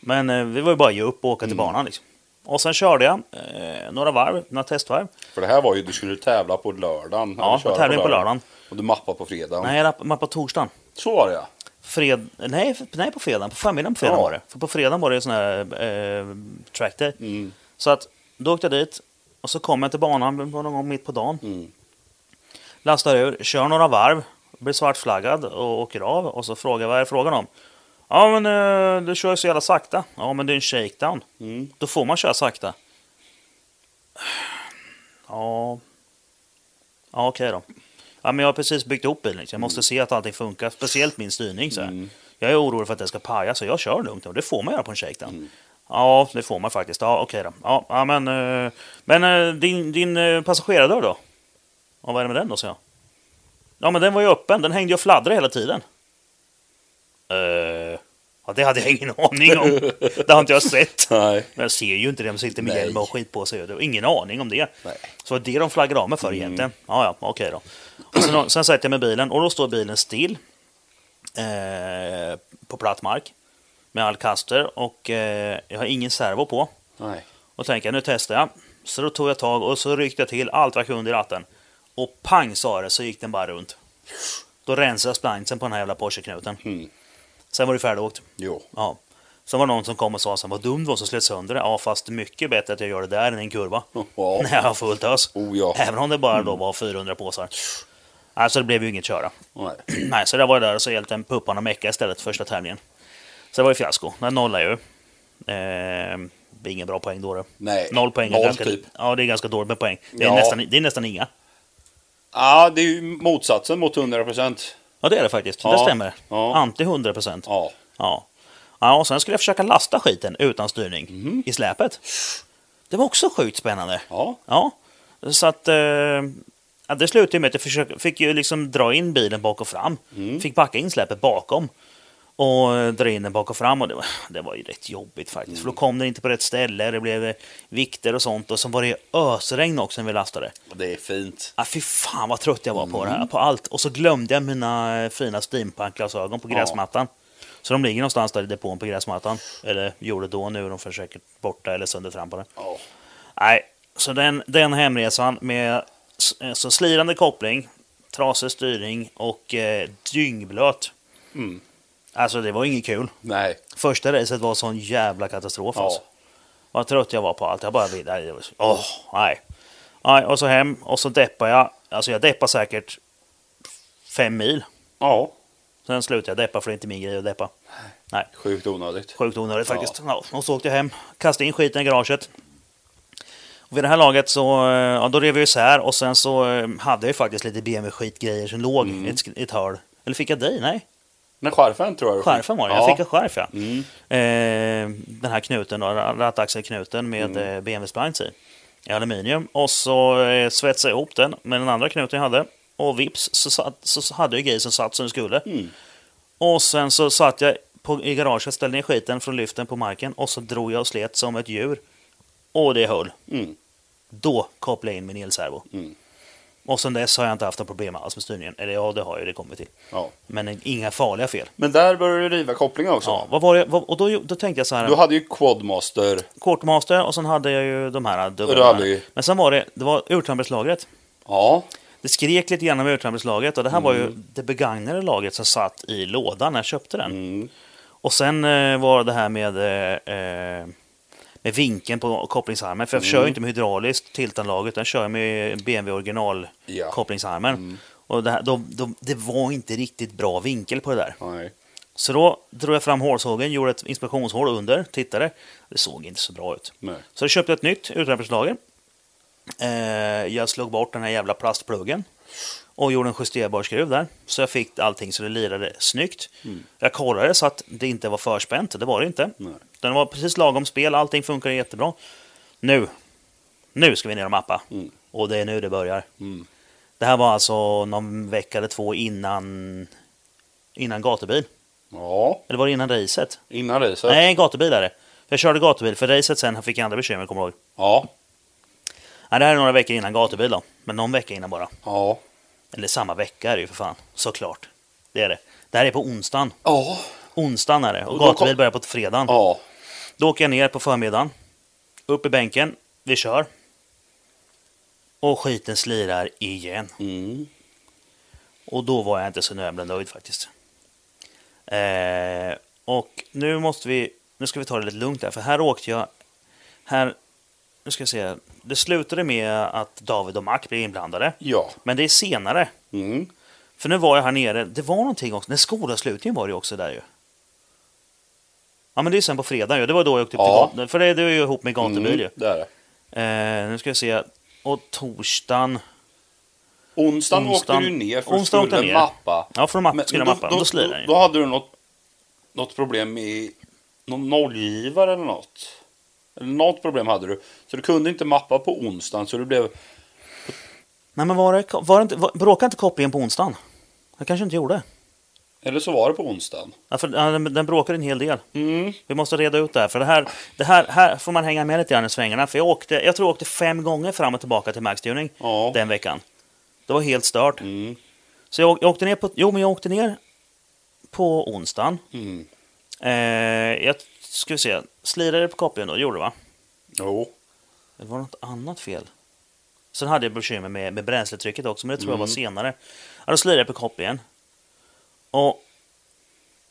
S1: Men eh, vi var ju bara att ge upp och åka till banan. Liksom. Och sen körde jag eh, några varv, några testvarv.
S2: För det här var ju, du skulle tävla på lördagen.
S1: Ja,
S2: eller köra
S1: tävling på lördagen.
S2: Och du mappade på fredagen.
S1: Nej, jag lapp- mappade på torsdagen.
S2: Så var det ja.
S1: Fred... Nej, f- nej, på fredagen. På förmiddagen på fredagen
S2: Ja.
S1: var det. För på fredagen var det sån här eh, track day.
S2: Mm.
S1: Så att då åkte jag dit och så kom jag till banan det var någon gång mitt på dagen.
S2: Mm.
S1: Lastar ur, kör några varv, blir svartflaggad och åker av. Och så frågar jag vad är det frågan om? Ja, men eh, du kör ju så jävla sakta. Ja, men det är en shakedown.
S2: Mm.
S1: Då får man köra sakta. Ja... Ja, okej då. Ja, men jag har precis byggt ihop bilen. liksom. Jag måste se att allting funkar, speciellt min styrning. Så här. Jag är orolig för att den ska paja, så jag kör lugnt. Och det får man göra på en shakedown. Ja, det får man faktiskt. Ja, okej då. Ja, ja, men eh, men eh, din, din eh, passagerardörr då? Ja, vad är det med den då, sa jag. Ja, men den var ju öppen. Den hängde ju och fladdrade hela tiden. Eh, ja, det hade jag ingen <laughs> aning om. Det har inte jag sett.
S2: Nej.
S1: Men jag ser ju inte det, de sitter med
S2: Nej.
S1: hjälm och skit på sig. Jag har ingen aning om det.
S2: Nej. Mm.
S1: Så det är de flaggade av mig för egentligen. Ja, ja, okej då. Och sen, sen sätter jag mig i bilen och då står bilen still eh, på platt mark. med Alcaster och eh, jag har ingen servo på.
S2: Nej.
S1: Och tänker nu testar jag. Så då tog jag tag och så ryckte jag till allt vad jag kunde i ratten. Och pang sa det så gick den bara runt. Då rensade jag splansen på den här jävla Porsche-knuten.
S2: Mm.
S1: Sen var det färdigåkt.
S2: Jo. <laughs>
S1: Ja. Sen var det någon som kom och sa sen, vad dum du var som slet sönder det. Ja fast mycket bättre att jag gör det där än i
S2: <laughs>
S1: en kurva. <laughs>
S2: Ja.
S1: När jag har fullt ös.
S2: Oh ja.
S1: Även om det bara då var 400 påsar. Alltså det blev ju inget köra. <clears throat>
S2: Nej.
S1: Nej, så där var det där och så hjälpte en pupparna mecka istället första tävlingen. Så det var ju fiasko. Den nollade ju. Ehm, det är ingen bra poäng då. det.
S2: Nej.
S1: Noll poäng. är
S2: Noll
S1: ganska,
S2: typ.
S1: Ja, det är ganska dåligt med poäng. Det är,
S2: Ja.
S1: nästan, det är nästan inga.
S2: Ja, det är ju motsatsen mot 100 procent.
S1: Ja, det är det faktiskt.
S2: Ja.
S1: Det stämmer.
S2: Ja.
S1: Anti 100 procent. Ja.
S2: Ja.
S1: Ja. ja, och sen skulle jag försöka lasta skiten utan styrning i släpet. Det var också sjukt spännande.
S2: Ja.
S1: Ja, så att... Eh, ja, det slutade ju med att jag försökte, fick ju liksom dra in bilen bak och fram. Fick backa in släpet bakom. Och eh, dra in den bak och fram. Och det, var, det var ju rätt jobbigt faktiskt. För då kom den inte på rätt ställe. Det blev eh, vikter och sånt. Och sen var det ju ösregn också när vi lastade.
S2: Det är fint.
S1: Ah, fy fan vad trött jag var på det
S2: Mm.
S1: här. På allt. Och så glömde jag mina eh, fina steampunk-glasögon på
S2: Ja.
S1: gräsmattan. Så de ligger någonstans där i depån på gräsmattan. Eller gjorde då, nu är de för säkert borta eller söndertrampade.
S2: Ja.
S1: Nej, så den, den hemresan med s- eh, så slirande koppling, trasig styrning och eh, dyngblöt.
S2: Mm.
S1: Alltså det var inget kul.
S2: Nej.
S1: Första racet var sån jävla katastrof. Alltså.
S2: Ja.
S1: Vad trött jag var på allt. Jag bara ville... nej, det var så- Åh, nej. nej. Och så hem och så deppade jag. Alltså jag deppade säkert fem mil.
S2: Ja.
S1: Sen slutade jag deppa för det är inte min grej att deppa. Nej.
S2: Sjukt onödigt.
S1: Sjukt onödigt
S2: Ja.
S1: faktiskt. Ja. Och så åkte jag hem, kastade in skiten i garaget. Och vid det här laget så eh, ja, då rev jag isär och sen så eh, hade jag ju faktiskt lite BMW-skitgrejer som låg
S2: Mm.
S1: i ett, sk- i ett hörn. Eller fick jag dig? Nej,
S2: Men skärfen tror jag.
S1: skärfen var det. Jag
S2: Ja. Mm.
S1: fick en skärf ja. Eh, den här knuten då, rattaxelknuten med mm. BMW-splines i. I aluminium. Och så eh, svetsade jag ihop den med den andra knuten jag hade. Och vips så, satt, så hade jag grejer som satt som det skulle.
S2: Mm.
S1: Och sen så satt jag på, i garaget, ställde ner skiten från lyften på marken och så drog jag och slet som ett djur. Och det höll.
S2: Mm.
S1: Då kopplade jag in min elservo.
S2: Mm.
S1: Och sen dess har jag inte haft några problem alls med styrningen. Eller ja, det har jag ju, det kommer vi till.
S2: Ja.
S1: Men inga farliga fel.
S2: Men där började du riva kopplingen också.
S1: Ja, vad var det? vad- Och då, då tänkte jag så här,
S2: Du hade ju Quadmaster.
S1: Quartermaster och sen hade jag ju de här
S2: Rally.
S1: dubbelna. Men sen var det, det var urtrambergslagret.
S2: Ja.
S1: Det skrek lite grann om urtrambergslaget och det här var ju det begagnade lagret som satt i lådan när jag köpte den.
S2: Mm.
S1: Och sen eh, var det här med, eh, eh, med vinkeln på kopplingsarmen. För jag kör
S2: Mm.
S1: ju inte med hydrauliskt tiltanlaget, utan jag kör med BMW original
S2: Ja. Mm.
S1: kopplingsarmen. Och det, här, då, då, det var inte riktigt bra vinkel på det där.
S2: Nej.
S1: Så då drog jag fram hålsågen, gjorde ett inspektionshål under, tittade. Det såg inte så bra ut.
S2: Nej.
S1: Så jag köpte ett nytt utrymmeslager. Eh, jag slog bort den här jävla plastpluggen och gjorde en justerbar skruv där. Så jag fick allting så det lirade snyggt. Jag kollade så att det inte var förspänt, det var det inte.
S2: Mm. Nej.
S1: Den var precis lagom spel, allting funkade jättebra. Nu, nu ska vi ner och mappa.
S2: Mm.
S1: Och det är nu det börjar.
S2: Mm.
S1: Det här var alltså någon vecka eller två innan, innan gatubil.
S2: Ja.
S1: Eller var det innan racet?
S2: Innan racet.
S1: Nej, gatubil är det. Jag körde gatubil, för racet sen fick jag andra bekymmer, kommer jag ihåg.
S2: Ja.
S1: Nej, det här är några veckor innan gatubil då. Men någon vecka innan bara.
S2: Ja.
S1: Eller samma vecka är det ju för fan. Såklart. Det är det. Det här är på onsdagen.
S2: Ja.
S1: Onsdagen är det. Och
S2: då kom-
S1: gatubil börjar på fredagen.
S2: Ja.
S1: Då åker jag ner på förmiddagen. Upp i bänken. Vi kör. Och skiten slirar igen.
S2: Mm.
S1: Och då var jag inte så jävla nöjd faktiskt. Eh, och nu måste vi... Nu ska vi ta det lite lugnt här, för här åkte jag... Här... Nu ska jag se. Det slutade med att David och Mac blev inblandade.
S2: Ja.
S1: Men det är senare.
S2: Mm.
S1: För nu var jag här nere. Det var någonting också. När skolavslutningen var det ju också där ju. Ja men det är sen på fredag ju. Det var då jag åkte upp
S2: Ja.
S1: till gatan. För det, det är ju ihop med gatubil
S2: Mm.
S1: ju.
S2: Det är det.
S1: Eh, nu ska jag se. Och torsdagen.
S2: Onsdagen,
S1: Onsdagen-
S2: åkte du ner för att
S1: onsdagen åkte
S2: skulle
S1: jag ner.
S2: mappa.
S1: Ja för de mapp,
S2: Men
S1: skulle
S2: då-
S1: mappa. Då,
S2: Då,
S1: då slirar den ju.
S2: då hade du något, något problem med någon nollgivare eller något. Eller något problem hade du. Så du kunde inte mappa på onsdagen så du blev...
S1: Nej men var det, var det inte, var, bråkade inte kopplingen på onsdagen? Jag kanske inte gjorde.
S2: Eller så var det på onsdagen.
S1: Ja, för, ja, den, den bråkade en hel del.
S2: Mm.
S1: Vi måste reda ut det här. För det här, det här, här får man hänga med lite grann i svängarna. För jag, åkte, jag tror jag åkte fem gånger fram och tillbaka till Max Tuning
S2: Ja.
S1: den veckan. Det var helt stört.
S2: Mm.
S1: Så jag, jag åkte ner på... Jo, men jag åkte ner på onsdagen.
S2: Mm.
S1: Eh, jag ska vi se. Slirade det på kopian då? Gjorde det va?
S2: Jo.
S1: Det var något annat fel. Sen hade jag bekymmer med, med bränsletrycket också, men det tror jag var
S2: Mm.
S1: senare. Ja, då slirade jag på kopian. Och...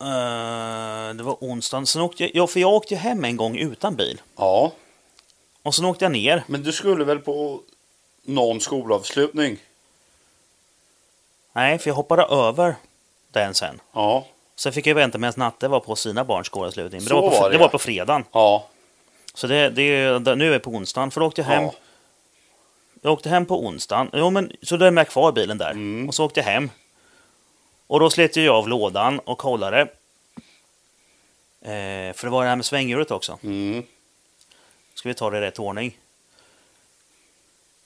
S1: eh, det var onsdagen. Sen åkte jag, ja, för jag åkte ju hem en gång utan bil.
S2: Ja.
S1: Och sen åkte jag ner.
S2: Men du skulle väl på någon skolavslutning?
S1: Nej, för jag hoppade över den sen.
S2: Ja.
S1: Sen fick jag vänta medan Natte var på sina barns skolavslutning. Men
S2: Så
S1: det, var på,
S2: var
S1: var
S2: det,
S1: det var
S2: ja.
S1: på fredagen.
S2: Ja.
S1: Så det, det, är- det, nu är vi på onsdagen. För då åkte jag hem.
S2: Ja.
S1: Jag åkte hem på onsdagen. Jo, men, så lämnade jag kvar bilen där. Och så åkte jag hem. Och då slet ju jag av lådan och kollade. Eh, för det var det här med svänghjulet också.
S2: Mm.
S1: Ska vi ta det i rätt ordning?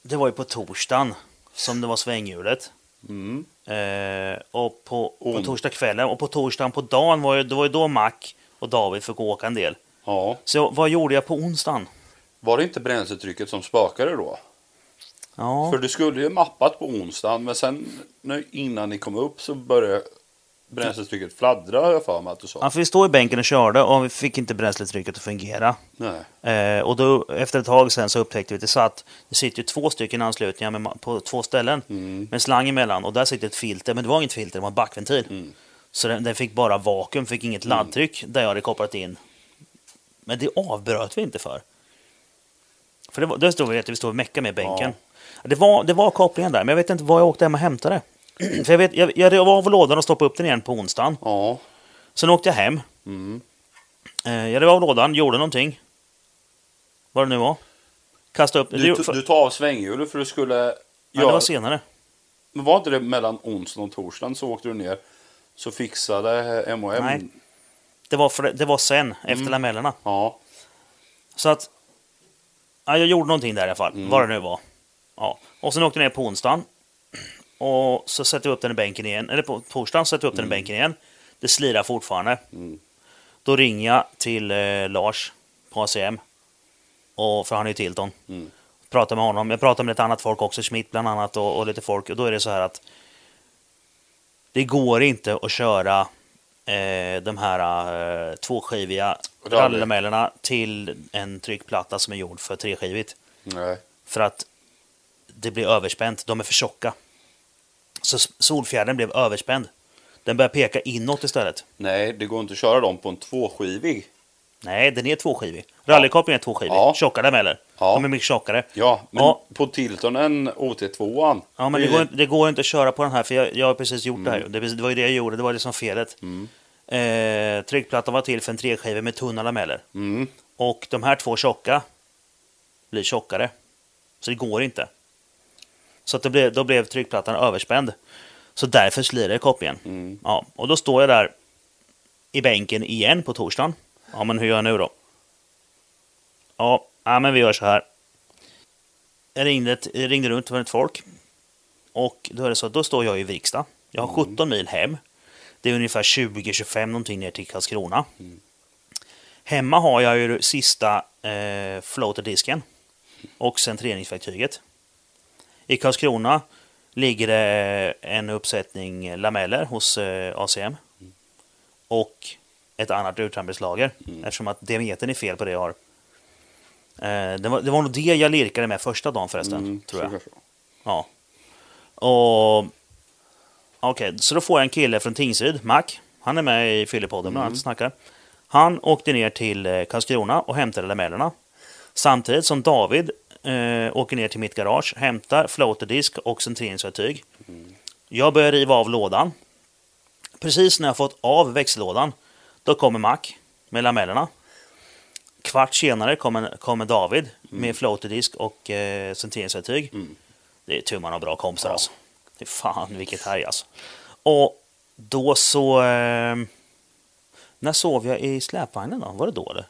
S1: Det var ju på torsdagen som det var svänghjulet.
S2: Mm.
S1: Eh, och på, på
S2: Ond.
S1: torsdagskvällen och på torsdagen på dagen var ju, det var ju då Mac och David fick åka en del.
S2: Ja.
S1: Så vad gjorde jag på onsdagen?
S2: Var det inte bränsletrycket som spökade då?
S1: Ja,
S2: För du skulle ju mappat på onsdagen men sen nu, innan ni kom upp så började bränsletrycket fladdra har jag för mig att du sa.
S1: ja, för vi stod i bänken och körde och vi fick inte bränsletrycket att fungera.
S2: Nej.
S1: Eh, och då, efter ett tag sen så upptäckte vi att det satt, det sitter ju två stycken anslutningar med, ma- på två ställen med slang emellan och där sitter ett filter, men det var inget filter, det var en backventil. Så den, den fick bara vakuum, fick inget laddtryck där jag hade kopplat in. Men det avbröt vi inte för. För det, var, det stod vi att vi stod och meckade med i bänken. Det, var, det var kopplingen där, men jag vet inte var jag åkte hem och hämtade. <clears throat> det. för jag, vet, jag, jag rev av lådan och stoppade upp den igen på onsdagen.
S2: Ja.
S1: Sen åkte jag hem.
S2: Mm.
S1: Eh, jag rev av lådan, gjorde någonting. Vad det nu var. Kastade upp... det
S2: Du,
S1: gjorde- för,
S2: du tar av svänghjulet för du skulle...
S1: nej, det var
S2: göra-
S1: senare.
S2: Men var inte det mellan onsdagen och torsdagen så åkte du ner så fixade M&M.
S1: Nej. Det var, för, det var sen, efter lamellerna.
S2: Ja.
S1: Så att... Ja, jag gjorde någonting där i alla fall,
S2: Mm.
S1: vad det nu var. Ja. Och sen åkte jag ner på onsdagen. Och så sätter jag upp den i bänken igen. Eller på torsdagen sätter jag upp den i bänken igen. Det slirar fortfarande. Då ringer jag till eh, Lars på ACM. Och, för han är ju Tilton.
S2: Mm.
S1: pratar med honom. Jag pratar med lite annat folk också, Schmidt bland annat och, och lite folk. Och då är det så här att det går inte att köra eh, de här eh, tvåskiviga
S2: Rally.
S1: rallylamellerna till en tryckplatta som är gjord för treskivigt.
S2: Nej.
S1: För att det blir överspänt, de är för tjocka. Så s- solfjädern blev överspänd. Den börjar peka inåt istället.
S2: Nej, det går inte att köra dem på en tvåskivig.
S1: Nej, den är tvåskivig. Rallykopplingen är tvåskivig.
S2: Ja.
S1: Tjocka lameller.
S2: Ja.
S1: De är mycket tjockare.
S2: Ja, men
S1: Ja.
S2: på Tiltonen OT2an.
S1: Ja, men det går, inte- det går inte att köra på den här, för jag, jag har precis gjort det här.
S2: Mm.
S1: Det, är precis- det var ju det jag gjorde, det var det som felet. Eh, tryckplattan var till för en treskiva med tunna lameller.
S2: Mm.
S1: Och de här två tjocka blir tjockare. Så det går inte. Så att det blev, då blev tryckplattan överspänd. Så därför slirade kopplingen. Ja, och då står jag där i bänken igen på torsdagen. Ja, men hur gör jag nu då? Ja, ja men vi gör så här. Jag ringde, ett- jag ringde runt till ett folk. Och då är det så att då står jag i Vriksta. Jag har 17 mil hem. Det är ungefär 20-25 någonting ner till Karlskrona. Hemma har jag ju sista eh, floaterdisken och centreringsverktyget. I Karlskrona ligger det en uppsättning lameller hos eh, ACM och ett annat utarmningslager eftersom att diametern är fel på det jag har. Eh, det, var, det var nog det jag lirkade med första dagen förresten, Mm, tror jag.
S2: så kanske.
S1: Ja. Och... Okej, så då får jag en kille från Tingsryd, Mac. Han är med i Fyllepodden bland annat och snackar. Han åkte ner till eh, Karlskrona och hämtade lamellerna. Samtidigt som David eh, åker ner till mitt garage, hämtar floaterdisk och centreringsverktyg. Jag börjar riva av lådan. Precis när jag fått av växellådan, då kommer Mac med lamellerna. Kvart senare kommer, kommer David med floaterdisk och eh, centreringsverktyg. Det är tur man har bra kompisar alltså. Det är fan vilket härj alltså. Och då så... Eh, när sov jag i släpvagnen då? Var det då det?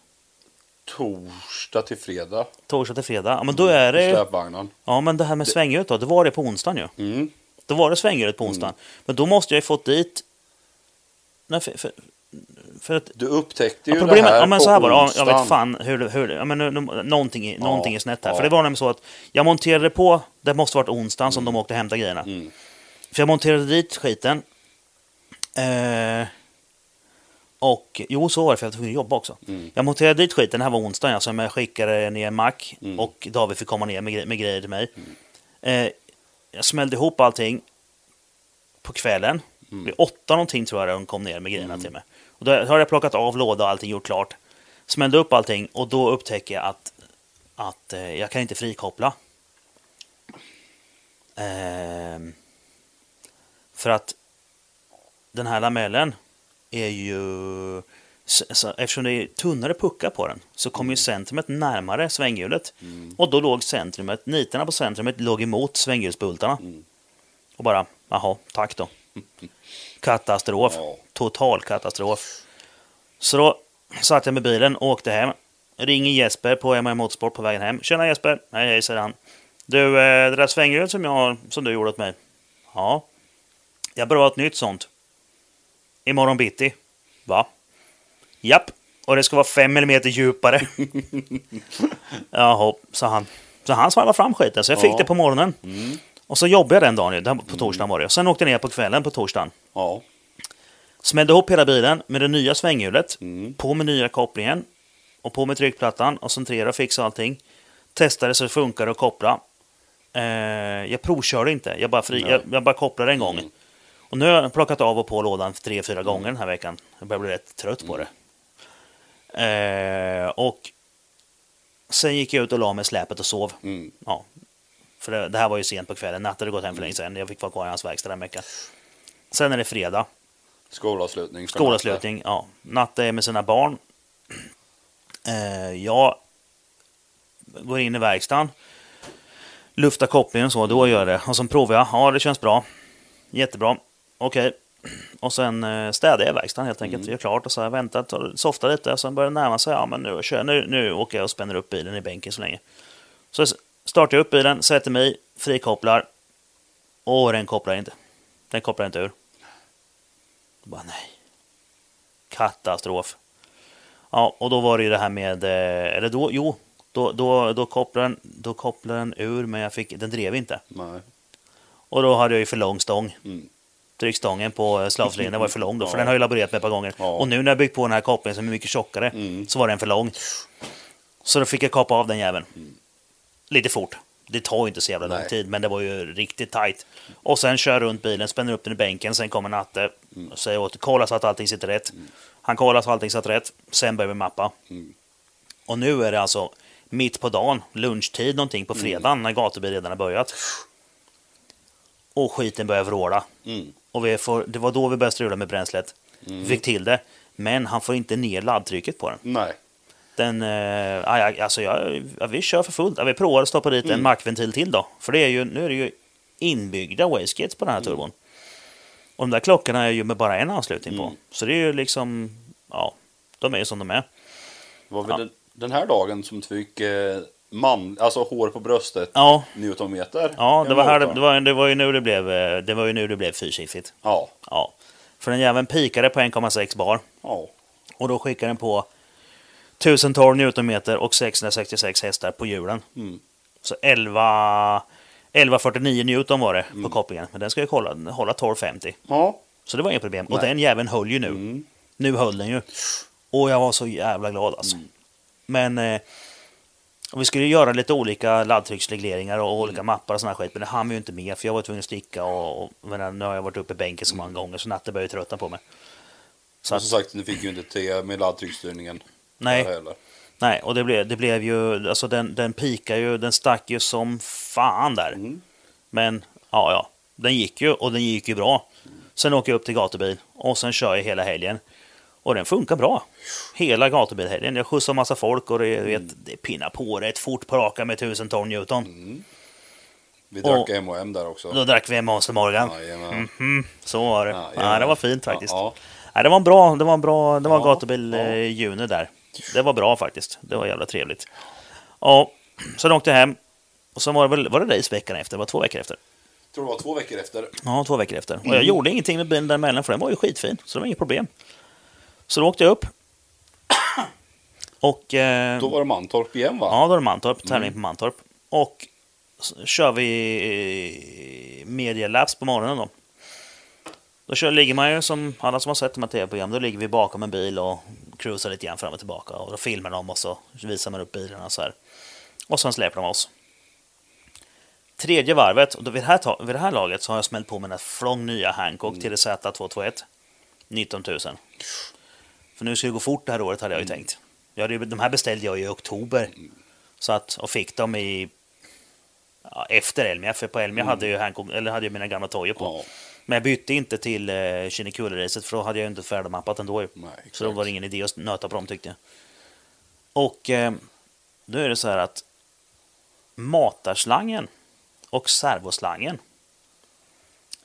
S2: Torsdag till fredag.
S1: Torsdag till fredag? Ja men då är
S2: i
S1: det...
S2: Släpvagnen.
S1: Ja men det här med svänghjulet då, det var det på onsdagen ju.
S2: Mm.
S1: Då var det svänghjulet på onsdagen. Men då måste jag ju fått dit... Nej, för, för, för att
S2: Du upptäckte ju
S1: Ja, problemet,
S2: det här
S1: ja, men
S2: på
S1: så här var det. Ja, jag
S2: onsdagen.
S1: vet fan hur, det- hur det- ja, men nu, nu, någonting, är- någonting är snett här.
S2: ja.
S1: För det var nämligen så att jag monterade på, det måste varit onsdagen som de åkte och hämtade grejerna.
S2: Mm.
S1: För jag monterade dit skiten. Eh, Och jo, så var det för jag var tvungen att jobba också.
S2: Mm.
S1: Jag monterade dit skiten, det här var onsdagen alltså, men jag skickade ner en mack
S2: Mm.
S1: och David fick komma ner med, gre- med grejer till mig. Eh, jag smällde ihop allting på kvällen.
S2: Mm.
S1: Vid åtta någonting tror jag hon kom ner med grejerna till mig. Och då har jag plockat av låda och allting gjort klart. Smällde upp allting och då upptäcker jag att, att eh, jag kan inte frikoppla. Ehm, för att den här lamellen är ju... s- Så, eftersom det är tunnare puckar på den så kommer ju centrumet närmare svänghjulet. Och då låg centrumet, nitarna på centrumet låg emot svänghjulsbultarna. Och bara, jaha, tack då. Katastrof.
S2: Ja.
S1: Total katastrof. Så då satt jag med bilen och åkte hem. Ringer Jesper på MI Motorsport på vägen hem. Tjena Jesper! Hej hej, säger han. Du, eh, det där svänghjulet som, jag, har- som du gjorde åt mig. Ja. Jag behöver ha ett nytt sånt. Imorgon bitti. Va? Japp. Och det ska vara 5 mm djupare. Jaha, sa han. Så han svarvade fram skiten, så jag fick
S2: Ja.
S1: det på morgonen. Och så jobbade jag den dagen, ju. Den- på torsdagen var det. Sen åkte jag ner på kvällen på torsdagen.
S2: Ja.
S1: Smällde ihop hela bilen med det nya svänghjulet.
S2: Mm.
S1: På med nya kopplingen. Och på med tryckplattan. Och centrera och fixa allting. Testade så det funkar att koppla. Eh, jag provkörde inte. Jag bara, fri,
S2: Nej. Mm.
S1: jag, jag bara kopplade en gång. Och nu har jag plockat av och på lådan tre, fyra gånger den här veckan. Jag börjar bli rätt trött
S2: Mm.
S1: på det. Eh, och sen gick jag ut och la mig i släpet och sov.
S2: Mm.
S1: Ja. För det, det här var ju sent på kvällen. Natten hade gått hem för länge sedan. Jag fick vara kvar i hans verkstad den veckan. Sen är det fredag.
S2: Skolavslutning. för natten.
S1: Skolavslutning, ja. Natta är med sina barn. Eh, jag går in i verkstaden, luftar kopplingen och så, då gör jag det. Och sen provar jag, ja det känns bra. Jättebra, okej. Och sen eh, städar jag verkstaden helt enkelt,
S2: Mm.
S1: gör klart och så här, väntar, tar, softar lite. Och sen börjar det närma sig, ja men nu, kör, nu, nu åker jag och spänner upp bilen i bänken så länge. Så s- startar jag upp bilen, sätter mig, frikopplar. Och den kopplar inte. Den kopplar inte ur. Bara nej. Katastrof. Ja, och då var det ju det här med... eh, Eller då, jo, då, då, då, kopplade den, då kopplade den ur, men jag fick, den drev inte.
S2: Nej.
S1: Och då hade jag ju för lång stång.
S2: Mm.
S1: Tryckstången på slavslinjen var ju för lång då,
S2: Ja.
S1: för den har jag laborerat med ett par gånger.
S2: Ja. Mm.
S1: Och nu när jag byggt på den här kopplingen som är mycket tjockare, så var den för lång. Så då fick jag kapa av den jäveln. Lite fort. Det tar ju inte så jävla lång
S2: Nej.
S1: tid, men det var ju riktigt tight. Och sen kör jag runt bilen, spänner upp den i bänken, sen kommer Natte och säger åt kolla så att allting sitter rätt. Han kollar så att allting satt rätt, sen börjar vi mappa. Och nu är det alltså mitt på dagen, lunchtid någonting
S2: Mm.
S1: på fredagen, när gatubil redan har börjat. Och skiten börjar vråla.
S2: Mm.
S1: Och vi får, det var då vi började strula med bränslet. Vi fick till det. Men han får inte ner laddtrycket på den.
S2: Nej.
S1: den eh, aj, aj, alltså jag, ja, vi kör för fullt. Ja, vi provar att stoppa dit en mackventil till då. För det är ju, nu är det ju inbyggda wastegates på den här turbon. Och de där klockorna är ju med bara en anslutning på. Så det är ju liksom, ja, de är ju som de är.
S2: Det var väl
S1: Ja.
S2: den, den här dagen som du fick eh, man, alltså hår på bröstet,
S1: Ja,
S2: newtonmeter.
S1: ja det, var här, det,
S2: Emot,
S1: det,
S2: va?
S1: var, det var ju nu det blev, eh, det var ju nu det blev fyrsiffrigt.
S2: Ja.
S1: Ja. För den jäveln pikade på 1,6 bar.
S2: Ja.
S1: Och då skickar den på 1012 newtonmeter och 666 hästar på hjulen.
S2: Mm.
S1: Så 11, 1149 newton var det
S2: Mm.
S1: på kopplingen. Men den ska ju kolla, den hålla 1250.
S2: Ja.
S1: Så det var inget problem. Och
S2: Nej. Mm.
S1: den jäveln höll ju nu. Nu höll den ju. Och jag var så jävla glad alltså.
S2: Mm.
S1: Men eh, och vi skulle göra lite olika laddtrycksregleringar och
S2: Mm.
S1: olika mappar och sån här skit. Men det hann vi ju inte med för jag var tvungen att sticka och, och men nu har jag varit uppe i bänken så många gånger så natten började tröttna på mig. Så
S2: Mm. Och som sagt, du fick ju inte te med laddtrycksstyrningen.
S1: Nej.
S2: där Heller.
S1: Nej, och det blev, det blev ju, alltså den, den pikar ju, den stack ju som fan där.
S2: Mm.
S1: Men ja, ja, den gick ju och den gick ju bra. Sen åker jag upp till gatubil och sen kör jag hela helgen. Och den funkar bra. Hela gatubilhelgen. Jag skjutsar massa folk och det, du
S2: Mm.
S1: vet, det pinnar på rätt fort på raka med 1000 ton Newton.
S2: Vi drack
S1: Och-
S2: M&M där också.
S1: Då drack vi en Monster Morgan.
S2: Jajamän.
S1: Mm, så var det.
S2: Ja,
S1: <laughs> Ja,
S2: jajamän.
S1: det var fint faktiskt.
S2: Ja,
S1: Nej, det var en bra, det var en bra, det var en
S2: Ja,
S1: gatubil
S2: ja.
S1: eh, juni där. Det var bra faktiskt. Det var jävla trevligt. Ja, sen åkte jag hem. Och sen var det väl, var det race veckan efter? Det var två veckor efter.
S2: ja. tror det var två veckor efter.
S1: Ja, två veckor efter.
S2: Mm.
S1: Och jag gjorde ingenting med bilen däremellan för den var ju skitfin. Så det var inget problem. Så då åkte jag upp. <coughs> Och... eh,
S2: Då var det Mantorp igen va?
S1: Ja, då är det Mantorp. Tävling på Mantorp. Och så kör vi eh, Media Labs på morgonen då. Då kör, ligger man ju som alla som har sett de här tv-programmen, då ligger vi bakom en bil och cruisar lite grann fram och tillbaka. Och då filmar de och så visar man upp bilarna så här. Och sen släpper de oss. Tredje varvet, och då vid, det här, ta- vid det här laget så har jag smällt på mina flång nya Hancock TDZ 221. 19 000. För nu ska det gå fort det här året hade jag ju tänkt. Jag hade, ju- de här beställde jag ju i oktober. Så att, och fick dem i... Ja, efter Elmia, för på Elmia hade ju Hancock, eller hade jag mina gamla tojer på.
S2: Ja.
S1: Men jag bytte inte till eh, Kinnekulle-racet för då hade jag ju inte färdigmappat ändå. ju.
S2: Nej, exakt.
S1: så då var det ingen idé att nöta på dem tyckte jag. Och eh, nu är det så här att matarslangen och servoslangen.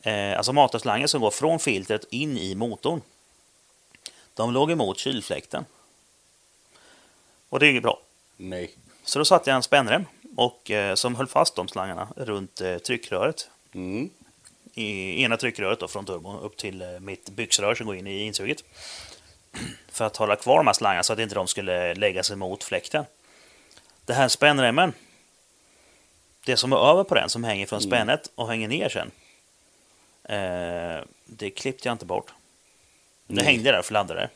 S1: Eh, alltså matarslangen som går från filtret in i motorn. De låg emot kylfläkten. Och det är ju bra.
S2: Nej.
S1: Så då satte jag en spännrem och, eh, som höll fast de slangarna runt eh, tryckröret
S2: Mm.
S1: i ena tryckröret då, från turbon upp till eh, mitt byxrör som går in i insuget. <clears throat> För att hålla kvar de här slangarna så att inte de skulle lägga sig mot fläkten. Det här spännremmen, det som är över på den som hänger
S2: Mm.
S1: från spännet och hänger ner sen. Eh, det klippte jag inte bort. Det
S2: Nej.
S1: hängde där och fladdrade.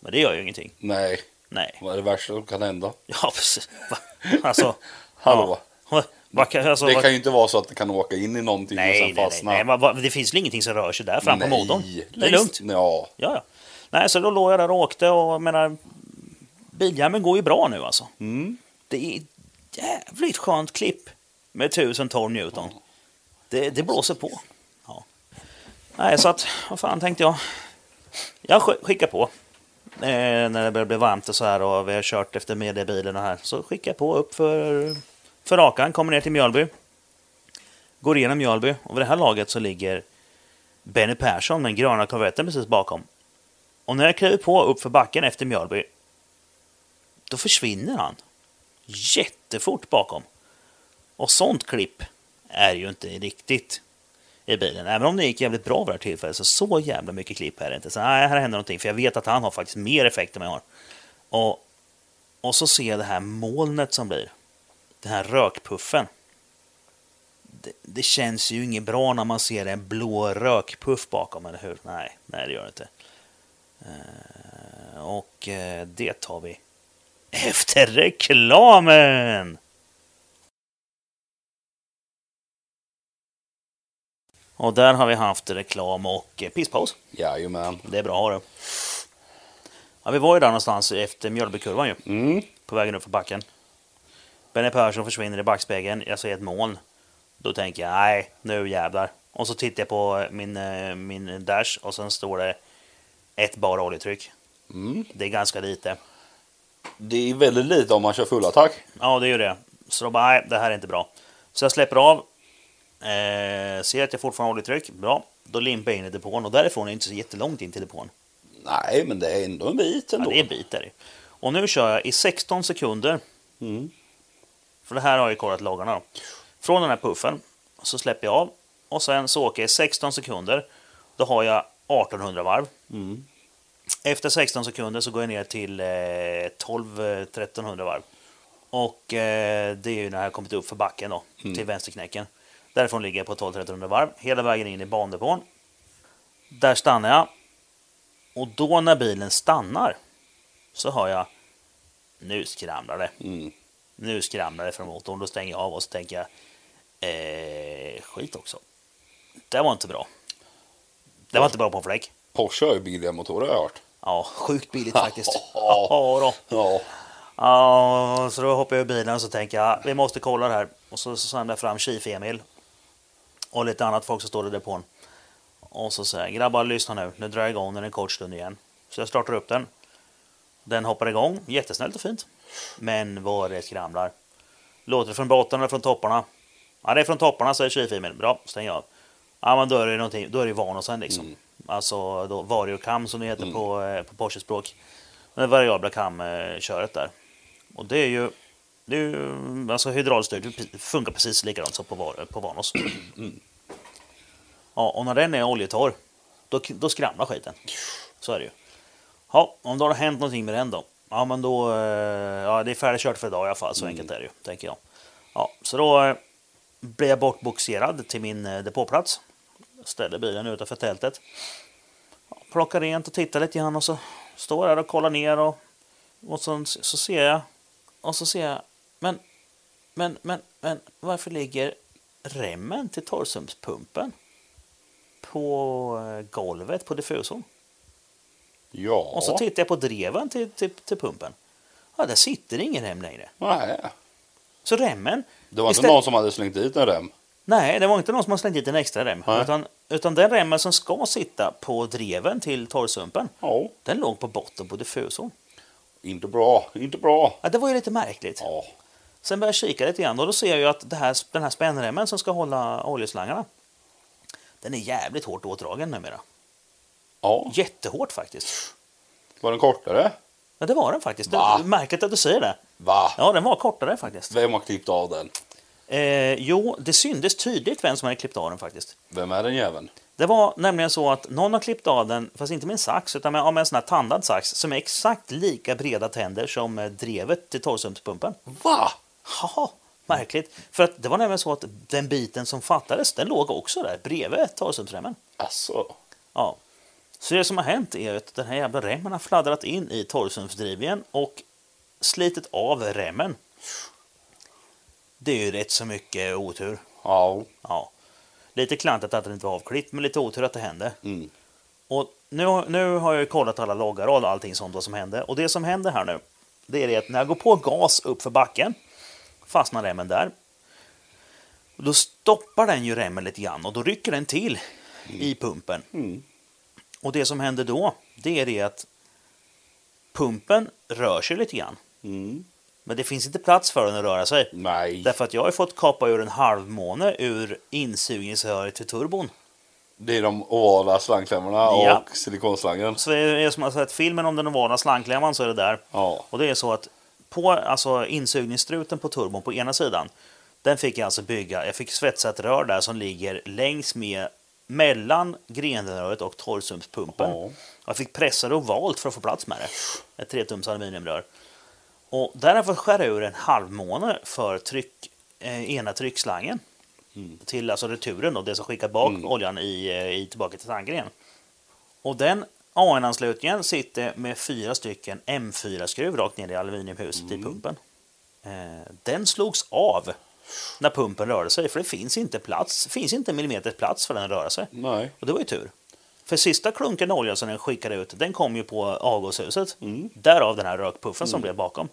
S1: Men det gör ju ingenting.
S2: Nej.
S1: Nej. <laughs>
S2: Vad är det värsta som kan hända?
S1: Ja, precis. Va? Alltså.
S2: Hallå.
S1: Ja. Vad kan- alltså,
S2: det
S1: vad-
S2: kan ju inte vara så att det kan åka in i någonting och
S1: Nej,
S2: sen
S1: nej,
S2: fastna.
S1: nej, nej. Va- Det finns väl ingenting som rör sig där fram på motorn? Det är
S2: Längst-
S1: lugnt.
S2: Ja.
S1: Ja, ja. Nej, så då låg jag där och åkte och jag menar, biljärmen går ju bra nu alltså.
S2: Mm.
S1: Det är ett jävligt skönt klipp med 1012 Newton. Det, det blåser på. Ja. Nej, så att, vad fan tänkte jag? Jag sk- skickar på. Eh, när det börjar bli varmt och så här och vi har kört efter mediebilen och här. Så skickar jag på upp för, för rakan, kommer ner till Mjölby. Går igenom Mjölby och vid det här laget så ligger Benny Persson, den gröna korvetten, precis bakom. Och när jag kliver på upp för backen efter Mjölby, då försvinner han jättefort bakom. Och sånt klipp är ju inte riktigt i bilen. Även om det gick jävligt bra vid det här tillfället, så så jävla mycket klipp är det inte. Så nej, här händer någonting, för jag vet att han har faktiskt mer effekt än vad jag har. Och, och så ser jag det här molnet som blir. Den här rökpuffen. Det, det känns ju inget bra när man ser en blå rökpuff bakom, eller hur? Nej, nej det gör det inte. Eh, Och eh, det tar vi efter reklamen! Och där har vi haft reklam och eh, pisspaus.
S2: Jajamän.
S1: Det är bra har du. Ja, vi var ju där någonstans efter Mjölbykurvan ju,
S2: Mm.
S1: på vägen upp för backen. Benny Persson försvinner i backspegeln, jag ser ett moln. Då tänker jag, nej, nu jävlar. Och så tittar jag på min, eh, min dash och sen står det ett bar oljetryck.
S2: Mm.
S1: Det är ganska lite.
S2: Det är väldigt lite om man kör full attack.
S1: Ja, det är ju det. Så då bara, nej, det här är inte bra. Så jag släpper av. Eh, ser att jag fortfarande har oljetryck. Bra. Då limpar jag in i depån och därifrån är det inte så jättelångt in till depån.
S2: Nej, men det är ändå en bit
S1: Ja,
S2: ändå.
S1: det är en bit där. Och nu kör jag i 16 sekunder.
S2: Mm.
S1: För det här har jag ju kollat loggarna då. Från den här puffen så släpper jag av och sen så åker jag i 16 sekunder. Då har jag 1800 varv.
S2: Mm.
S1: Efter 16 sekunder så går jag ner till eh, 12-1300 varv. Och eh, det är ju när jag har kommit upp för backen då, till vänsterknäcken. Därifrån ligger jag på 12-1300 varv, hela vägen in i bandepån. Där stannar jag. Och då när bilen stannar så hör jag, nu skramlar det.
S2: Mm.
S1: Nu skramlar det från motorn, då stänger jag av och så tänker jag, eh, skit också. Det var inte bra. Det var inte bra på en fläck.
S2: Porsche har ju billiga motorer har jag hört.
S1: Ja, sjukt billigt faktiskt.
S2: Ja.
S1: Ja, då.
S2: Ja.
S1: Ja, så då hoppar jag ur bilen och så tänker jag "Ah, vi måste kolla det här. Och så samlar jag fram Chief-Emil och lite annat folk som står i depån. Och så säger jag grabbar lyssna nu, nu drar jag igång den en kort stund igen. Så jag startar upp den. Den hoppar igång jättesnällt och fint. Men vad det skramlar. Låter det från botten eller från topparna? Ja, det är från topparna säger Chief-Emil. Bra, stäng av. Ja, men då är det, någonting- då är det Vanåsen liksom. Alltså då, variokam som det heter på, eh, på Porsche-språk. Det variabla kam-köret eh, där. Och det är ju... Det är ju alltså hydraulstyrd, det funkar precis likadant som på, var, på Vanos. Ja, och när den är oljetorr, då, då skramlar skiten. Så är det ju. Ja, om det har hänt någonting med den då? Ja, men då... eh, Ja, det är färdigkört för idag i alla fall, så enkelt är det ju, tänker jag. Ja, så då eh, blev jag bortboxerad till min eh, depåplats. ställer bilen utanför tältet. Plockar rent och tittar lite grann och så står jag där och kollar ner och, och så, så ser jag och så ser jag men, men, men, men varför ligger remmen till torrsumpspumpen på eh, golvet på diffusorn?
S2: Ja.
S1: Och så tittar jag på dreven till, till, till pumpen. Ja, där sitter ingen rem längre.
S2: Nej.
S1: Så remmen...
S2: Det var inte
S1: istället-
S2: någon som hade slängt dit en rem.
S1: Nej, det var inte någon som har slängt dit en extra rem.
S2: Nej.
S1: Utan, utan den remmen som ska sitta på dreven till torrsumpen,
S2: Ja.
S1: den låg på botten på diffusorn.
S2: Inte bra. Inte bra.
S1: Ja, det var ju lite märkligt.
S2: Ja.
S1: Sen börjar jag kika lite grann och då ser jag ju att det här, den här spännremmen som ska hålla oljeslangarna, den är jävligt hårt åtdragen numera.
S2: Ja.
S1: Jättehårt faktiskt.
S2: Var den kortare?
S1: Ja, det var den faktiskt. Det
S2: Va?
S1: är märkligt att du säger det.
S2: Va?
S1: Ja, den var kortare faktiskt.
S2: Vem har klippt av den?
S1: Eh, jo, det syndes tydligt vem som hade klippt av den faktiskt.
S2: Vem är den jäveln?
S1: Det var nämligen så att någon har klippt av den, fast inte med en sax, utan med, ja, med en sån här tandad sax som är exakt lika breda tänder som eh, drevet till torrsumpspumpen.
S2: Va?
S1: Haha, märkligt. För att det var nämligen så att den biten som fattades, den låg också där bredvid torrsumpsremmen.
S2: Alltså.
S1: Ja. Så det som har hänt är att den här jävla remmen har fladdrat in i torrsumpsdrivningen och slitit av remmen. Det är ju rätt så mycket otur.
S2: Ja.
S1: Ja. Lite klantigt att den inte var avklippt, men lite otur att det hände.
S2: Mm.
S1: Och nu, nu har jag ju kollat alla loggar och allting sånt vad som hände. Och det som händer här nu, det är det att när jag går på gas upp för backen, fastnar remmen där. Och Då stoppar den ju remmen lite grann och då rycker den till i pumpen.
S2: Mm.
S1: Och det som händer då, det är det att pumpen rör sig lite grann.
S2: Mm.
S1: Men det finns inte plats för den att röra sig.
S2: Nej.
S1: Därför att jag har ju fått kapa ur en halvmåne ur insugningsröret till turbon.
S2: Det är de ovala slangklämmorna och
S1: Ja.
S2: silikonslangen.
S1: Så det är som att sett filmen om den ovana slangklämman så är det där.
S2: Ja.
S1: Och det är så att på alltså, insugningsstruten på turbon på ena sidan, den fick jag alltså bygga. Jag fick svetsa ett rör där som ligger längs med mellan grenröret och torrsumpspumpen.
S2: Ja.
S1: Jag fick pressa det ovalt för att få plats med det. Ett 3 tums aluminiumrör. Och där har jag fått skära ur en halvmåne för tryck, eh, ena tryckslangen. Till alltså returen då, det som skickar bak oljan i, eh, i, tillbaka till tanken igen. Och den AN-anslutningen sitter med fyra stycken M4-skruv rakt ner i aluminiumhuset i pumpen. Eh, Den slogs av när pumpen rörde sig, för det finns inte plats, finns inte en millimeter plats för den att röra sig.
S2: Nej.
S1: Och det var ju tur. För sista klunken olja som den skickade ut, den kom ju på avgashuset. Därav den här rökpuffen som blev bakom.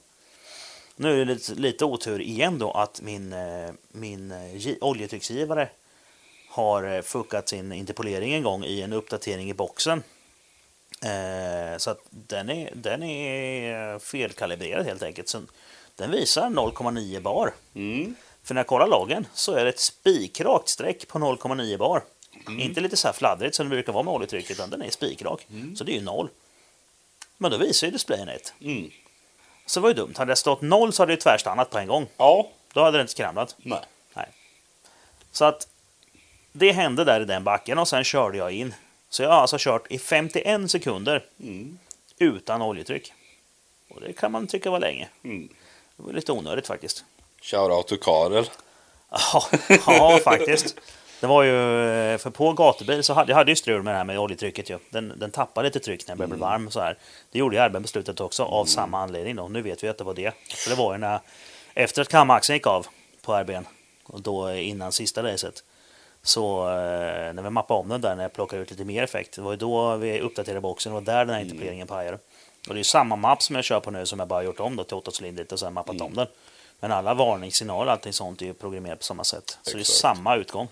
S1: Nu är det lite, lite otur igen då att min, eh, min eh, gi- oljetrycksgivare har eh, fuckat sin interpolering en gång i en uppdatering i boxen. Eh, så att den är, den är eh, felkalibrerad helt enkelt. Så den visar 0,9 bar.
S2: Mm.
S1: För när jag kollar loggen så är det ett spikrakt streck på 0,9 bar. Mm. Inte lite så här fladdrigt som det brukar vara med oljetryck, utan den är spikrak. Så det är ju noll. Men då visar ju displayen ett.
S2: Mm.
S1: Så det var ju dumt. Hade det stått noll så hade det ju tvärstannat på en gång.
S2: Ja.
S1: Då hade det inte skramlat.
S2: Nej.
S1: Så att det hände där i den backen och sen körde jag in. Så jag har alltså kört i 51 sekunder
S2: Mm.
S1: utan oljetryck. Och det kan man tycka var länge.
S2: Mm.
S1: Det var lite onödigt faktiskt.
S2: Shoutout till Karel.
S1: Ja, ja faktiskt. Det var ju, eh, för på gatubil så hade jag hade ju strul med det här med oljetrycket ju. Den, den tappade lite tryck när den blev varm så här. Det gjorde ju arbetsbeslutet också av samma anledning då. Nu vet vi att det var det. För det var ju när, efter att kamaxeln gick av på RBn, och då eh, innan sista racet, så eh, när vi mappade om den där när jag plockade ut lite mer effekt, det var ju då vi uppdaterade boxen och där den
S2: Mm.
S1: här interpoleringen pajade. Och det är ju samma mapp som jag kör på nu som jag bara gjort om då till åttacylindrigt och sen mappat
S2: Mm.
S1: om den. Men alla varningssignaler och allting sånt är ju programmerat på samma sätt. Så det är
S2: Exakt.
S1: samma utgång.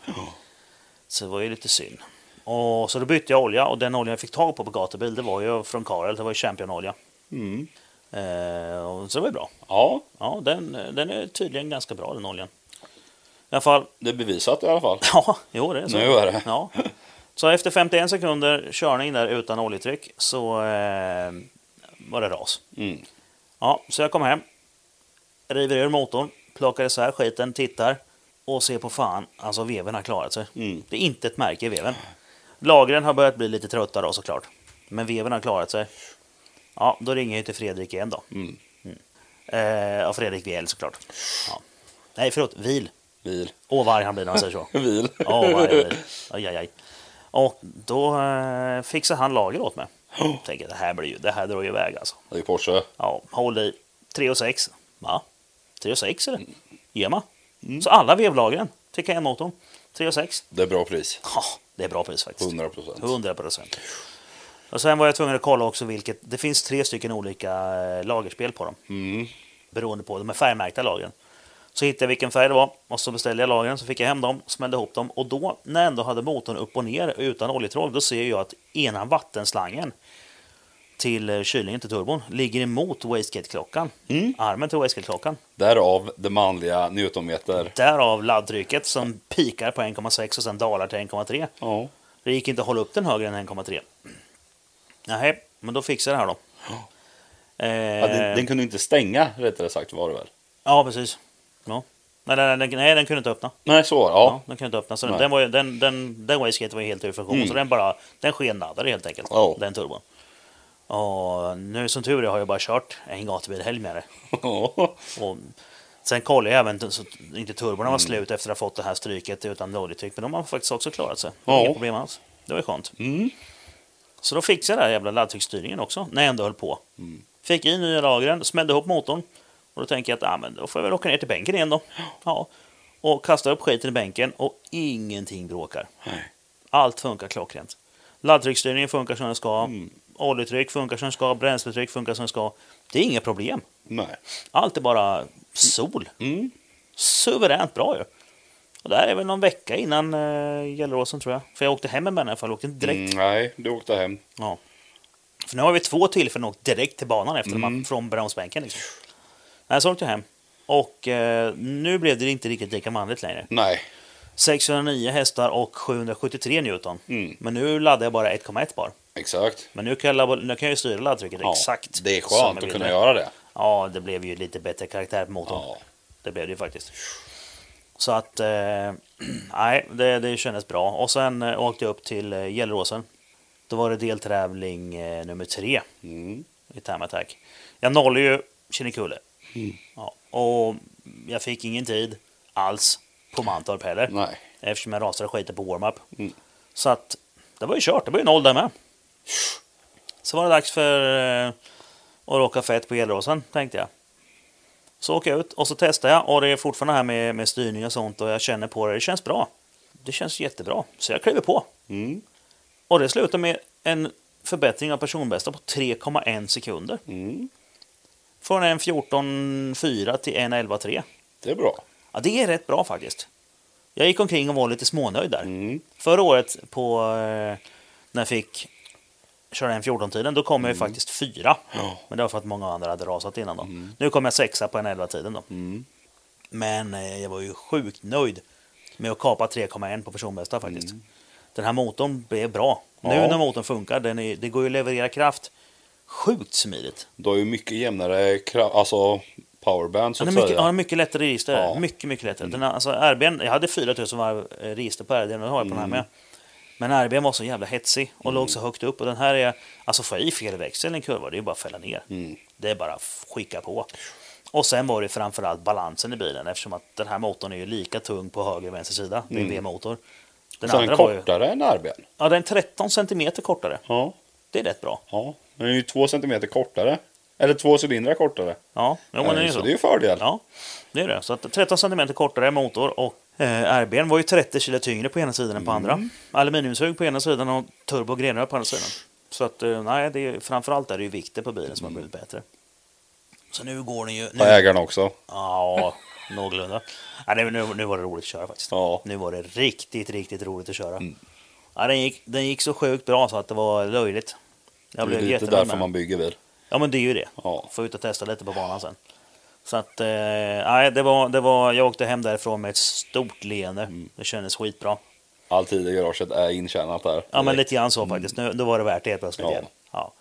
S1: Så det var ju lite synd. Och, så då bytte jag olja och den oljan jag fick tag på på gatubil det var ju från Karel, det var ju Champion-olja.
S2: Mm.
S1: Eh, och så det var ju bra.
S2: Ja.
S1: Ja, den, den är tydligen ganska bra den oljan. I alla fall,
S2: Det är bevisat i alla fall.
S1: ja, jo det är så.
S2: Nu är det.
S1: Ja. Så efter 51 sekunder körning där utan oljetryck så eh, var det ras.
S2: Mm.
S1: Ja, så jag kom hem, river ur motorn, plockar isär skiten, tittar och ser på fan, alltså veven har klarat sig.
S2: Mm.
S1: Det är inte ett märke i veven. Lagren har börjat bli lite trötta då såklart. Men veven har klarat sig. Ja, då ringer jag till Fredrik igen då.
S2: Mm.
S1: Eh, och Fredrik Viel såklart. Ja. Nej, förlåt, Vil.
S2: Vil. <laughs>
S1: Åh, vad arg han blir när han säger så.
S2: Vil.
S1: Åh, vad arg han blir. Aj, aj, aj. Och då eh, fixade han lager åt mig.
S2: Ja.
S1: Tänker det här blir ju, det här drar ju iväg alltså.
S2: <laughs> Det är Porsche.
S1: Ja, håll i. 3 och 6. Va? 3 och 6 är det? Gema. Så alla vevlagren fick jag en motorn. 3 och 6.
S2: Det är bra pris.
S1: Ja, det är bra pris faktiskt.
S2: 100 procent.
S1: 100 procent. Och sen var jag tvungen att kolla också vilket. Det finns tre stycken olika eh, lagerspel på dem.
S2: Mm.
S1: Beroende på, de är färgmärkta lagren. Så hittade jag vilken färg det var och så beställde jag lagren, så fick jag hem dem, smällde ihop dem och då när jag ändå hade motorn upp och ner utan oljetroll, då ser jag att ena vattenslangen till eh, kylningen till turbon ligger emot wastegateklockan.
S2: Mm.
S1: Armen till wastegateklockan.
S2: Därav det manliga newtonmeter.
S1: Därav laddtrycket som pikar på 1,6 och sen dalar till 1,3.
S2: Ja.
S1: Det gick inte att hålla upp den högre än 1,3. Nej, men då fixar jag det här då. Eh,
S2: <gasps> Ja, den, den kunde inte stänga rättare sagt var det väl?
S1: ja, precis. Ja. Nej, nej, nej, den- nej, den kunde inte öppna.
S2: Nej, så var det.
S1: Ja,
S2: Ja.
S1: den kunde inte öppna. Så
S2: Nej.
S1: den, den, var, ju- den, den, den wastegaten var ju helt ur funktion.
S2: Mm.
S1: Så den bara den skenladdade helt enkelt.
S2: Ja.
S1: Den turbon. Och nu som tur är har jag bara kört en gatubilhelg med det.
S2: Ja.
S1: Och sen kollade jag även så att inte turborna var slut efter att ha fått det här stryket utan oljetryck. Men de har faktiskt också klarat sig.
S2: Ja.
S1: Inga problem alls. Det var ju skönt.
S2: Mm.
S1: Så då fixade jag den här jävla laddtrycksstyrningen också när jag ändå höll på. Fick i nya lagren, smällde ihop motorn. Och då tänker jag att ah, men då får jag väl åka ner till bänken igen då. Ja. Och kastar upp skiten i bänken och ingenting bråkar.
S2: Nej.
S1: Allt funkar klockrent. Laddtrycksstyrningen funkar som den ska.
S2: Mm.
S1: Oljetryck funkar som den ska. Bränsletryck funkar som den ska. Det är inga problem.
S2: <laughs> Nej.
S1: Allt är bara sol.
S2: Mm.
S1: Suveränt bra ju. Och det här är väl någon vecka innan eh, Gelleråsen tror jag. För jag åkte hem med den här, för jag åkte inte direkt.
S2: Mm, nej, du åkte hem.
S1: Ja. För nu har vi två tillfällen åkt direkt till banan efter
S2: Mm.
S1: man, från Bromsbänken. Liksom. Nej, så åkte jag hem. Och eh, nu blev det inte riktigt lika manligt längre.
S2: Nej.
S1: 609 hästar och 773 Newton.
S2: Mm.
S1: Men nu laddar jag bara 1,1 bar.
S2: Exakt.
S1: Men nu kan jag, labba, nu kan jag ju styra laddtrycket
S2: Ja,
S1: exakt.
S2: Det är
S1: som
S2: skönt
S1: jag
S2: att
S1: vill.
S2: kunna göra det.
S1: Ja, det blev ju lite bättre karaktär på motorn.
S2: Ja.
S1: Det blev det ju faktiskt. Så att, eh, <clears throat> nej, det, det kändes bra. Och sen eh, åkte jag upp till eh, Gelleråsen. Då var det deltävling eh, nummer tre
S2: Mm.
S1: i Time Attack. Jag nollade ju Kinnekulle.
S2: Mm.
S1: Ja, och jag fick ingen tid alls på Mantorp heller.
S2: Nej.
S1: Eftersom jag rasade skiten på warm-up.
S2: Mm.
S1: Så att det var ju kört. Det var ju noll där med. Så var det dags för eh, att råka fett på elrosen tänkte jag. Så åker jag ut och så testar jag och det är fortfarande här med, med styrning och sånt och jag känner på det. Det känns bra. Det känns jättebra. Så jag kliver på.
S2: Mm.
S1: Och det slutar med en förbättring av personbästa på 3,1 sekunder.
S2: Mm.
S1: Från en 14.4 till en 11.3.
S2: Det är bra.
S1: Ja, det är rätt bra faktiskt. Jag gick omkring och var lite smånöjd där.
S2: Mm.
S1: Förra året på, eh, när jag fick köra en 14-tiden, då kom jag ju faktiskt fyra.
S2: Mm. Ja. Mm.
S1: Men det var för att många andra hade rasat innan då. Nu kom jag sexa på en 11-tiden då. Men eh, jag var ju sjukt nöjd med att kapa 3,1 på personbästa faktiskt. Den här motorn blev bra. Nu
S2: Mm. Ja.
S1: när motorn funkar, den är, det går ju att leverera kraft sjukt smidigt.
S2: Du har ju mycket jämnare kraft, alltså powerband så
S1: Den
S2: att
S1: är mycket, ja,
S2: säga.
S1: den är mycket lättare register.
S2: Ja. Mm.
S1: Mycket, mycket lättare. Den har, alltså, RBn, jag hade 4000 varv eh, register på RBn, och det har jag på
S2: Mm.
S1: den här med. Men RBn var så jävla hetsig och låg så högt upp. Och den här är, alltså får jag i fel växel i en kurva, det är ju bara att fälla ner.
S2: Mm.
S1: Det är bara att skicka på. Och sen var det framförallt balansen i bilen eftersom att den här motorn är ju lika tung på höger och vänster sida. Det är en V-motor. Den
S2: Mm. Så den
S1: andra
S2: är
S1: var ju,
S2: kortare än arbeten.
S1: ja, den är 13 centimeter kortare.
S2: Ja.
S1: Det är rätt bra.
S2: ja. Den är ju två centimeter kortare. Eller två cylindrar kortare. Eh,
S1: Ja, jo, men det är ju
S2: så
S1: så.
S2: det är ju fördel.
S1: Ja, det är det. Så att 13 cm kortare motor och eh, RBn var ju 30 kilo tyngre på ena sidan än på
S2: Mm.
S1: andra. Aluminiumshug på ena sidan och turbo och grenrör på andra sidan. Så att eh, nej, det är, framförallt är det ju vikten på bilen som har blivit bättre. Så nu går den ju...
S2: Och
S1: Nu,
S2: ägarna också.
S1: ja, någorlunda. Nej, nu, nu, nu var det roligt att köra faktiskt.
S2: Ja. Mm.
S1: Nu var det riktigt, riktigt roligt att köra. Ja, den, gick, den gick så sjukt bra så att det var löjligt. Jag
S2: Det
S1: blev
S2: är lite
S1: jättenöjd med
S2: därför
S1: den.
S2: man bygger bil.
S1: Ja, men det är ju det.
S2: Ja.
S1: Få ut och testa lite på banan sen. Så att, eh, nej, det var, det var, jag åkte hem därifrån med ett stort leende. Det kändes skitbra.
S2: All tid i garaget är intjänat där.
S1: Ja, men lite grann så faktiskt. Nu, då var det värt det helt plötsligt
S2: Ja.
S1: igen. Mm. Ja.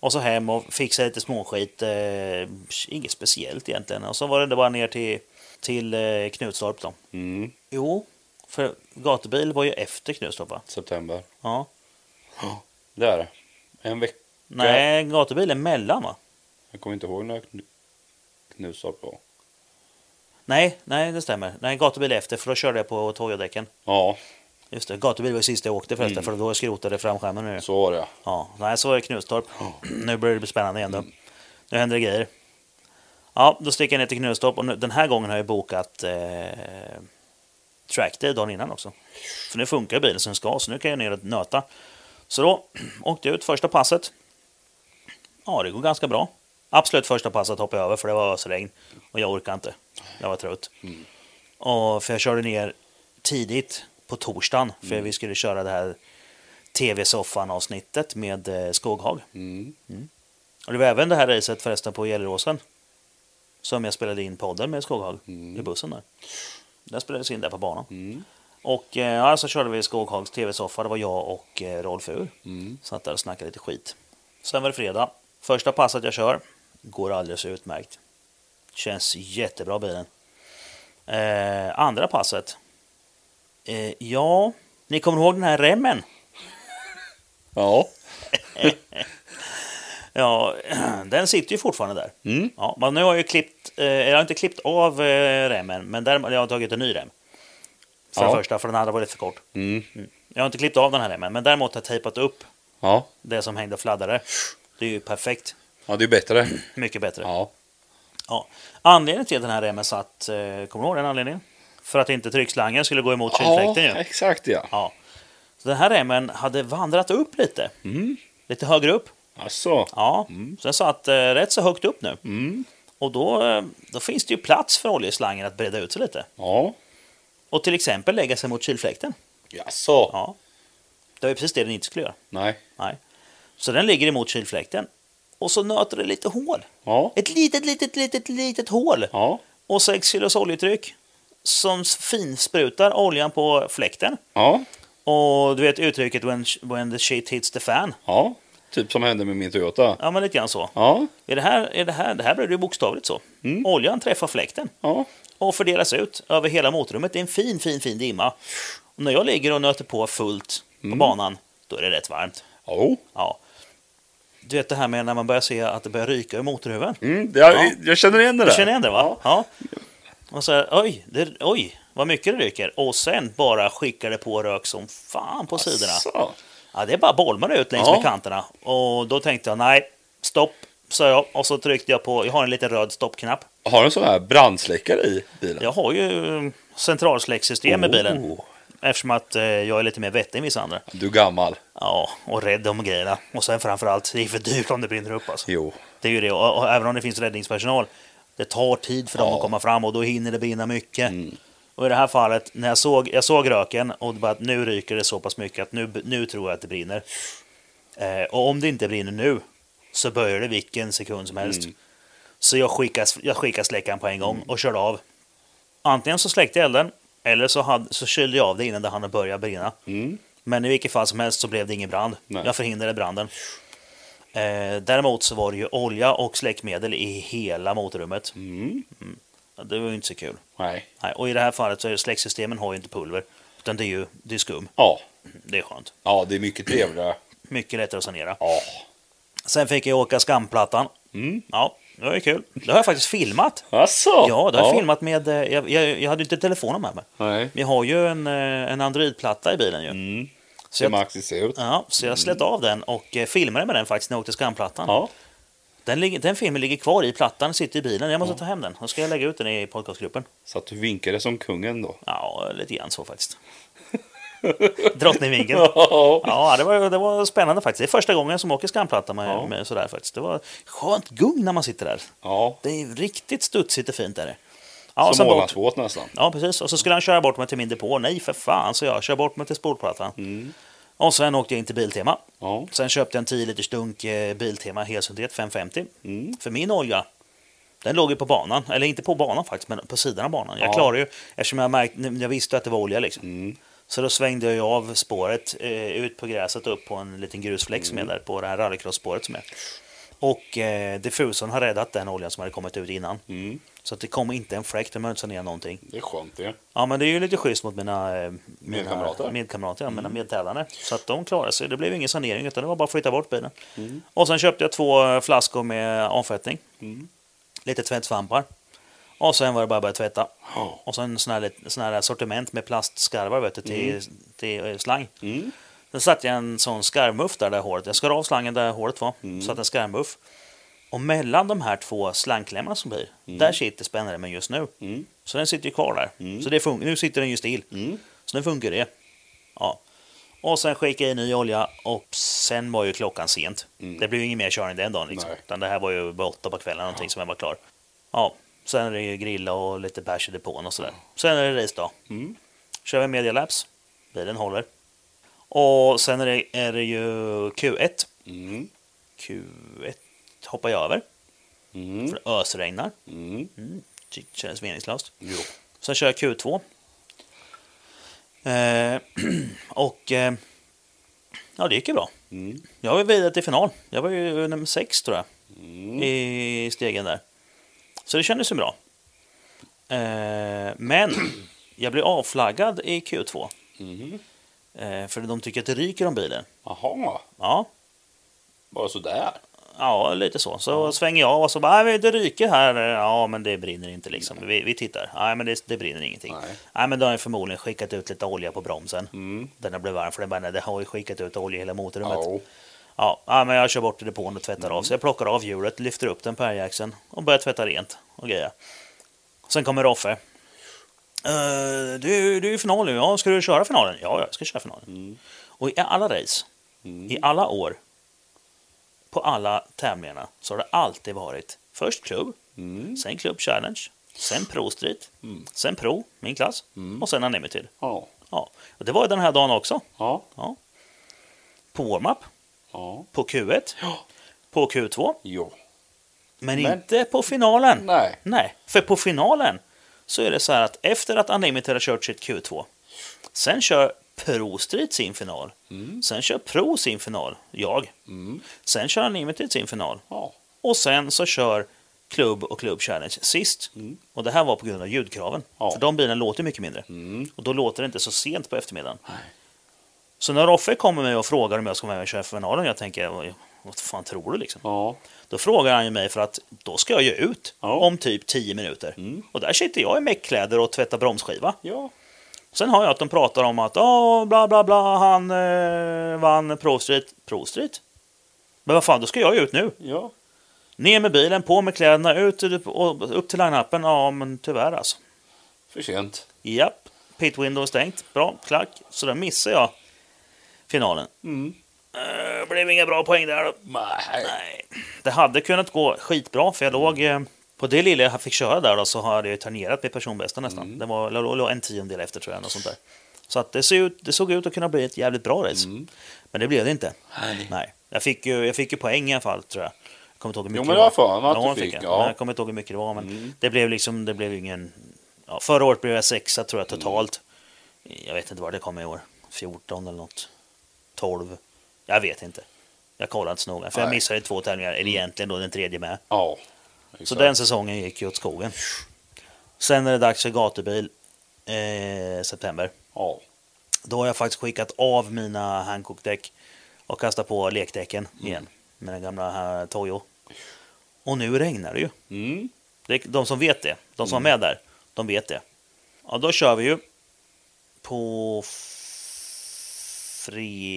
S1: Och så hem och fixa lite småskit. Eh, inget speciellt egentligen. Och så var det bara ner till, till eh, Knutstorp då.
S2: Mm.
S1: Jo, för gatubil var ju efter Knutstorp va?
S2: September.
S1: Ja.
S2: Det är det. En vecka.
S1: Nej, gatubil är mellan va?
S2: Jag kommer inte ihåg när jag kn- Knutstorp på.
S1: Nej, nej det stämmer. Nej, gatubil är efter för då körde jag på Toyodäcken.
S2: Ja.
S1: Just det, gatubil var ju sist jag åkte förresten, för då skrotade jag framskärmen nu.
S2: Så var det ja.
S1: Ja, nej, så var det Knutstorp. Nu börjar det bli spännande igen då. Nu händer det grejer. Ja, då sticker jag ner till Knutstorp och nu, den här gången har jag bokat eh, trackday dagen innan också. För nu funkar bilen som den ska, så nu kan jag ner och nöta. Så då <clears throat> åkte jag ut första passet. Ja, det går ganska bra. Absolut första passet hoppade jag över för det var ösregn och jag orkade inte. Jag var trött. Och, för jag körde ner tidigt på torsdagen för vi skulle köra det här tv-soffan-avsnittet med eh, Skoghag.
S2: Mm.
S1: Och det var även det här racet förresten på Gelleråsen. Som jag spelade in podden med Skoghag i bussen där. Den spelades in där på banan. Och eh, ja, så körde vi Skoghags tv-soffa. Det var jag och eh, Rolf Ur. Satt där och snackade lite skit. Sen var det fredag. Första passet jag kör går alldeles utmärkt. Känns jättebra bilen. Eh, andra passet. Eh, ja, ni kommer ihåg den här remmen?
S2: Ja.
S1: Ja, <clears throat> den sitter ju fortfarande där.
S2: Mm.
S1: Ja, men nu har jag ju klippt, eh, jag har inte klippt av eh, remmen, men däremot jag har tagit en ny rem. För
S2: Ja.
S1: det första, för den andra var lite för kort.
S2: Mm.
S1: Jag har inte klippt av den här remmen, men däremot har jag tejpat upp
S2: Ja.
S1: det som hängde och fladdrade. Det är ju perfekt,
S2: ja, det är bättre.
S1: mycket bättre. Ja.
S2: Ja.
S1: Anledningen till att den här remmen satt, eh, kommer du ihåg den anledningen? För att inte tryckslangen skulle gå emot kylfläkten ju.
S2: exakt ja.
S1: Ja. Så den här remmen hade vandrat upp lite,
S2: Mm.
S1: lite högre upp.
S2: Alltså.
S1: Ja, så den satt eh, rätt så högt upp nu. Och då, eh, då finns det ju plats för oljeslangen att breda ut sig lite.
S2: Ja.
S1: Och till exempel lägga sig mot kylfläkten.
S2: Jaså?
S1: Ja. Det var ju precis det den inte skulle göra.
S2: Nej.
S1: Nej. Så den ligger emot kylfläkten. Och så nöter det lite hål.
S2: Ja.
S1: Ett litet, litet, litet, litet hål.
S2: Ja.
S1: Och 6 kilos oljetryck. Som finsprutar oljan på fläkten.
S2: Ja.
S1: Och du vet uttrycket when, when the shit hits the fan.
S2: Ja. Typ som hände med min Toyota.
S1: Ja, men lite grann så.
S2: Ja.
S1: Är det, här, är det, här, det här blev det ju bokstavligt så. Oljan träffar fläkten.
S2: Ja.
S1: och fördelas ut över hela motorrummet. Det är en fin, fin, fin dimma. Och när jag ligger och nöter på fullt på
S2: Mm.
S1: banan, då är det rätt varmt.
S2: Jo.
S1: Ja. Du vet det här med när man börjar se att det börjar ryka ur motorhuven.
S2: Mm, jag,
S1: Ja.
S2: jag känner igen det där.
S1: Du känner igen det va? Ja. Och så här, oj, det, oj, vad mycket det ryker. Och sen bara skickar det på rök som fan på sidorna.
S2: Asså.
S1: Ja, det är bara bolmar ut längs
S2: Ja.
S1: med kanterna. Och då tänkte jag, nej, stopp, sa jag. Och så tryckte jag på, jag har en liten röd stoppknapp.
S2: Har du en sån här brandsläckare i bilen?
S1: Jag har ju centralsläcksystem i bilen.
S2: Oh,
S1: Eftersom att eh, jag är lite mer vettig än vissa andra.
S2: du är gammal.
S1: Ja, och rädd om grejerna. Och sen framförallt, det är för dyrt om det brinner upp. Alltså.
S2: Jo.
S1: Det är ju det. Och, och även om det finns räddningspersonal, det tar tid för dem
S2: Ja. Mm.
S1: att komma fram och då hinner det brinna mycket. Och i det här fallet, när jag såg, jag såg röken och bara att nu ryker det så pass mycket att nu, nu tror jag att det brinner. Eh, och om det inte brinner nu så börjar det vilken sekund som helst.
S2: Mm.
S1: Så jag skickade, jag skickade släckaren på en gång och körde av. Antingen så släckte jag elden eller så, hade, så kylde jag av det innan det hann börja brinna. Men i vilket fall som helst så blev det ingen brand.
S2: Mm. Nej.
S1: Jag förhindrade branden. Eh, däremot så var det ju olja och släckmedel i hela motorrummet.
S2: Mm.
S1: Ja, Det var ju inte så kul.
S2: Nej.
S1: Nej, och i det här fallet så är det släcksystemen har ju inte pulver. Utan det är ju det är skum.
S2: Ja.
S1: Det är skönt.
S2: ja, det är mycket trevligare.
S1: Mycket lättare att sanera.
S2: Ja.
S1: Sen fick jag åka skamplattan.
S2: Mm.
S1: Ja, det var ju kul. Det har jag faktiskt filmat.
S2: Alltså.
S1: Ja, det har jag filmat med... eh, Jag, jag, jag hade ju inte telefonen med mig.
S2: Nej.
S1: Vi har ju en, eh, en Android-platta i bilen ju.
S2: Mm.
S1: Så
S2: Ser
S1: jag,
S2: Maxi se ut?
S1: ja, så jag slet av den och eh, filmade med den faktiskt när jag åkte skamplattan.
S2: Ja.
S1: Den, ligger- den filmen ligger kvar i plattan, sitter i bilen. Jag måste ta hem den. Då ska jag lägga ut den i podcastgruppen.
S2: Så att du vinkade som kungen då.
S1: Ja, lite grann
S2: <laughs>
S1: så faktiskt. Drottningvinkeln.
S2: Ja.
S1: Ja, det var, det var spännande faktiskt. Det är första gången som jag åker skamplatta med,
S2: Ja.
S1: med sådär faktiskt. Det var skönt gung när man sitter där.
S2: ja.
S1: Det är riktigt studsigt och fint är det. Ja,
S2: Som
S1: sen bort.
S2: målartvåt nästan.
S1: Ja, precis. Och så skulle han köra bort mig till min depå. Nej, för fan, så jag. Kör bort mig till spolplattan.
S2: Mm.
S1: Och sen åkte jag in till Biltema.
S2: Ja.
S1: Sen köpte jag en 10 liters dunk eh, Biltema helsyntet 550.
S2: Mm.
S1: För min olja, den låg ju på banan. Eller inte på banan faktiskt, men på sidan av banan.
S2: Ja.
S1: Jag
S2: Mm.
S1: klarade ju, eftersom jag, märkte, jag visste att det var olja liksom. Så då svängde jag ju av spåret eh, ut på gräset upp på en liten grusfläck som är
S2: Mm.
S1: där på det här rallycross-spåret som är. Och eh, diffusorn har räddat den oljan som hade kommit ut innan.
S2: Mm.
S1: Så att det kom inte en fläkt, de har inte sanerat någonting.
S2: Det är skönt det.
S1: Ja, men det är ju lite schysst mot mina, eh, mina
S2: Medkamrater.
S1: medkamrater ja, mina medtävlande. Så att de klarade sig. Det blev ingen sanering, utan det var bara att flytta bort bilen. Och sen köpte jag två eh, flaskor med avfettning. Lite tvättsvampar. Och sen var det bara att börja tvätta.
S2: Ja.
S1: Och sen sån här, lit- sån här sortiment med plastskarvar vet du, till, till eh, slang.
S2: Mm.
S1: Sen satte jag en sån skarvmuff där, där håret. Jag skar av slangen där håret var.
S2: Mm.
S1: Satte en skarvmuff. Och mellan de här två slangklämmarna som blir, där sitter spännaren med just nu.
S2: Mm.
S1: Så den sitter ju kvar där. Så det fun- nu sitter den ju still. Så nu funkar det. Ja. Och sen skickade jag i ny olja och sen var ju klockan sent. Det blev ju ingen mer körning den dagen. Liksom.
S2: Mm. Nej.
S1: Utan det här var ju bara åtta på kvällen någonting som jag var klar. Ja. Sen är det ju grilla och lite bärs i depån och sådär. Sen är det racedag.
S2: Mm.
S1: Kör vi medialaps. Bilen håller. Och sen är det, är det ju Q1.
S2: Mm.
S1: Q1 hoppar jag över.
S2: Mm.
S1: För det ösregnar.
S2: Mm.
S1: Mm. Det känns meningslöst.
S2: Jo.
S1: Sen kör jag Q2. Eh, <clears throat> och eh, ja, det gick ju bra.
S2: Mm.
S1: Jag var ju vidare till final. Jag var ju nummer sex tror jag
S2: Mm.
S1: i stegen där. Så det kändes ju bra. Eh, men <clears throat> jag blev avflaggad i Q2.
S2: Mm.
S1: Eh, för de tycker att det ryker om bilen.
S2: Jaha,
S1: Ja,
S2: bara sådär.
S1: ja lite så. Så svänger jag av och så bara, "Nej, det ryker här. Ja, men det brinner inte liksom. Vi, vi tittar. Nej, men det, det brinner ingenting.
S2: Nej.
S1: Nej, men då har jag förmodligen skickat ut lite olja på bromsen.
S2: Mm.
S1: Den har blivit varm för den bara, nej, det har ju skickat ut olja i hela motorrummet.
S2: Ja.
S1: Ja, ja, men jag kör bort till depån och tvättar
S2: Mm.
S1: av. Så jag plockar av hjulet, lyfter upp den på älgaxeln och börjar tvätta rent och grejer. Sen kommer Roffe. Eh, du, du är i final nu. Ja, ska du köra finalen? Ja, jag ska köra finalen. Och i alla race,
S2: Mm.
S1: i alla år, på alla tävlingarna så har det alltid varit först klubb,
S2: Mm.
S1: sen klubb challenge, sen pro street, sen pro, min klass,
S2: Mm.
S1: och sen unlimited.
S2: Ja.
S1: Ja, och det var ju den här dagen också.
S2: Ja.
S1: På warm-up,
S2: Ja.
S1: på Q1,
S2: Ja.
S1: på Q2,
S2: Jo.
S1: men,
S2: Men-
S1: inte på finalen.
S2: Nej.
S1: Nej, för på finalen så är det så här att efter att Unlimited har kört sitt Q2, sen kör Pro Street sin final, sen kör Pro sin final, jag,
S2: Mm.
S1: sen kör Unlimited sin final,
S2: Ja.
S1: och sen så kör Club och Club Challenge sist. Och det här var på grund av ljudkraven,
S2: Mm. Ja.
S1: för de bilarna låter mycket mindre.
S2: Mm.
S1: Och då låter det inte så sent på eftermiddagen.
S2: Nej.
S1: Så när Roffe kommer med och frågar om jag ska vara med och köra finalen, jag tänker, "Vad- vad fan tror du liksom?
S2: Ja.
S1: Då frågar han ju mig för att då ska jag ju ut
S2: Ja. Mm.
S1: om typ 10 minuter. Och där sitter jag i meckkläder och tvättar bromsskiva.
S2: Ja.
S1: Sen hör jag att de pratar om att oh, bla bla bla, han eh, vann Pro Street. Pro Street? Men vad fan, då ska jag ju ut nu.
S2: Ja.
S1: Ner med bilen, på med kläderna, ut och upp till line-upen. Ja, men tyvärr alltså.
S2: För sent.
S1: Japp, pit window är stängt. Bra, klack. Så där missar jag finalen.
S2: Mm.
S1: Eh, blev inga bra poäng där då.
S2: Nej.
S1: Nej, det hade kunnat gå skitbra för jag låg eh, på det lilla jag fick köra där då, så har jag ju tangerat mitt personbästa nästan. Det var jag låg en tiondel efter tror jag. Något sånt där. Så att det, såg ut, det såg ut att kunna bli ett jävligt bra race. Men det blev det inte.
S2: Nej.
S1: Nej. Jag fick ju, jag fick ju poäng i alla fall tror jag. Jag kommer inte ihåg hur mycket
S2: men
S1: det var
S2: jag har för mig att
S1: Ja,
S2: du
S1: det
S2: fick,
S1: jag.
S2: ja. Mm.
S1: Men Jag kommer inte ihåg hur mycket det var. Men det blev liksom, det blev ingen... Ja, förra året blev jag sexa tror
S2: Mm.
S1: jag totalt. Jag vet inte vad det kom i år. 14 eller något. 12. Jag vet inte. Jag kollade inte så noga. För jag
S2: Nej. Mm.
S1: missade två tävlingar, eller egentligen då den tredje med.
S2: Ja.
S1: Så den säsongen gick ju åt skogen. Sen är det dags för gatubil. Eh, september.
S2: Ja.
S1: Då har jag faktiskt skickat av mina Hancock-däck och kastat på lekdäcken igen. Mina gamla här Toyo. Och nu regnar det ju.
S2: Mm.
S1: Det- De som vet det, de som var med där, de vet det. Ja, då kör vi ju. På f-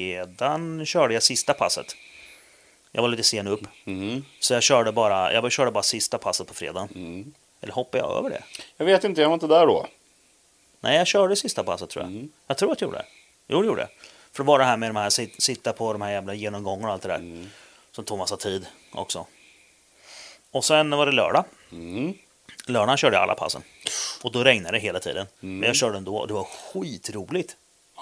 S1: fredagen körde jag sista passet. Jag var lite sen upp,
S2: Mm.
S1: så jag körde bara, jag körde bara sista passet på fredagen.
S2: Mm.
S1: Eller hoppade jag över det?
S2: Jag vet inte, jag var inte där då.
S1: Nej, jag körde sista passet tror jag.
S2: Mm.
S1: Jag tror att jag gjorde det. Jo, det gjorde jag. För det var det här med de här, sit- sitta på de här jävla genomgångarna och allt det där.
S2: Mm.
S1: Som tog massa tid också. Och sen var det lördag.
S2: Mm.
S1: Lördagen körde jag alla passen. Och då regnade det hela tiden.
S2: Mm.
S1: Men jag körde ändå. Det var skitroligt.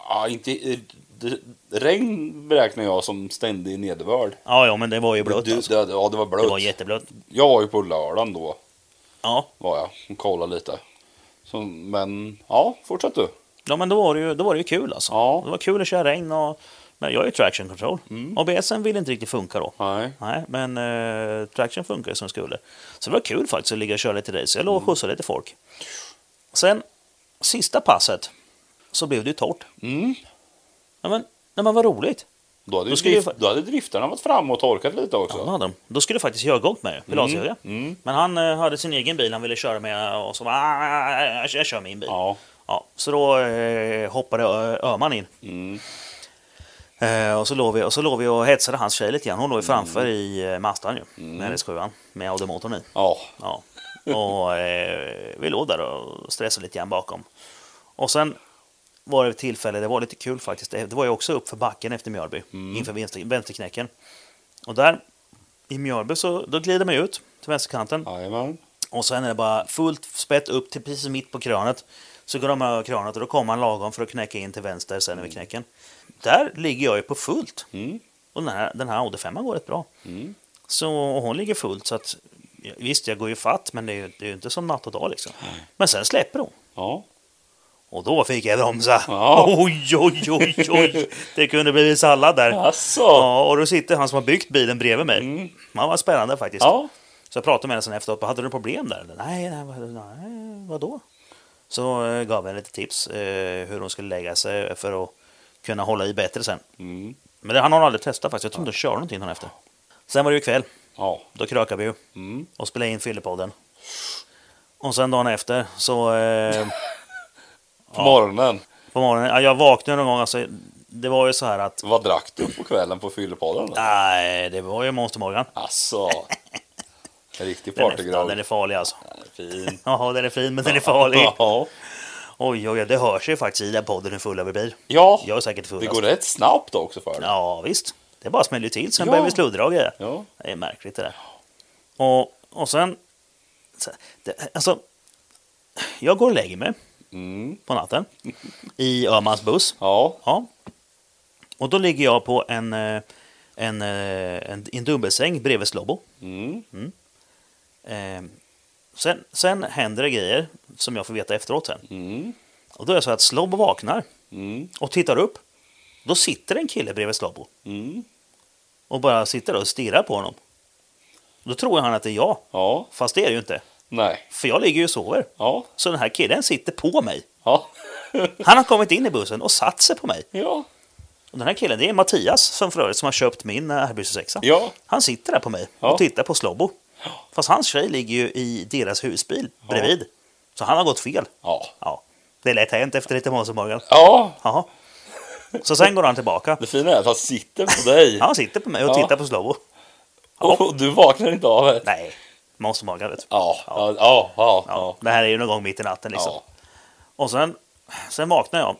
S2: Ja, inte... eh, det- Regn beräknar jag som ständig nederbörd.
S1: Ja, ja, men det var ju blött
S2: Du-
S1: alltså.
S2: det, ja, det var blött.
S1: Det var jätteblött.
S2: Jag var ju på lördagen då,
S1: Ja,
S2: var jag, och kollade lite. Så, men, ja, fortsätt du.
S1: ja men då var, det ju, då var det ju kul alltså.
S2: Ja. Mm.
S1: Det var kul att köra regn och... Men jag är ju traction control. ABSen ville inte riktigt funka då.
S2: Nej.
S1: Nej, men eh, traction funkar som det skulle. Så det var kul faktiskt att ligga och köra lite race. Jag låg
S2: Mm.
S1: och skjutsade lite folk. Sen, sista passet, så blev det ju torrt.
S2: Mm.
S1: Ja, men, nej, men vad roligt.
S2: Då hade,
S1: Då
S2: ju
S1: skulle
S2: drift,
S1: ju fa-
S2: då hade driftarna varit framme och torkat lite också.
S1: Ja, det hade de. Då skulle faktiskt jag gått
S2: Mm.
S1: med ju, Pilatus-Jörgen. Men han eh, hade sin egen bil han ville köra med och så bara, "Ah, jag, jag kör min bil.
S2: Ja.
S1: Ja, så då eh, hoppade Ö- Öhman in.
S2: Mm.
S1: Eh, och, så låg vi, och så låg vi och hetsade hans tjej lite grann. Hon
S2: Mm.
S1: låg ju framför i eh, Mazdan ju, med RS7 med Audi-motorn i.
S2: ja.
S1: Ja. Och eh, vi låg där och stressade lite grann bakom. Och sen var det ett tillfälle, det var lite kul faktiskt. Det var ju också upp för backen efter Mjölby, inför vänster, vänsterknäcken. Och där i Mjölby så då glider man ju ut till vänsterkanten.
S2: Jajamän.
S1: Och sen är det bara fullt spett upp till precis mitt på krönet. Så går de över krönet och då kommer han lagom för att knäcka in till vänster sen över knäcken. Där ligger jag ju på fullt.
S2: Mm.
S1: Och den här, den här Audi 5 går rätt bra.
S2: Mm.
S1: Så, och hon ligger fullt så att visst, jag går ju fatt men det är ju, det är ju inte som natt och dag liksom. Men sen släpper hon.
S2: Ja.
S1: Och då fick jag bromsa.
S2: Ja.
S1: <laughs> Oj, oj, oj, oj. Det kunde bli sallad där.
S2: Jaså?
S1: Ja, och då sitter han som har byggt bilen bredvid mig.
S2: Mm.
S1: Man var spännande faktiskt.
S2: Ja.
S1: Så jag pratade med henne sen efteråt. Hade du problem där? eller?" Nej, nej, vad- nej vadå? Så eh, gav jag henne lite tips eh, hur hon skulle lägga sig för att kunna hålla i bättre sen.
S2: Mm.
S1: Men det hann hon aldrig testa faktiskt. Jag tror inte hon kör någonting dagen efter. Sen var det ju kväll.
S2: Ja.
S1: Då krökade vi ju
S2: Mm.
S1: och spelade in Fyllepodden. Och sen dagen efter så... Eh,
S2: På morgonen.
S1: på morgonen, ja, jag vaknade någon gång. Alltså, det var ju så här att...
S2: Vad drack du på kvällen på fyllepodden? då?
S1: Nej, det var ju Monster Morgan.
S2: Alltså. En riktig
S1: Den är, ja,
S2: partygrogg.
S1: den är farlig alltså.
S2: fin.
S1: Ja, den är fin men den är farlig.
S2: Ja.
S1: Oj, oj, oj, det hörs ju faktiskt i den podden hur fulla vi blir.
S2: Ja.
S1: Jag är säkert full.
S2: Det
S1: alltså.
S2: går rätt snabbt också för dig.
S1: Ja, visst. Det bara smäller ju till, sen
S2: Ja.
S1: börjar vi sluddra och grejer.
S2: Ja.
S1: Det är märkligt det där. Och, och sen... så- Det, alltså, jag går och lägger mig
S2: Mm.
S1: på natten i Öhmans buss.
S2: Ja.
S1: Ja. Och då ligger jag på en, eh, en, eh, en, en dubbelsäng bredvid Slobo.
S2: Mm.
S1: Eh, Sen, sen händer det grejer som jag får veta efteråt sen.
S2: Mm.
S1: Och då är det så att Slobo vaknar
S2: Mm.
S1: och tittar upp. Då sitter en kille bredvid Slobo
S2: Mm.
S1: och bara sitter och stirrar på honom. Då tror han att det är jag,
S2: Ja.
S1: fast det är det ju inte.
S2: Nej.
S1: För jag ligger ju och sover.
S2: Ja.
S1: Så den här killen sitter på mig.
S2: Ja. <laughs>
S1: Han har kommit in i bussen och satt sig på mig.
S2: Ja.
S1: Och den här killen, det är Mattias som för övrigt som har köpt min eh, RB26.
S2: Ja.
S1: Han sitter där på mig
S2: Ja.
S1: och tittar på Slobbo. Fast hans tjej ligger ju i deras husbil bredvid. Så han har gått fel.
S2: Ja.
S1: Ja, det är lätt hänt efter lite Måns och Morgan.
S2: Ja.
S1: Jaha. Så sen går han tillbaka.
S2: Det fina är att han sitter på dig.
S1: Han sitter på mig och
S2: Ja.
S1: tittar på Slobbo.
S2: Och du vaknar inte av det.
S1: Nej, Måns och Morgan vet du.
S2: Ja. Ja. Ja. Ja.
S1: Ja,
S2: Ja.
S1: det här är ju någon gång mitt i natten liksom.
S2: Ja.
S1: Och sen, sen vaknar jag.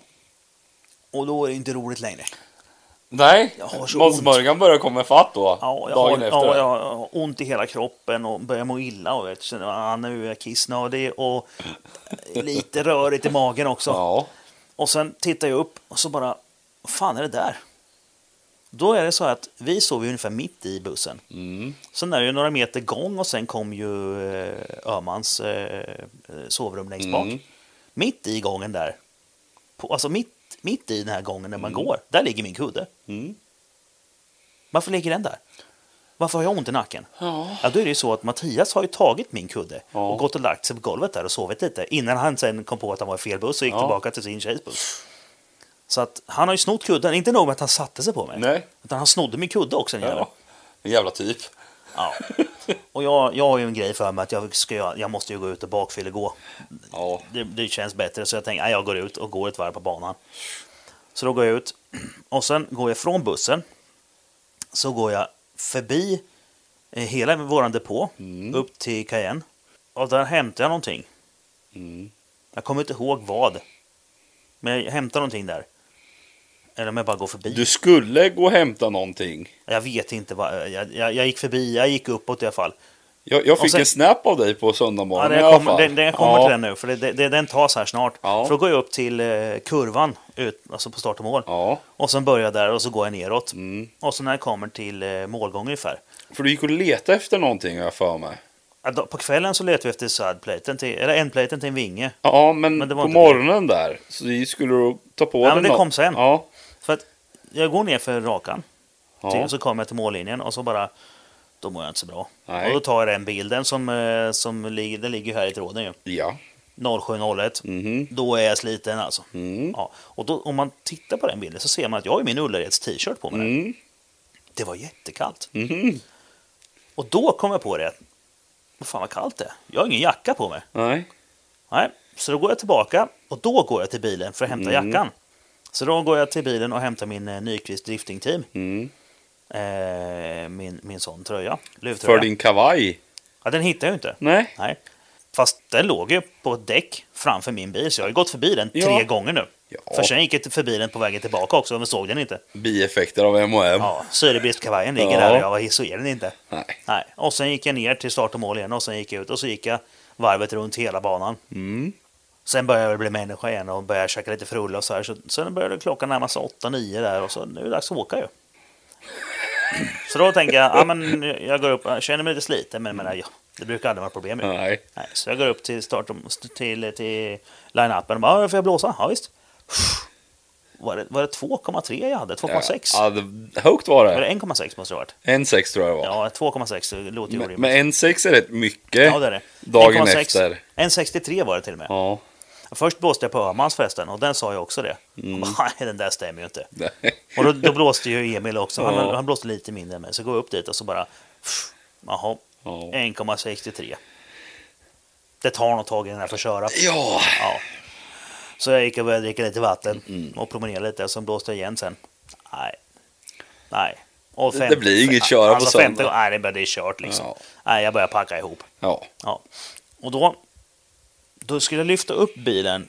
S1: Och då är det inte roligt längre.
S2: Nej.
S1: Jag har så
S2: Måns
S1: ont.
S2: Morgan börjar komma ifatt då.
S1: Ja, jag, har,
S2: dagen efter.
S1: ja, jag har ont i hela kroppen och börjar må illa. Och jag känner att ah, nu är jag kissnödig och lite rörigt i magen också.
S2: Ja.
S1: Och sen tittar jag upp och så bara, vad fan är det där? Då är det så att vi sov ju ungefär mitt i bussen.
S2: Mm.
S1: Sen är det ju några meter gång och sen kom ju eh, Öhmans eh, eh, sovrum längst bak.
S2: Mm.
S1: Mitt i gången där, på, alltså mitt, mitt i den här gången när man går, där ligger min kudde.
S2: Mm.
S1: Varför ligger den där? Varför har jag ont i nacken?
S2: Ja.
S1: Ja, då är det ju så att Mattias har ju tagit min kudde
S2: Ja.
S1: och gått och lagt sig på golvet där och sovit lite innan han sen kom på att han var i fel buss och gick
S2: Ja.
S1: tillbaka till sin tjejs buss. Så att han har ju snott kudden, inte nog med att han satte sig på mig,
S2: Nej.
S1: utan han snodde min kudde också. den jäveln.
S2: Ja. En jävla typ. <laughs>
S1: Ja. Och jag, jag har ju en grej för mig att jag, ska, göra- jag måste ju gå ut och bakfyllegå.
S2: Ja.
S1: Det, det känns bättre så jag tänkte att jag går ut och går ett varv på banan. Så då går jag ut och sen går jag från bussen. Så går jag förbi eh, hela våran depå upp till Cayenne. Och där hämtar jag någonting.
S2: Mm.
S1: Jag kommer inte ihåg vad. Men jag hämtar någonting där. Eller om jag bara går förbi.
S2: Du skulle gå och hämta någonting.
S1: Jag vet inte vad. eh, Jag, jag, jag gick förbi. Jag gick uppåt i alla fall.
S2: Jag, jag
S1: Och
S2: fick
S1: sen-
S2: en snap av dig på söndag
S1: Ja,
S2: morgon
S1: den
S2: i alla
S1: kommer,
S2: fall.
S1: den, den kommer
S2: ja.
S1: till den nu, för det, det, den tas här snart.
S2: Ja.
S1: För då går jag upp till eh, kurvan, ut, alltså på start och mål.
S2: Ja.
S1: Och sen börjar jag där och så går jag neråt.
S2: Mm.
S1: Och så när jag kommer till eh, målgång ungefär.
S2: För du gick och letade efter någonting har jag för mig.
S1: Ja, då- På kvällen så letar vi efter sadplaten, till, eller endplaten till en vinge.
S2: Ja, men,
S1: Men det var
S2: på
S1: inte
S2: morgonen där så skulle du ta på
S1: Ja,
S2: dig
S1: men det
S2: nå-
S1: kom sen.
S2: Ja.
S1: För att jag går ner för rakan, till,
S2: ja.
S1: och så kommer jag till mållinjen och så bara, då mår jag inte så bra.
S2: Nej.
S1: Och då tar jag den bilden som, eh, som ligger, den ligger ju här i tråden ju.
S2: ja.
S1: 07.01.
S2: Mhm.
S1: Då är jag sliten alltså.
S2: Mm.
S1: Ja. Och då, om man tittar på den bilden så ser man att jag har ju min Ullareds t-shirt på mig. där.
S2: Mm.
S1: Det var jättekallt.
S2: Mhm.
S1: Och då kom jag på det. Vad fan vad kallt det är. Jag har ingen jacka på mig.
S2: Nej.
S1: Nej, så då går jag tillbaka och då går jag till bilen för att hämta
S2: Mm.
S1: jackan. Så då går jag till bilen och hämtar min eh, Nyqvist Drifting Team.
S2: Mm.
S1: Eh, min, min sån tröja. Luvtröja.
S2: För din kavaj?
S1: Ja, den hittar jag ju inte.
S2: Nej.
S1: Nej. Fast den låg ju på ett däck framför min bil, så jag har ju gått förbi den
S2: Ja.
S1: tre gånger nu.
S2: Ja.
S1: För sen gick jag förbi den på vägen tillbaka också, men såg den inte.
S2: Bieffekter av M&M.
S1: Ja, syrebrist-kavajen ligger
S2: Ja.
S1: där och jag var, så är den inte.
S2: Nej.
S1: Nej. Och sen gick jag ner till start och mål igen och sen gick jag ut och så gick jag varvet runt hela banan.
S2: Mm.
S1: Sen började jag bli människa igen och började käka lite frulle och så här. Så, sen började klockan närma sig åtta, nio där och så nu är det dags att åka ju. Så då tänker jag, ja men jag går upp, jag känner mig lite sliten men, men ja, det brukar aldrig vara problem ju.
S2: Nej.
S1: Nej, så jag går upp till start till, till line-upen och bara, "Ja, får jag blåsa? Ja, visst. Var det, var det 2,3 jag hade? 2,6?
S2: Ja, det, högt var
S1: Var det
S2: det.
S1: 1,6 måste det ha varit?
S2: 1,6 tror jag det var.
S1: Ja, 2,6 det låter ju
S2: men
S1: orimligt.
S2: men 1,6 är rätt mycket.
S1: ja, det är det.
S2: Eh, Dagen
S1: 1,6.
S2: efter.
S1: 1,63 var det till och med.
S2: Ja.
S1: Först blåste jag på Öhmans förresten och den sa ju också det.
S2: Mm.
S1: Jag bara, <laughs> Nej, den där stämmer ju inte.
S2: Nej.
S1: Och då, då blåste ju Emil också. Han,
S2: Ja.
S1: han blåste lite mindre än mig. Så går jag upp dit och så bara... pff, Jaha,
S2: Ja.
S1: 1,63. Det tar nog tag innan jag får köra.
S2: Ja.
S1: Ja. Så jag gick och började dricka lite vatten
S2: Mm.
S1: och promenera lite, sen blåste jag igen sen. Nej. Nej. Och
S2: Det- det blir inget köra på
S1: alltså
S2: söndag.
S1: femte gången- Nej, det började- det är kört liksom.
S2: Ja.
S1: Nej, jag började packa ihop.
S2: Ja.
S1: Ja. Och då, då skulle jag lyfta upp bilen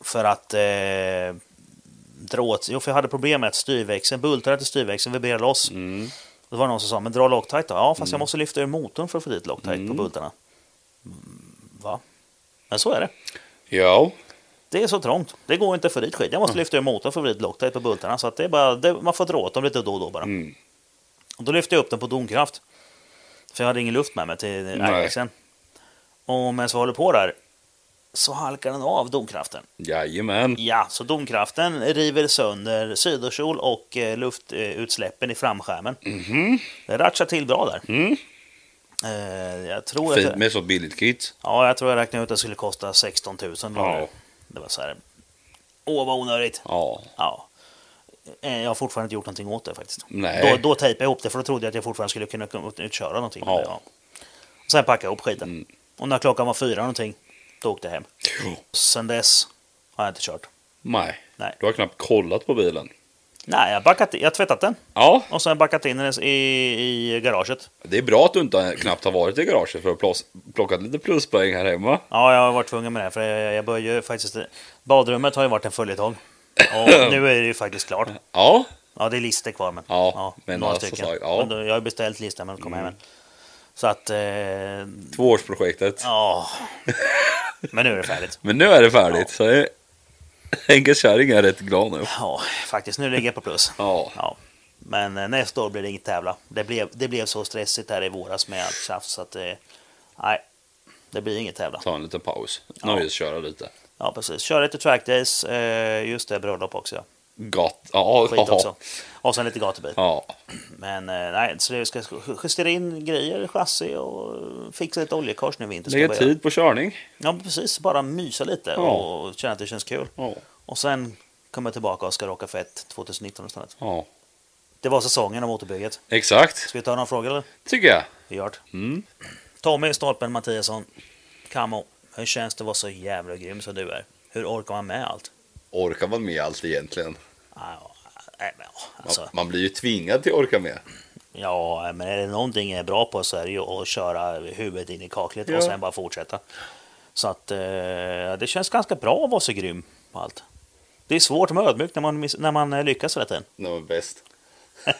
S1: för att eh, dra åt... Jo, för jag hade problem med att styrväxeln, bultarna till styrväxeln vibrerade loss.
S2: Mm.
S1: Det var någon som sa, men dra Loctite då. Ja, fast jag måste lyfta ur motorn för att få dit Loctite på bultarna. Mm, Va? Men så är det.
S2: Ja.
S1: Det är så trångt. Det går inte för dit skit. Jag måste lyfta ur motorn för att vrida Loctite på bultarna. Så att det är bara, det, man får dra åt dem lite då och då bara.
S2: Mm.
S1: Och då lyfte jag upp den på domkraft. För jag hade ingen luft med mig till
S2: Nej.
S1: axeln. Och medan jag håller på där så halkar den av domkraften.
S2: Jajamän.
S1: Ja, så domkraften river sönder sidokjol och eh, luftutsläppen i framskärmen. Det ratchar till bra där.
S2: Mhm. Mm.
S1: Eh, jag tror att...
S2: Fint med så billigt kit.
S1: Ja, jag tror jag räknade ut att det skulle kosta 16 000 dollar.
S2: Ja.
S1: Det var så här... Åh, vad onödigt.
S2: Ja.
S1: Ja. Eh, Jag har fortfarande inte gjort någonting åt det faktiskt.
S2: Nej.
S1: Då, då tejpade jag ihop det för då trodde jag att jag fortfarande skulle kunna ut- utköra någonting.
S2: Ja. Mm.
S1: Sen packade jag ihop skiten. Och när klockan var fyra någonting, då åkte jag hem.
S2: Jo.
S1: Sen dess har jag inte kört.
S2: Nej.
S1: Nej.
S2: Du har knappt kollat på bilen.
S1: Nej, jag har backat, jag har tvättat den
S2: Ja.
S1: och sen backat in den i, i garaget.
S2: Det är bra att du inte knappt har varit i garaget för att plås- plockat lite pluspoäng här hemma.
S1: Ja, jag har varit tvungen med det för jag, jag börjar ju faktiskt... Badrummet har ju varit en följetong.
S2: <coughs>
S1: Och nu är det ju faktiskt klart.
S2: Ja.
S1: Ja, det är listor kvar. Men,
S2: Ja, men
S1: några
S2: alltså
S1: stycken.
S2: sagt, ja. Mm.
S1: Men då- jag har ju beställt listan men kom hem än. Så att... Eh,
S2: Tvåårsprojektet. <laughs>
S1: Ja. Men nu är det färdigt.
S2: Men nu är det färdigt. Så är- Henke Kärring är rätt glad nu.
S1: Ja, faktiskt. Nu ligger jag på plus.
S2: Ja.
S1: Ja. Men eh, nästa år blir det inget tävla. Det blev, det blev så stressigt här i våras med allt tjafs så att... Eh, nej, det blir inget tävla.
S2: Ta en liten paus. Nöjesköra lite.
S1: Ja, precis. Kör lite trackdays. Eh, just det, bröllop också.
S2: Gott. Ja.
S1: Skit också.
S2: Ja.
S1: Och sen lite gatubil.
S2: ja.
S1: Men eh, nej, så det ska justera in grejer, chassi och fixa lite oljekors nu i vinter. ska
S2: Lägga
S1: jag börja.
S2: tid på körning.
S1: Ja, precis. Bara mysa lite
S2: Ja.
S1: och känna att det känns kul.
S2: Ja.
S1: Och sen kommer jag tillbaka och ska rocka fett 2019 istället.
S2: Ja.
S1: Det var säsongen av motorbygget.
S2: Exakt.
S1: Ska vi ta några frågor eller?
S2: Tycker jag.
S1: Vi gör det.
S2: Mm.
S1: Tommy Stolpen Mattiasson. Camo, hur känns det att vara så jävla grym som du är? Hur orkar man med allt? Ah,
S3: orkar man med allt egentligen?
S1: Ja, nej, men, ja,
S3: Man,
S1: alltså,
S3: man blir ju tvingad till att orka med.
S1: ja, men är det någonting jag är bra på så är det ju att köra huvudet in i kaklet
S3: Ja.
S1: och sen bara fortsätta. Så att eh, det känns ganska bra att vara så grym på allt. Det är svårt med ödmjuk när man, miss- när man eh, lyckas hela tiden.
S3: När man är bäst.
S1: <laughs>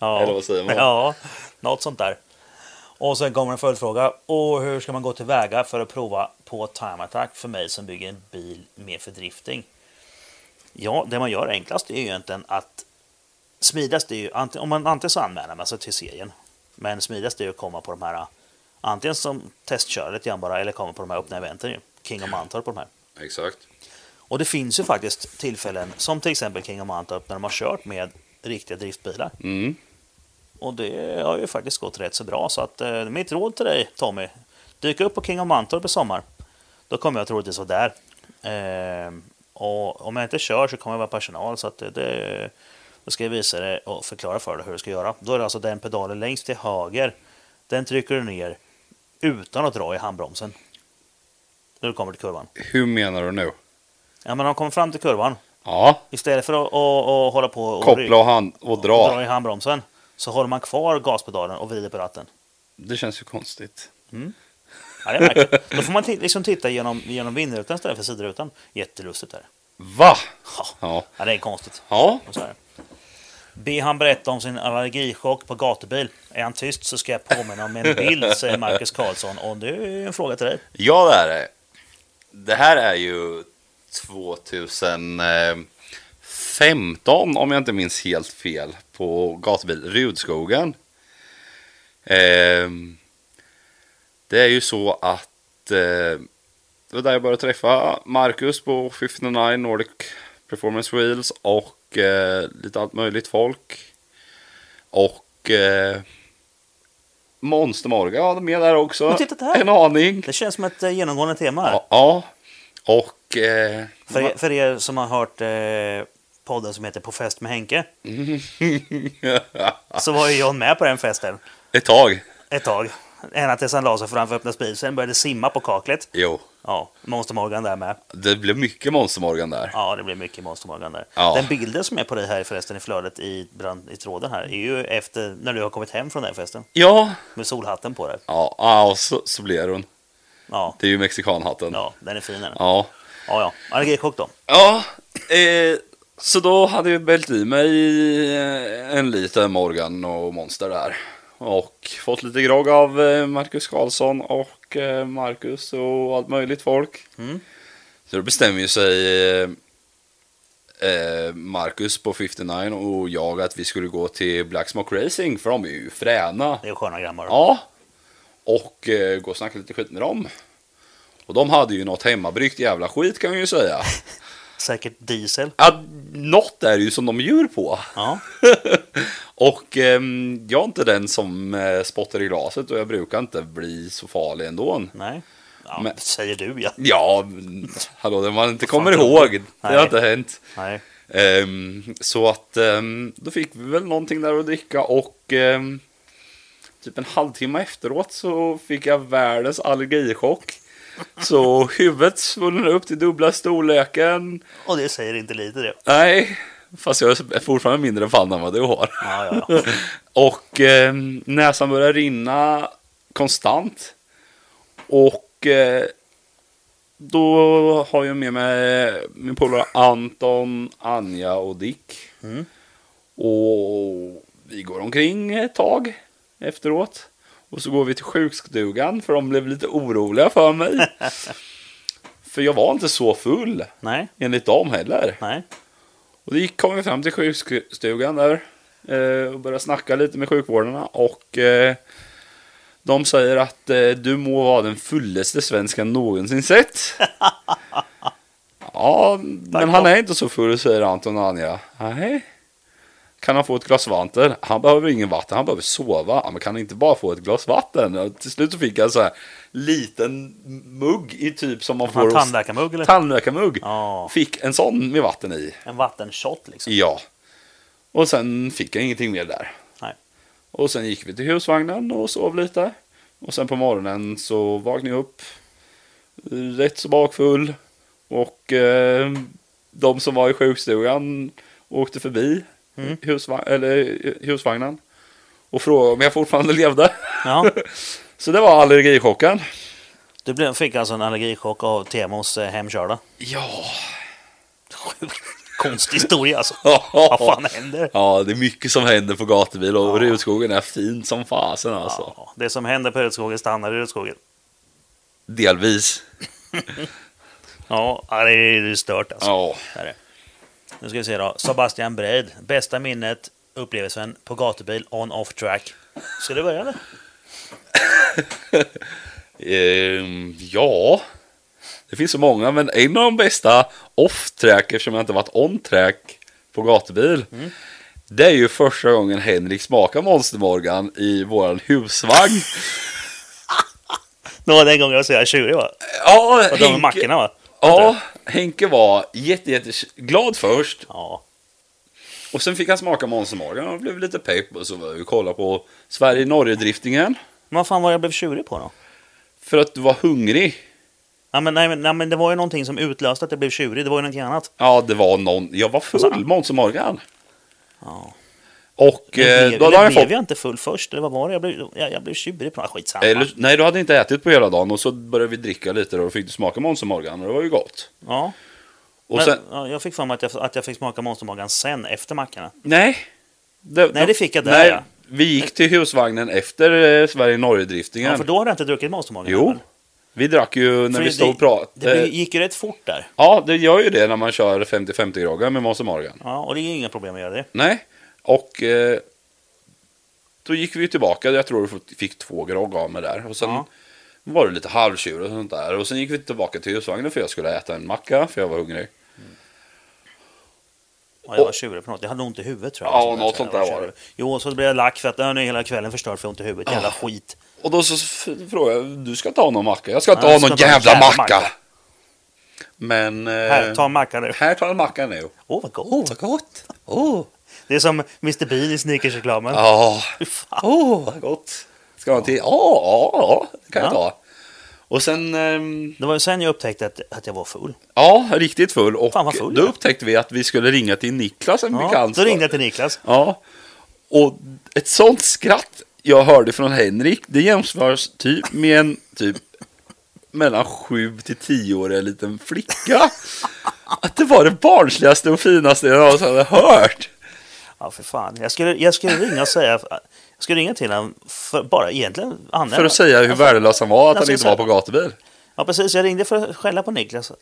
S1: Ja.
S3: Eller vad säger man?
S1: Ja, något sånt där. Och sen kommer en följdfråga. Och hur ska man gå tillväga för att prova på time attack för mig som bygger en bil med fördrifting? Ja, det man gör enklast är ju egentligen att smidigast är ju antingen, om man antingen så anmäler man sig till serien. Men smidigast är ju att komma på de här antingen som testkör lite grann bara eller komma på de här öppna eventen ju. King of Mantorp på de här.
S3: Exakt.
S1: Och det finns ju faktiskt tillfällen som till exempel King of Mantorp när de har kört med riktiga driftbilar.
S2: Mm.
S1: Och det har ju faktiskt gått rätt så bra. Så att, eh, mitt råd till dig Tommy, dyk upp på King of Mantorp i sommar. Då kommer jag troligtvis vara där. Ehm, och om jag inte kör så kommer jag vara personal. Så att det, det, då ska jag visa dig och förklara för dig hur du ska göra. Då är det alltså den pedalen längst till höger. Den trycker du ner utan att dra i handbromsen. När du kommer till kurvan.
S2: Hur menar du nu?
S1: Ja, men de kommer fram till kurvan.
S2: Ja,
S1: Istället för att, att, att hålla på och
S2: koppla och, hand och
S1: och dra i
S2: dra.
S1: handbromsen så håller man kvar gaspedalen och vrider på ratten.
S2: Det känns ju konstigt.
S1: Ja, det är märkligt. Då får man ti- liksom titta genom, genom vindrutan istället för sidrutan. Jättelustigt är det.
S2: Va?
S1: Ja.
S2: Ja.
S1: Ja, det är konstigt.
S2: Ja.
S1: Och Så här. Be han berätta om sin allergichock på gatubil. Är han tyst så ska jag påminna om en bild, säger Marcus Karlsson. Och det är en fråga till dig.
S2: Ja, det är det. Det här är ju 2015, om jag inte minns helt fel, på gatubil Rudskogen. Ehm, Det är ju så att eh, det var där jag började träffa Marcus på 59 Nordic Performance Wheels och eh, lite allt möjligt folk. Och eh, Monster Morgan var med där också.
S1: Men titta där!
S2: En aning.
S1: Det känns som ett eh, genomgående tema här.
S2: Ja, ja. och... Eh,
S1: För, er, för er som har hört eh, podden som heter På fest med Henke, så var ju John med på den festen
S2: <laughs> ett tag.
S1: ett tag. Ända tills han la sig framför öppna spisen, började simma på kaklet.
S2: Jo,
S1: Ja, Monster Morgan där med.
S2: det blev mycket Monster Morgan där.
S1: Ja, det blir mycket Monster Morgan där.
S2: Ja.
S1: Den bilden som är på dig här förresten i flödet i, brand, i tråden här är ju efter när du har kommit hem från den festen
S2: Ja,
S1: med solhatten på dig.
S2: ja, ja och så, så blir hon.
S1: Ja,
S2: Det är ju mexikanhatten.
S1: ja den är fin. Den. Ja,
S2: ja.
S1: ja. Allergichock då.
S2: Ja, eh, så då hade jag bällt i mig eh, en liten Morgan och Monster där. Och fått lite grogg av eh, Marcus Karlsson och eh, Marcus och allt möjligt folk.
S1: Mm.
S2: Så då bestämmer ju sig eh, eh, Marcus på 59 och jag att vi skulle gå till Blacksmock Racing för de är ju fräna.
S1: Det är sköna grammar.
S2: Ja. Och eh, gå och snacka lite skit med dem. Och de hade ju något hemmabryggt jävla skit kan vi ju säga.
S1: Säkert diesel.
S2: Ja, något är ju som de djur på.
S1: Ja.
S2: och ehm, jag är inte den som eh, spottar i glaset och jag brukar inte bli så farlig ändå.
S1: Nej. Ja,
S2: Men-
S1: Säger du ja.
S2: Ja, men, hallå, det man inte kommer
S1: fan tror du?
S2: ihåg. Det
S1: Nej.
S2: har inte hänt.
S1: Nej.
S2: Ehm, så att ehm, då fick vi väl någonting där att dricka och ehm, typ en halvtimme efteråt så fick jag världens allergichock. Så huvudet svullnade upp till dubbla storleken.
S1: Och det säger inte lite det.
S2: Nej, fast jag är fortfarande mindre fan än vad du har.
S1: Ja, ja, ja.
S2: Och eh, näsan börjar rinna konstant. Och eh, då har jag med mig min polare Anton, Anja och Dick.
S1: Mm.
S2: Och vi går omkring ett tag efteråt. Och så går vi till sjukstugan för de blev lite oroliga för mig. för jag var inte så full
S1: Nej.
S2: enligt dem heller.
S1: Nej.
S2: Och då gick- kom vi fram till sjukstugan där eh, och började snacka lite med sjukvårdarna och eh, de säger att eh, du må vara den fullaste svensken någonsin sett. ja, men han är inte så full säger Anton och Anja. Nej. Kan han få ett glas vatten? Han behöver ingen vatten, han behöver sova. Ja, men kan han inte bara få ett glas vatten? Och till slut så fick jag en så här liten mugg i typ som man får
S1: Fan,
S2: hos
S1: Tandläkarmugg eller?
S2: tandläkarmugg.
S1: Ja.
S2: Fick en sån med vatten i.
S1: En vattenshot liksom.
S2: Ja. Och sen fick jag ingenting mer där.
S1: Nej.
S2: Och sen gick vi till husvagnen och sov lite. Och sen på morgonen så vaknade jag upp. eh, Rätt så bakfull. Och eh, de som var i sjukstugan åkte förbi
S1: Mm.
S2: husva- eller, eh, husvagnen. Och frågade om jag fortfarande levde. <laughs>
S1: Ja.
S2: Så det var allergichocken.
S1: Du blev, fick alltså en allergichock av Temos eh, hemkörda.
S2: <laughs> Ja.
S1: Sjukt Konstig historia alltså. Vad fan händer?
S2: Ja, det är mycket som händer på gatubil och
S1: Ja.
S2: Rudskogen är fint som fasen alltså.
S1: Ja, det som händer på Rödskogen stannar i Rödskogen.
S2: Delvis.
S1: Ja, ja, det är det är stört alltså.
S2: Ja.
S1: Det är det. Nu ska vi se då. Sebastian Breid. Bästa minnet, upplevelsen på gatubil on off track. Ska du
S2: <laughs>
S1: börja eller?
S2: Ehm, ja, det finns så många, men en av de bästa off-track, eftersom jag inte varit on-track på gatubil, det är ju första gången Henrik smakar Monster Morgan i våran husvagn.
S1: Det var den gången jag var så här 20 va?
S2: Ja,
S1: Och de med
S2: Henke,
S1: mackorna va?
S2: ja, Henke var jätte, jätte glad först.
S1: Ja.
S2: Och sen fick han smaka Monster Morgan och blev lite pepp. Och så var vi och kollade på Sverige-Norge-driftingen.
S1: Men vad fan var det jag blev tjurig på då?
S2: För att du var hungrig.
S1: Ja, men, nej, men, nej, men det var ju någonting som utlöste att jag blev tjurig. Det var ju någonting annat.
S2: Ja, det var någon. Jag var full,
S1: Alltså-
S2: Monster Morgan.
S1: Ja.
S2: Och
S1: Eller
S2: eh,
S1: blev,
S2: då hade
S1: eller
S2: jag
S1: blev
S2: fått...
S1: jag inte full först? Eller vad var det? Jag blev, jag, jag blev tjurig på något. Skitsamma.
S2: Eller, nej, du hade inte ätit på hela dagen och så började vi dricka lite och då fick du smaka Monster Morgan och det var ju gott.
S1: Ja.
S2: Och
S1: men,
S2: sen,
S1: ja, jag fick för mig att jag, att jag fick smaka monstermagan sen, efter mackorna.
S2: nej.
S1: Nej, det fick jag där,
S2: nej,
S1: ja.
S2: Vi gick till husvagnen efter eh, Sverige-Norge-driftingen.
S1: Ja, för då hade jag inte druckit monstermagan.
S2: Jo,
S1: väl?
S2: vi drack ju när
S1: För
S2: vi stod
S1: det,
S2: och pratade.
S1: Det gick ju rätt fort där.
S2: Ja, det gör ju det när man kör 50-50-groggar med Monster Morgan.
S1: Ja, och det är ju inga problem att göra det.
S2: Nej, och eh, då gick vi tillbaka. Jag tror vi fick två grogg av mig där. Och sen
S1: Ja.
S2: var det lite halvtjur och sånt där. Och sen gick vi tillbaka till husvagnen för jag skulle äta en macka för jag var hungrig.
S1: Ja, jag var
S2: Och-
S1: tjurig på något. Jag hade ont i huvudet tror jag.
S2: Ja,
S1: Som jag
S2: något
S1: tror jag
S2: sånt där var
S1: tjurig. Jo, och så blev jag lack för att äh, nu är hela kvällen förstörd för jag har ont i huvudet.
S2: Ah,
S1: Jävla skit.
S2: Och då så f- frågade jag, du ska inte ha någon macka? Jag ska inte
S1: Nej,
S2: ha
S1: jag ska
S2: någon
S1: inte ha någon
S2: jävla
S1: jävla
S2: macka!
S1: macka.
S2: Men... Eh,
S1: Här, ta en macka nu.
S2: här tar jag mackan nu.
S1: Åh, vad gott.
S2: vad gott! Åh,
S1: Det är som Mr Bean i Snickers-reklamen.
S2: Ja.
S1: <laughs> Fy fan.
S2: Åh, vad gott! Ska man till? Ja, ja, ja, det kan jag
S1: Ja.
S2: ta. Och sen, ehm,
S1: Det var ju sen jag upptäckte att, att jag var full.
S2: ja, riktigt full. Och
S1: Fan, vad full
S2: då
S1: jag är.
S2: upptäckte vi att vi skulle ringa till Niklas, en
S1: Ja,
S2: bekant.
S1: så ringde jag till Niklas.
S2: Ja, och ett sånt skratt jag hörde från Henrik, det jämförs typ med en typ mellan sju till tioårig liten flicka. Att det var det barnsligaste och finaste jag någonsin hade hört.
S1: Ja, för fan. Jag skulle, jag skulle ringa och säga... Jag skulle ringa till honom för bara egentligen... anmäla-
S2: För att säga hur värdelös han var, att
S1: Alltså,
S2: han inte var på gatubil.
S1: Ja, precis. Jag ringde för att skälla på Niklas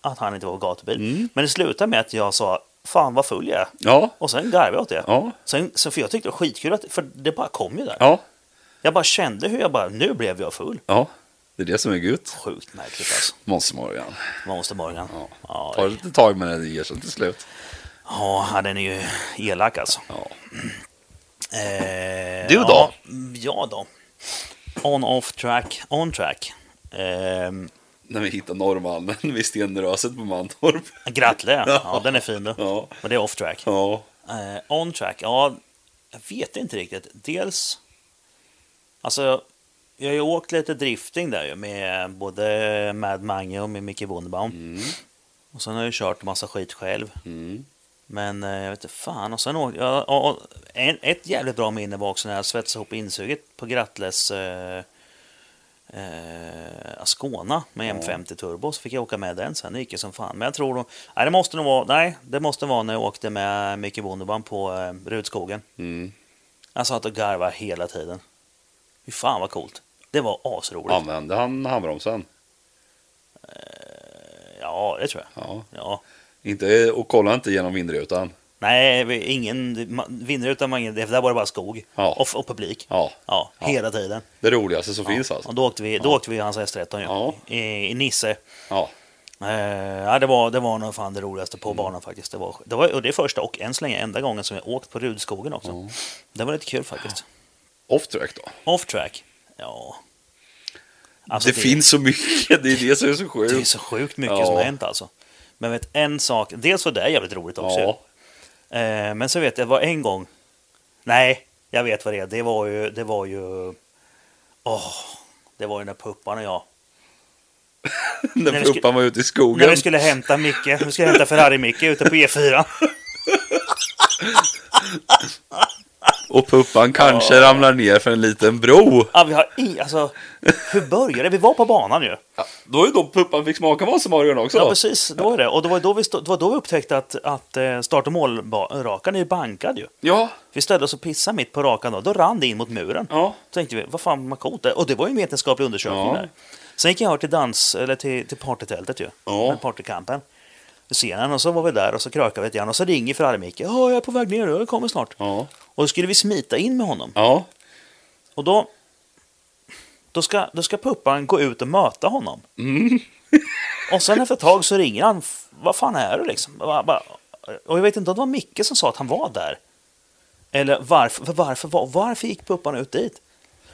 S1: att han inte var på gatubil.
S2: Mm.
S1: Men det slutade med att jag sa Fan vad full jag är.
S2: Ja,
S1: Och sen garvade jag åt det.
S2: ja,
S1: Sen, så för jag tyckte det var skitkul, att, för det bara kom ju där.
S2: ja,
S1: Jag bara kände hur jag bara, nu blev jag full.
S2: ja. Det är det som är gud.
S1: Sjukt märkligt alltså.
S2: Måns Morgan.
S1: Monster Morgan.
S2: Ja.
S1: Ja,
S2: Ta lite tag med den, det ger sig till slut.
S1: ja, den är ju elak alltså.
S2: Ja.
S1: Eh,
S2: Du då?
S1: Ja, mm, ja då. On off track, on track. Eh,
S2: När vi hittade norrmannen vid stenröset på Mantorp.
S1: Grattle, ja den är fin du.
S2: Ja,
S1: Men det är off track.
S2: ja.
S1: Eh, on track, ja, jag vet inte riktigt. Dels, alltså, jag har ju åkt lite drifting där ju med både Mad Mange och med Micke Wunderbaum.
S2: Mm.
S1: Och sen har jag ju kört massa skit själv.
S2: Mm.
S1: Men eh, jag vet inte fan. Och sen åkte jag... Och, och, en, ett jävligt bra minne var också när jag svetsade ihop insuget på Grattles eh, eh, Ascona med M50 turbo. Så fick jag åka med den sen. Det gick ju som fan. Men jag tror nog... Nej, det måste nog vara... Nej, det måste vara när jag åkte med Micke Wunderbaum på eh, Rudskogen.
S2: Mm.
S1: Jag satt och garvade hela tiden. Fy fan vad coolt. Det var asroligt. Ja,
S2: Använde han handbromsen?
S1: det tror jag.
S2: Ja.
S1: Ja.
S2: Inte, och kolla inte genom vindrutan.
S1: Nej, vi- ingen ma- vinnare utan man, det där var det bara skog
S2: Ja.
S1: och, och publik.
S2: Ja,
S1: Ja,
S2: Ja.
S1: hela tiden.
S2: det roligaste som
S1: Ja.
S2: finns alltså.
S1: Och då åkte vi, då åkte vi i hans S13 ju,
S2: Ja.
S1: i, i Nisse.
S2: Ja. Mm.
S1: Eh, ja, det var, det var nog fan det roligaste på banan faktiskt. Det var, det var och det är första och än så länge enda gången som jag åkt på Rudskogen också. Det var lite kul faktiskt.
S2: Off-track då?
S1: Off track, ja. Alltså,
S2: det, finns så mycket, det är det som är så sjukt.
S1: Det är så sjukt mycket
S2: Ja.
S1: som har hänt alltså. Men vet en sak, dels var det jävligt roligt också ju.
S2: ja.
S1: Eh, men så vet jag, det var en gång. Nej, jag vet vad det är. Det var ju, det var ju. Åh, det var ju när Puppan och jag.
S2: När
S1: vi
S2: puppan
S1: skulle-
S2: var ute i skogen.
S1: När vi skulle hämta Micke, vi skulle hämta Ferrari-Micke ute på E E4.
S2: Och puppan kanske ramlar ner för en liten bro.
S1: Ja, vi har i, alltså, hur började det? Vi var på banan ju.
S2: Ja. Då var ju då puppan fick smaka Monstermarion också.
S1: Ja, precis. Det var ju det. Och det var ju då vi, stå- det var då vi upptäckte att, att eh, start och målrakan är ju bankad ju.
S2: ja,
S1: Vi ställde oss och pissade mitt på rakan då. Då rann det in mot muren.
S2: ja.
S1: tänkte vi, vad fan vad coolt det är. Och det var ju en vetenskaplig undersökning
S2: Ja.
S1: där. Sen gick jag till dans, eller till, till partytältet ju.
S2: Ja.
S1: Eller Partycampen. Scenen och så var vi där och så krökade vi lite grann och så ringer Ferrari-Micke. Ja, jag är på väg ner nu, jag kommer snart.
S2: Ja.
S1: Och då skulle vi smita in med honom.
S2: Ja.
S1: Och då... Då ska, då ska puppan gå ut och möta honom.
S3: Mm.
S1: och sen efter ett tag så ringer han. "F- Vad fan är du liksom? Och jag bara- Och jag vet inte om det var Micke som sa att han var där. Eller varför, för varför, var, varför gick puppan E ut dit?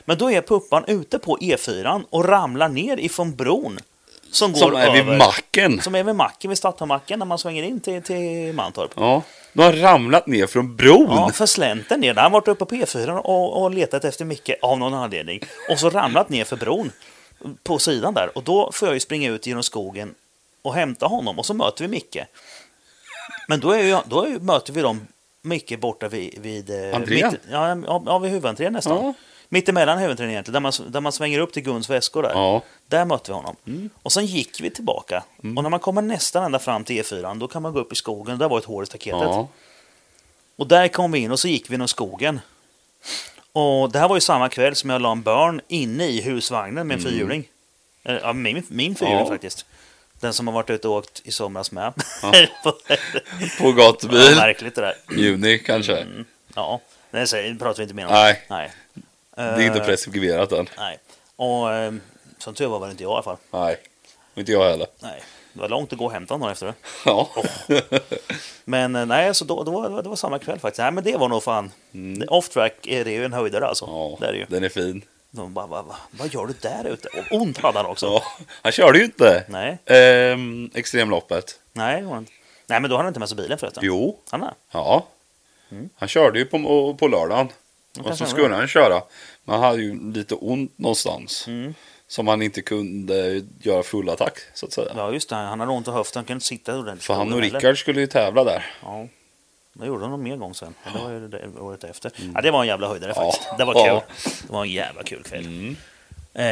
S1: Men då är puppan ute på E4 och ramlar ner ifrån bron Som går
S3: Som är vid
S1: över-
S3: macken.
S1: Som är vid macken, vid Stadhammarmacken, när man svänger in till, till Mantorp.
S3: Ja. De har ramlat ner från bron.
S1: Ja, för slänten ner. Han har varit uppe på P4 och, och letat efter Micke av någon anledning. Och så ramlat ner för bron på sidan där. Och då får jag ju springa ut genom skogen och hämta honom och så möter vi Micke. Men då, är ju, då är ju, möter vi dem Micke borta vid... vid eh,
S3: Entrén?
S1: mitt- ja, ja, ja, vid huvudentrén nästan.
S3: Ja.
S1: Mitt emellan huvudentrén egentligen, där man, där man svänger upp till Guns väskor där.
S3: Ja. Mm.
S1: Där mötte vi honom. Och sen gick vi tillbaka. Och när man kommer nästan ända fram till E4, då kan man gå upp i skogen. Där var ett hål i staketet.
S3: ja.
S1: Och där kom vi in och så gick vi genom skogen. Och det här var ju samma kväll som jag la en börn inne i husvagnen med en fyrhjuling. Eller, Ja, min, min fyrhjuling
S3: Mm. Ja.
S1: faktiskt. Den som har varit ute och åkt i somras med. <laughs>
S3: Ja.
S1: Ja.
S3: På gatubil.
S1: märkligt det där.
S3: Juni kanske.
S1: Ja, det säger- det pratar vi inte mer om.
S3: Nej.
S1: Nej.
S3: Det
S1: Eh,
S3: är inte
S2: Eh.
S3: preskriberat än.
S1: Nej. Och eh, som tur var var det inte jag i alla fall.
S3: Nej. Och Inte jag heller.
S1: Nej. Det var långt att gå och hämta honom efter det.
S3: Ja.
S1: Men eh, nej, så då, då, var- det var- det var samma kväll faktiskt. Nej, men det var nog fan. Off track är det ju en höjdare alltså.
S3: Mm. ja.
S1: Det är det ju.
S3: Den är fin.
S1: De bara, va, va, vad gör du där ute? Och ont hade han också.
S3: Ja. Han körde ju inte.
S1: Nej,
S3: Ehm, extremloppet.
S1: nej, det var inte. nej, men då hade han inte med sig bilen förresten.
S3: Jo.
S1: Han hade.
S3: Ja. Han körde ju på, på lördagen. Och
S1: Mm. kanske
S3: så
S1: han
S3: skulle han köra. Men han hade ju lite ont någonstans.
S1: Mm.
S3: Som han inte kunde göra full attack så att säga.
S1: Ja, just det. Han hade ont i höften. Han kunde inte sitta ordentligt. i
S3: För han
S1: stolen
S3: och
S1: heller.
S3: Rickard skulle ju tävla där.
S1: Ja. Det gjorde han någon mer gång sen. Ja, Det var ju det året efter. Ja, det var en jävla höjdare
S3: Mm. Ja.
S1: faktiskt. Det var kul.
S3: Ja.
S1: Det var en jävla kul kväll.
S3: Mm.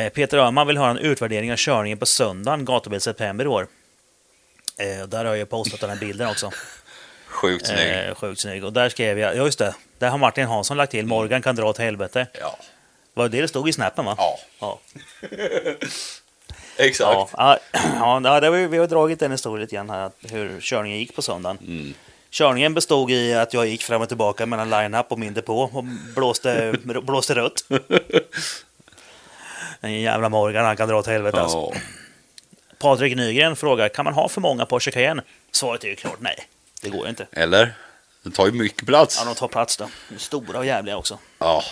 S1: Eh, Peter Öhman vill höra en utvärdering av körningen på söndagen, gatubil september i år. Eh, där har jag postat den här bilden också.
S3: Sjukt <laughs> snygg.
S1: Eh, sjukt snygg. Och där skrev jag, ja just det, där har Martin Hansson lagt till, Morgan kan dra åt helvete.
S3: Ja.
S1: Var det det stod i snappen va?
S3: Ja.
S1: Ja, ja,
S3: <laughs> Exakt.
S1: ja, ja <clears throat> det har vi, vi har dragit den historien lite grann här, att hur körningen gick på söndagen. Körningen bestod i att jag gick fram och tillbaka mellan line-up och min depå och blåste, <laughs> blåste rött. Den jävla Morgan, han kan dra åt helvete alltså.
S3: Ja.
S1: Patrik Nygren frågar, kan man ha för många Porsche Cayenne? Svaret är ju klart nej, det går inte.
S3: Eller? Den tar ju mycket plats.
S1: Ja, de tar plats då. De är Stora och jävliga också.
S3: Ja.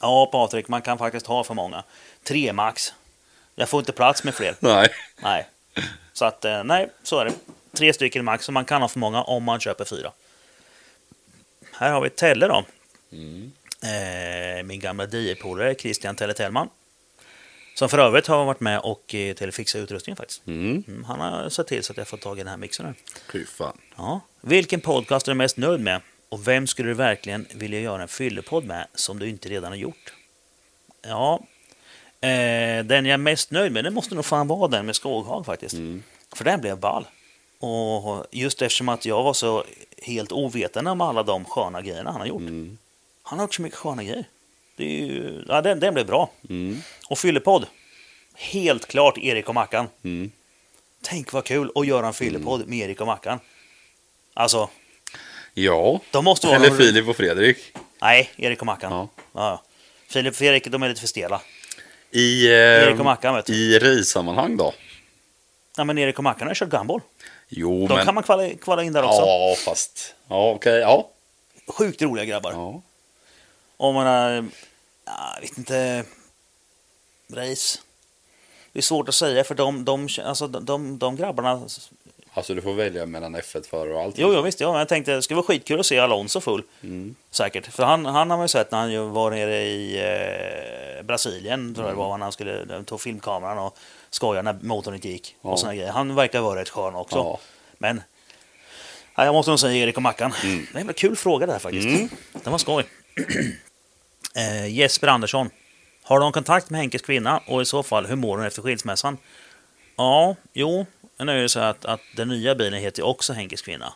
S1: Ja, Patrik, man kan faktiskt ha för många. Tre max. Jag får inte plats med fler.
S3: Nej.
S1: Nej. Så att, eh, nej, så är det. Tre stycken max, så man kan ha för många om man köper fyra. Här har vi Telle då. Eh, min gamla DJ-polare Christian Telle Tellman. Som för övrigt har varit med och eh, till fixa utrustningen faktiskt.
S3: Mm.
S1: Mm, han har sett till så att jag får tag i den här mixen här.
S3: Fy fan.
S1: Ja. Vilken podcast är du mest nöjd med? Och vem skulle du verkligen vilja göra en fyllepodd med som du inte redan har gjort? Ja, eh, den jag är mest nöjd med, det måste nog fan vara den med Skoghag faktiskt. För den blev ball. Och just eftersom att jag var så helt ovetande om alla de sköna grejerna han har gjort. Han har gjort så mycket sköna grejer. Det är ju, ja, den, den blev bra. Och fyllepodd. Helt klart Erik och Mackan.
S3: Mm.
S1: Tänk vad kul att göra en fyllepodd med Erik och Mackan. Alltså,
S3: Ja.
S1: de måste vara...
S3: Eller
S1: de-
S3: Filip och Fredrik.
S1: Nej, Erik och Mackan. Ja.
S3: Ja.
S1: Ja. Filip och Fredrik, de är lite för stela.
S3: I, eh,
S1: Erik och Mackan, vet du.
S3: I race-sammanhang då?
S1: Nej, men Erik och Mackan har ju kört Gumball.
S3: Jo,
S1: De
S3: men...
S1: kan man kvala, kvala in där också.
S3: ja, fast... Ja, okej. Ja.
S1: Sjukt roliga grabbar.
S3: ja.
S1: Om man har... ja, Jag vet inte... Race. Det är svårt att säga för de, de, alltså, de, de, de grabbarna...
S3: Alltså, du får välja mellan F1-förare och allt.
S1: Jo, jo visst. Ja, men jag tänkte det skulle vara skitkul att se Alonso full.
S3: Mm.
S1: Säkert. För han, han har man ju sett när han ju var nere i eh, Brasilien, tror jag
S3: Mm.
S1: det var, när han skulle, de tog filmkameran och skojade när motorn inte gick.
S3: Ja.
S1: Och såna grejer. Han verkar vara rätt skön också.
S3: Ja.
S1: Men ja, jag måste nog säga Erik och Mackan.
S3: Mm.
S1: Det är en kul fråga det här faktiskt. Den var skoj. <clears throat> eh, Jesper Andersson. Har de kontakt med Henkes kvinna och i så fall hur mår hon efter skilsmässan? Ja, jo. Nu är det så att, att den nya bilen heter ju också Henkes kvinna.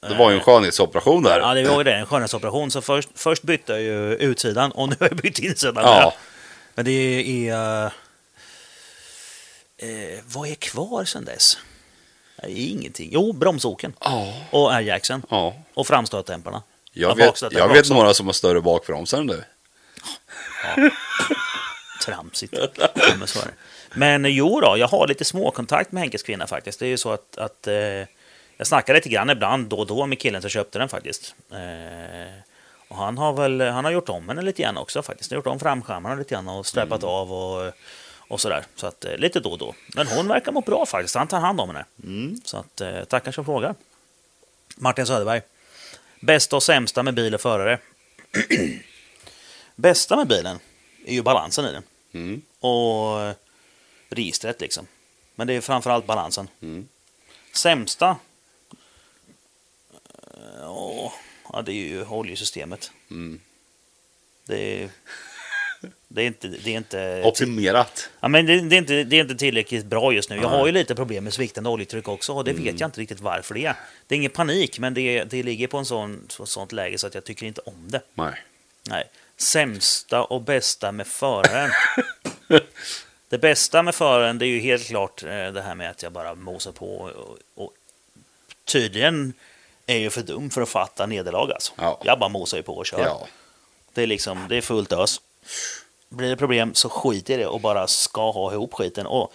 S3: Det var ju en skönhetsoperation där.
S1: Ja, det var ju det. En skönhetsoperation. Så först, först bytte jag ju utsidan och nu har jag bytt insidan.
S3: Ja.
S1: med. Men det är... eh, Eh, vad är kvar sen dess? Det är ingenting. Jo, bromsoken
S3: Ja.
S1: och airjacksen
S3: ja.
S1: och framstötdämparna. Ja,
S3: Jag, vet,
S1: bakstötdämpare
S3: jag vet
S1: också. Eh,
S3: några som har större bakbromsar än du.
S1: Tramsigt. Ja, men, så är det. men eh, jo då, jag har lite småkontakt med Henkes kvinna faktiskt. Det är ju så att, att eh, jag snackar lite grann ibland då och då med killen som köpte den faktiskt. Eh, och han har väl han har gjort om henne lite grann också faktiskt. Han har gjort om framskärmarna lite grann och släpat av och, Och sådär. Så att eh, lite då och då. Men hon verkar må bra faktiskt. Han tar hand om henne.
S3: Mm.
S1: Så att eh, tackar som frågar. Martin Söderberg. Bästa och sämsta med bil och förare. <clears throat> Bästa med bilen är ju balansen i den.
S3: Mm.
S1: Och eh, registret liksom. Men det är framförallt balansen.
S3: Mm.
S1: Sämsta? Eh, åh, Ja, det är ju oljesystemet.
S3: Mm.
S1: Det är, det är inte... Det är inte
S3: Optimerat.
S1: Ja, men det, det, är inte, det är inte tillräckligt bra just nu. Jag har ju lite problem med sviktande oljetryck också och det
S3: Mm.
S1: vet jag inte riktigt varför det är. Det är ingen panik, men det, det ligger på en sån, så, sånt läge så att jag tycker inte om det.
S3: Nej.
S1: Nej. Sämsta och bästa
S3: <laughs>
S1: med föraren. det bästa med föraren det är ju helt klart eh, det här med att jag bara mosar på och, och tydligen är jag för dum för att fatta nederlag alltså.
S3: Ja.
S1: Jag bara mosar ju på och kör.
S3: Ja.
S1: Det är liksom, det är fullt ös. Blir det problem så skit i det och bara ska ha ihop skiten. Och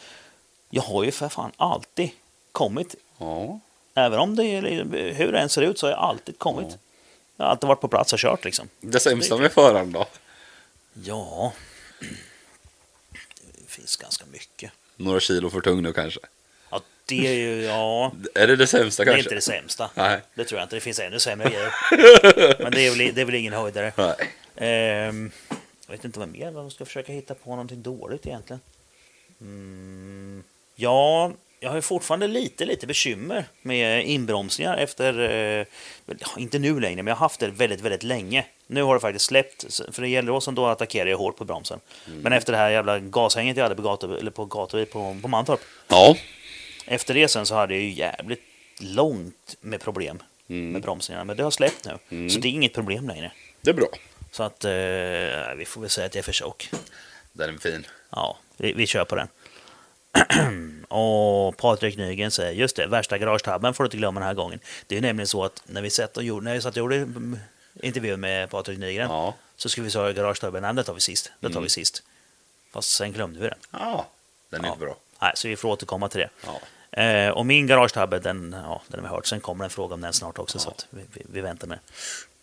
S1: jag har ju för fan alltid kommit.
S3: Ja.
S1: Även om det är, hur det än ser ut så har jag alltid kommit. Jag har alltid varit på plats och kört liksom.
S3: Det sämsta med föraren då?
S1: Ja. Det finns ganska mycket.
S3: Några kilo för tung nu kanske.
S1: Ja, det är ju, ja.
S3: Är det det sämsta
S1: Det är
S3: kanske?
S1: inte det sämsta.
S3: Nej.
S1: Det tror jag inte. Det finns ännu sämre <laughs> grejer. Men det är väl, det är väl ingen höjdare.
S3: Nej.
S1: Ehm, jag vet inte vad mer, man ska försöka hitta på någonting dåligt egentligen. Mm, ja, jag har ju fortfarande lite, lite bekymmer med inbromsningar efter, eh, men, ja, inte nu längre, men jag har haft det väldigt, väldigt länge. Nu har det faktiskt släppt, så- för det gäller då som då attackerar jag hårt på bromsen. Men efter det här jävla gashänget jag hade på gator, eller på gator på, på Mantorp,
S3: Ja.
S1: efter det sen så hade jag ju jävligt långt med problem med bromsningarna, men det har släppt nu. Så det är inget problem längre.
S3: Det är bra.
S1: Så att eh, vi får väl säga att det är försök.
S3: Den är fin.
S1: Ja, vi, vi kör på den. <clears throat> och Patrik Nygren säger, just det, värsta garagetabben får du inte glömma den här gången. Det är ju nämligen så att när vi satt och gjorde, när vi satt och gjorde mm, intervjun med Patrik Nygren
S3: Ja. Mm.
S1: så skulle vi säga garagetabben, nej det tar vi sist, det tar vi sist. Fast sen glömde vi den.
S3: Ja. Den är
S1: Ja.
S3: inte bra.
S1: Nej, så vi får återkomma till det.
S3: Ja.
S1: Eh, och min garagetabbe, den, ja, den har vi hört. Sen kommer en fråga om den snart också, så att vi, vi, vi väntar med.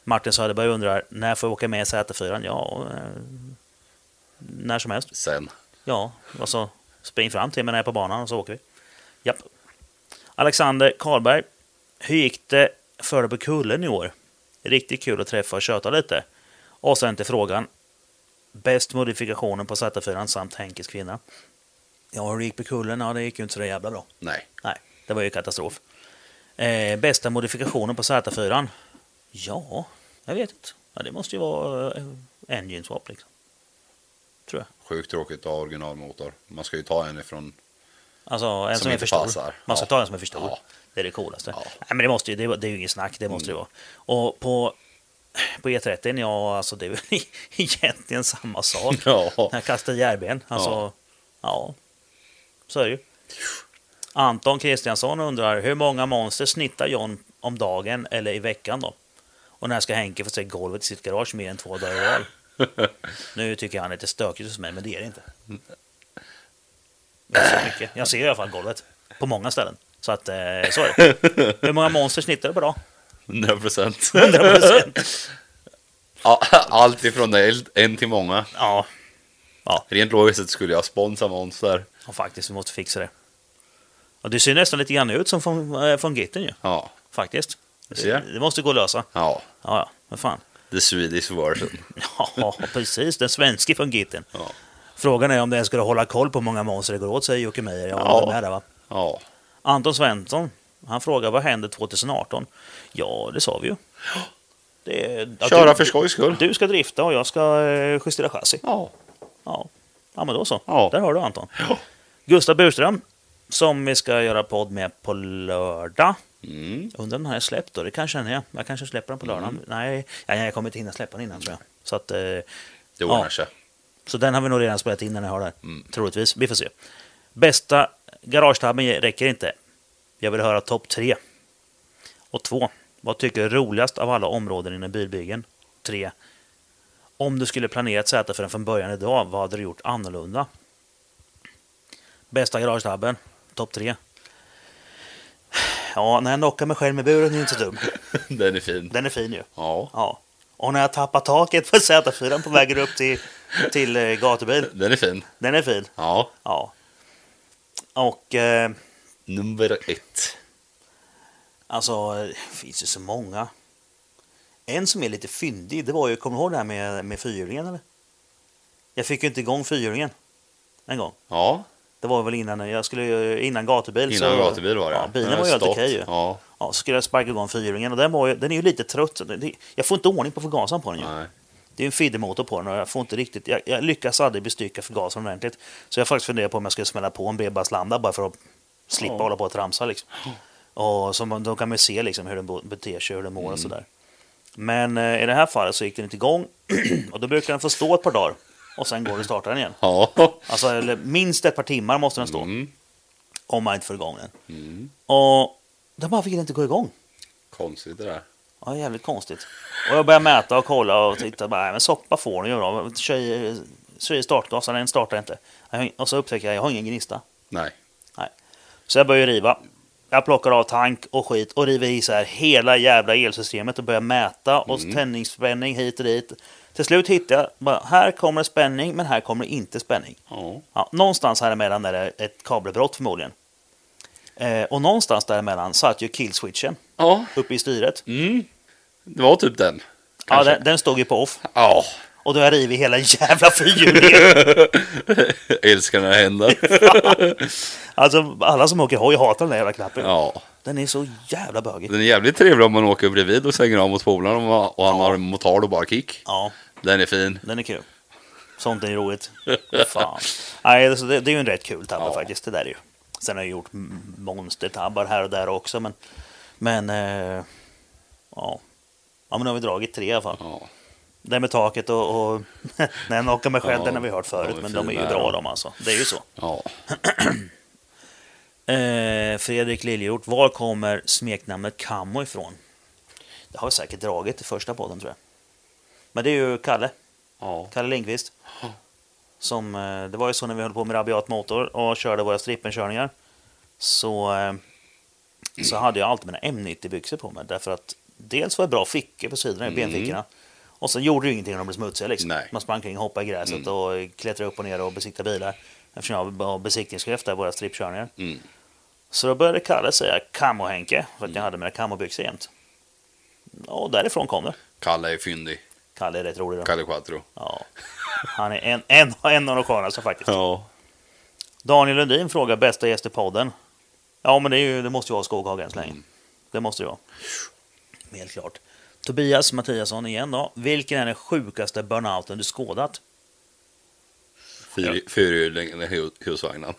S1: Martin Söderberg undrar, när får jag åka med i Z4? Ja, eh, när som helst.
S3: Sen.
S1: Ja, alltså spring fram till mig när jag är på banan och så åker vi. Japp. Alexander Karlberg, hur gick det för dig på kullen i år? Riktigt kul att träffa och köta lite. Och sen till frågan. Bäst modifikationen på Z4 samt Henkes kvinna. Ja, hur det gick på kullen? Ja, det gick ju inte så där jävla bra.
S3: Nej.
S1: Nej, det var ju katastrof. Eh, bästa modifikationen på Z4? Ja, jag vet inte. Ja, det måste ju vara eh, engine swap liksom. Tror jag.
S3: Sjukt tråkigt att ha originalmotor. Man ska ju ta en ifrån...
S1: Alltså en som,
S3: Som
S1: är
S3: inte
S1: för stor.
S3: passar.
S1: Man ska
S3: Ja.
S1: ta en som är för stor.
S3: Ja.
S1: Det är det coolaste.
S3: Ja. Mm.
S1: Nej, men det, måste ju, det, det är ju inget snack, det måste det vara. Och på, på E30, ja, alltså det är väl <laughs> egentligen samma sak.
S3: <laughs> Ja.
S1: Han kastar järben. Alltså, ja. Så är det ju. Anton Kristiansson undrar, hur många monster snittar John om dagen eller i veckan då? Och när ska Henke få se golvet i sitt garage mer än två dagar i rad? Nu tycker jag han är lite stökigt hos mig, men det är det inte. Jag ser, mycket. jag ser i alla fall golvet på många ställen. Så att, eh, så är det. Hur många monster snittar du på dag?
S3: 100 <laughs> procent.
S1: 100%.
S3: Allt ifrån en- en till många.
S1: Ja,
S3: Rent logiskt sett skulle jag sponsra Monster.
S1: Ja, faktiskt. Vi måste fixa det. Ja, du ser nästan lite grann ut som från, eh, från Gitten ju,
S3: Ja.
S1: faktiskt.
S3: ser.
S1: Det, det måste gå att lösa.
S3: Ja.
S1: Ja, ja, men fan.
S3: The Swedish version.
S1: <laughs> Ja, precis. Den svenske från Gitten.
S3: Ja.
S1: Frågan är om den skulle hålla koll på hur många monster det går åt, säger Jocke Meijer.
S3: Ja.
S1: Ja, det Med där, va?
S3: Ja.
S1: Anton Svensson, han frågar vad händer 2018? Ja, det sa vi ju. Det, ja,
S3: Köra
S1: du,
S3: för skojs skull.
S1: Du ska drifta och jag ska eh, justera chassi.
S3: Ja.
S1: Ja. ja, men då så.
S3: Ja.
S1: Där har du Anton.
S3: Ja.
S1: Gustav Burström, som vi ska göra podd med på lördag.
S3: Mm.
S1: Undrar om den här är släppt då? Det kanske den är. Jag kanske släpper den på lördagen. Nej, ja, jag kommer inte hinna släppa den innan tror jag. Så, att, eh,
S3: Det ordnar
S1: Ja.
S3: sig.
S1: så den har vi nog redan spelat in när ni hör det här. Troligtvis. Vi får se. Bästa garagetabben räcker inte. Jag vill höra topp tre. Och två. Vad tycker du är roligast av alla områden inom bilbyggen? Tre. Om du skulle planerat sätta för den från början idag, vad hade du gjort annorlunda? Bästa garagetabben? Topp tre. Ja, när jag knockar mig själv med buren är ju inte så dum.
S3: <laughs> Den är fin.
S1: Den är fin ju.
S3: Ja.
S1: Ja. Och när jag tappar taket på Z4 på vägen upp till till eh, gatubil.
S3: Den är fin.
S1: Den är fin.
S3: Ja.
S1: Ja. Och eh,
S3: Nummer ett.
S1: alltså, det finns ju så många. En som är lite fyndig, det var ju, kommer du ihåg det här med, med fyrhjulingen eller? Jag fick ju inte igång fyrhjulingen en gång.
S3: Ja,
S1: Det var väl innan, jag skulle, ju- innan gatubil.
S3: innan gatubil var det.
S1: Ja, bilen
S3: Den
S1: var ju helt
S3: stått.
S1: okej ju.
S3: Ja,
S1: Ja, så skulle jag sparka igång fyrhjulingen och den, var ju, den är ju lite trött. Det- det- Jag får inte ordning på förgasaren på den ju.
S3: nej.
S1: Det är en feedermotor på den och jag får inte riktigt... Jag, jag lyckas aldrig bestycka förgasaren ordentligt. Så jag har faktiskt funderat på om jag ska smälla på en brevbärslanda bara för att slippa hålla på och tramsa. Liksom. Och så man, då kan man ju se liksom hur den bo- beter sig, hur den mår
S3: Mm.
S1: och sådär. Men eh, i det här fallet så gick den inte igång <clears throat> och då brukar den få stå ett par dagar och sen går det att starta den igen.
S3: Ja. <laughs>
S1: Alltså eller minst ett par timmar måste den stå
S3: Mm.
S1: om man inte får igång den.
S3: Mm.
S1: Och den bara vill inte gå igång.
S3: Konstigt det där.
S1: Ja, jävligt konstigt. Och jag började mäta och kolla och titta. Bara, "Nej, men soppa får ni ju då. Kör i- kör i startgasen, den startar inte. Jag har ing- Och så upptäcker jag, jag har ingen gnista.
S3: Nej.
S1: Så jag börjar riva. Jag plockar av tank och skit och river isär hela jävla elsystemet och börjar mäta och
S3: Mm.
S1: tändningsspänning hit och dit. Till slut hittar jag, bara, här kommer det spänning men här kommer det inte spänning.
S3: Ja.
S1: Ja, någonstans här emellan är det ett kabelbrott förmodligen. Eh, och någonstans däremellan satt ju killswitchen
S3: Ja.
S1: uppe i styret.
S3: Mm. Det var typ den.
S1: Ja,
S3: Kanske.
S1: den, den stod ju på off.
S3: Ja.
S1: Och då har jag rivit hela jävla fyrhjulingen.
S3: Jag <laughs> älskar när det <laughs> händer.
S1: Alltså alla som åker hoj hatar den där jävla knappen.
S3: Ja.
S1: Den är så jävla bögig.
S3: Den är jävligt trevlig om man åker bredvid och svänger av mot polaren och man- och han har en motard och bara kick.
S1: Ja,
S3: Den är fin.
S1: den är kul. Sånt är roligt. Fan. Nej, alltså, det, det är ju en rätt kul tabbe
S3: Ja.
S1: faktiskt. Det där är ju. Sen har jag gjort m- monstertabbar här och där också. Men, men eh, ja. ja, men nu har vi dragit tre i alla fall.
S3: Ja.
S1: Det med taket och, <laughs> och när åker med själv,
S3: Ja.
S1: den har vi hört förut.
S3: Ja, det är
S1: men de är ju
S3: fina,
S1: bra
S3: ja.
S1: de alltså. Det är ju så.
S3: Ja.
S1: Eh, Fredrik Liljeroth, var kommer smeknamnet Kammo ifrån? Det har jag säkert dragit i första podden tror jag. Men det är ju Kalle,
S3: Ja.
S1: Kalle Lindqvist. Som, eh, det var ju så när vi höll på med rabiat motor och körde våra strippenkörningar. Så, eh, så hade jag alltid mina M90-byxor på mig. Därför att dels var det bra fickor på sidorna i benfickorna. Och sen gjorde det ju ingenting om de blev smutsiga. Liksom.
S3: Mm. Nej. Mm.
S1: Man sprang kring, hoppade i gräset och klättrade upp och ner och besiktade bilar. Eftersom jag var besiktningschef där, i våra strippkörningar.
S3: Mm.
S1: Så då började Kalle säga Camo-Henke, för
S3: Mm.
S1: att jag hade mina Camo-byxor jämt. Och därifrån kom det.
S3: Kalle är fyndig.
S1: Kalle är rätt rolig då.
S3: Kalle Quattro.
S1: Ja. Han är en, en, en av de skönaste faktiskt.
S3: Ja.
S1: Daniel Lundin frågar bästa gäst i podden. Ja, men det, är ju, det måste ju vara Skoghag än så
S3: Mm.
S1: länge. Det måste det vara. Helt klart. Tobias Mattiasson igen då. Vilken är den sjukaste burnouten du skådat?
S3: Fyr- Fyrhjuling i husvagnen.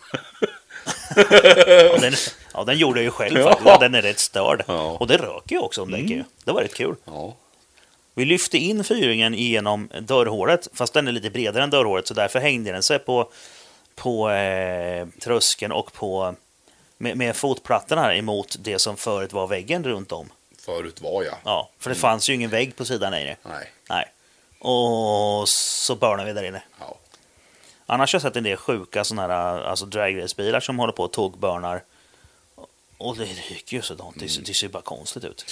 S1: Ja, den, ja, den gjorde jag ju själv
S3: <laughs>
S1: faktiskt.
S3: Ja.
S1: Den är rätt störd.
S3: Ja. Mm.
S1: Och det röker ju också om däcken ju. Det var rätt kul.
S3: Ja.
S1: Vi lyfte in fyringen genom dörrhålet, fast den är lite bredare än dörrhålet, så därför hängde den sig på, på eh, tröskeln och på, med, med fotplattorna emot det som förut var väggen runt om.
S3: Förut var jag.
S1: Ja, för det fanns ju ingen vägg på sidan längre.
S3: Nej.
S1: Nej. Och så börnade vi där inne.
S3: Ja.
S1: Annars har jag sett en del sjuka sådana här alltså dragracebilar som håller på och tågbörnar. Och det ryker ju sådant. Det,
S3: Mm.
S1: ser- det ser ju bara konstigt ut.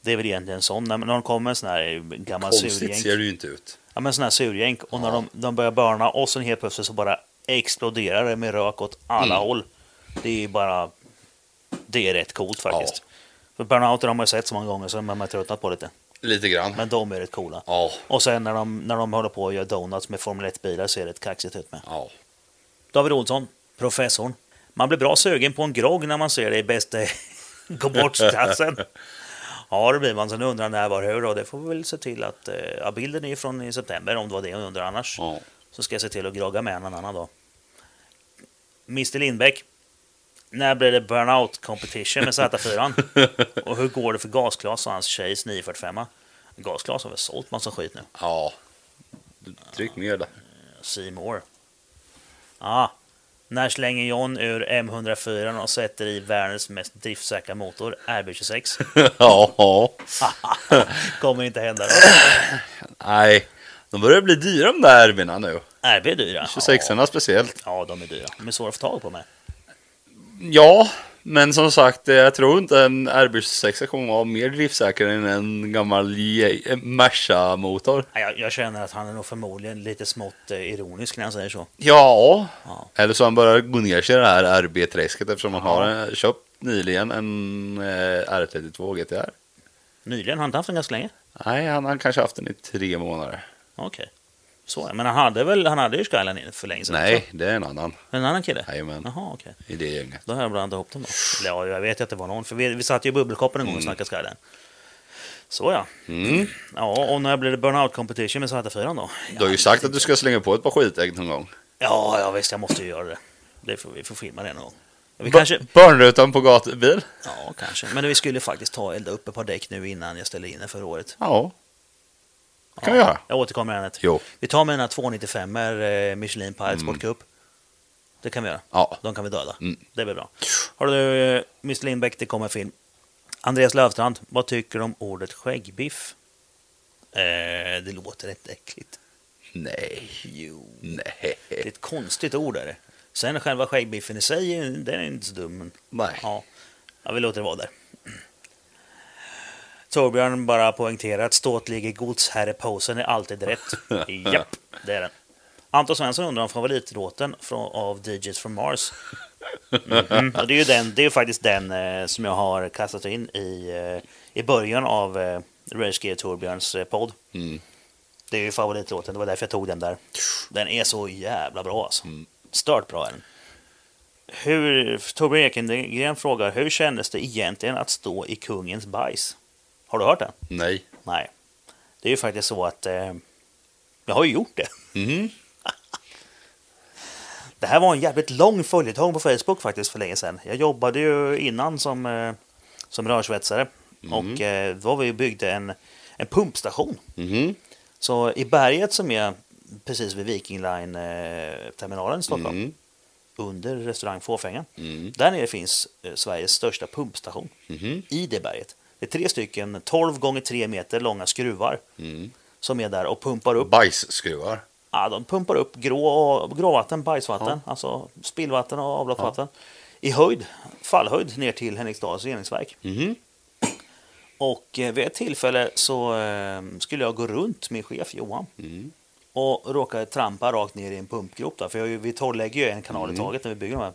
S1: Det är väl egentligen sån, när när de kommer en sån här gammal
S3: Konstigt ser
S1: surjänk.
S3: det ju inte ut.
S1: Ja men sån här surjänk och när de, de börjar börna och sen helt plötsligt så bara exploderar det med rök åt alla håll. Det är ju bara... Det är rätt coolt faktiskt. För burnouter har man ju sett så många gånger så man har tröttnat på lite.
S3: Lite grann.
S1: Men de är rätt coola.
S3: Ja.
S1: Och sen när de, när de håller på och gör donuts med Formel 1-bilar ser det rätt kaxigt ut med.
S3: Ja.
S1: David Olsson, professorn. Man blir bra sugen på en grogg när man ser det i bästa <laughs> gå bort-klassen. Ja, det blir man. Sen undrar när, var, hur. Och det får vi väl se till att... eh, Ja, bilden är ju från i september, om det var det hon undrar annars.
S3: Ja.
S1: Så ska jag se till att grogga med henne en annan dag. Mr Lindbäck. När blir det burnout competition med Z4? och hur går det för Gasglas och hans tjejs 945? Gasglas har väl sålt massa skit nu?
S3: Ja. Du, tryck ner där.
S1: Seymour. Ah, när slänger John ur M104 och sätter i världens mest driftsäkra motor, RB26?
S3: <laughs> ja.
S1: Kommer inte hända. Då.
S3: Nej. De börjar bli dyra de där erbina nu.
S1: RB är dyra.
S3: 26 orna speciellt.
S1: Ja, de är dyra. De är svåra att få tag på med.
S3: Ja. Men som sagt, eh, jag tror inte en RB26 kommer vara mer driftsäker än en gammal Ye- eh, Merca-motor.
S1: Nej, Jag, jag känner att han är nog förmodligen lite smått eh, ironisk när han säger så.
S3: Ja.
S1: Ja.
S3: Eller så han börjar gå ner sig i det här RB-träsket eftersom han har eh, köpt nyligen en eh, R32 GTR.
S1: Nyligen, har han inte haft den ganska länge?
S3: Nej, han har kanske haft den i tre månader.
S1: Okej. Så ja, men han hade väl, han hade ju Skyline inne för länge sedan?
S3: Nej, det är en annan.
S1: Så. En annan kille?
S3: Jajamän,
S1: Jaha, okej.
S3: i det gänget.
S1: Då har jag blandat ihop dem då. Eller ja, jag vet att det var någon. För vi, vi satt ju i bubbelkoppen en gång och snackade Skyline. Så ja.
S3: Mm.
S1: Ja, och när blir det burnout competition med Z4 då?
S3: Du har ju sagt att du ska slänga på ett par skitägg någon gång.
S1: Ja, ja visst, jag måste ju göra det. det får, vi får filma det någon gång. Vi kanske,
S3: Kanske... Barnrutan på gatubil?
S1: ja, kanske. Men vi skulle faktiskt ta och elda upp ett par däck nu innan jag ställer in det förra året.
S3: Ja,
S1: Ja,
S3: kan vi göra.
S1: Jag återkommer i ämnet.
S3: Jo. Mm.
S1: Vi tar med den här 295 er eh, Michelin Pilot Sport Cup. Det kan vi göra.
S3: Ja.
S1: De kan vi döda.
S3: Mm.
S1: Det blir bra. Har du eh, Miss Lindbäck, det kommer en film. Andreas Löfstrand, vad tycker du om ordet skäggbiff? Eh, det låter rätt äckligt.
S3: Nej.
S1: Jo.
S3: Nej.
S1: Det är ett konstigt ord är det. Sen själva skäggbiffen i sig, den är inte så dum. Men...
S3: Nej.
S1: Ja. ja, vi låter det vara där. Torbjörn bara poängterar att ståtlige godsherreposen är alltid rätt. Japp, det är den. Anton Svensson undrar om favoritlåten från, av DJs from Mars. Mhm. Och det är ju den, det är ju faktiskt den eh, som jag har kastat in i, eh, i början av eh, Rage Gear Torbjörns eh, podd.
S3: Mm.
S1: Det är ju favoritlåten, det var därför jag tog den där. Den är så jävla bra alltså. Stört bra är den. Hur, Torbjörn Ekengren frågar, hur kändes det egentligen att stå i kungens bajs? Har du hört den?
S3: Nej.
S1: Nej. Det är ju faktiskt så att eh, jag har ju gjort det. <laughs>
S3: Mhm.
S1: Det här var en jävligt lång följetong på Facebook faktiskt för länge sedan. Jag jobbade ju innan som, eh, som rörsvetsare och eh, då var vi och byggde en, en pumpstation.
S3: Mhm.
S1: Så i berget som är precis vid Viking Line-terminalen i Stockholm,
S3: Mm.
S1: under restaurang Fåfänga,
S3: Mm.
S1: där nere finns eh, Sveriges största pumpstation.
S3: Mhm.
S1: I det berget. Det är tre stycken 12 gånger 3 meter långa skruvar
S3: Mm.
S1: som är där och pumpar upp,
S3: Bajsskruvar.
S1: ja, de pumpar upp grå, och- gråvatten, bajsvatten, alltså spillvatten och avloppsvatten. I höjd, fallhöjd ner till Henriksdals reningsverk.
S3: Mhm.
S1: Och eh, vid ett tillfälle så eh, skulle jag gå runt min chef Johan
S3: Mm.
S1: och råkade trampa rakt ner i en pumpgrop. Där, för jag, har ju- vi torrlägger ju en kanal i
S3: Mm.
S1: taget när vi bygger de här.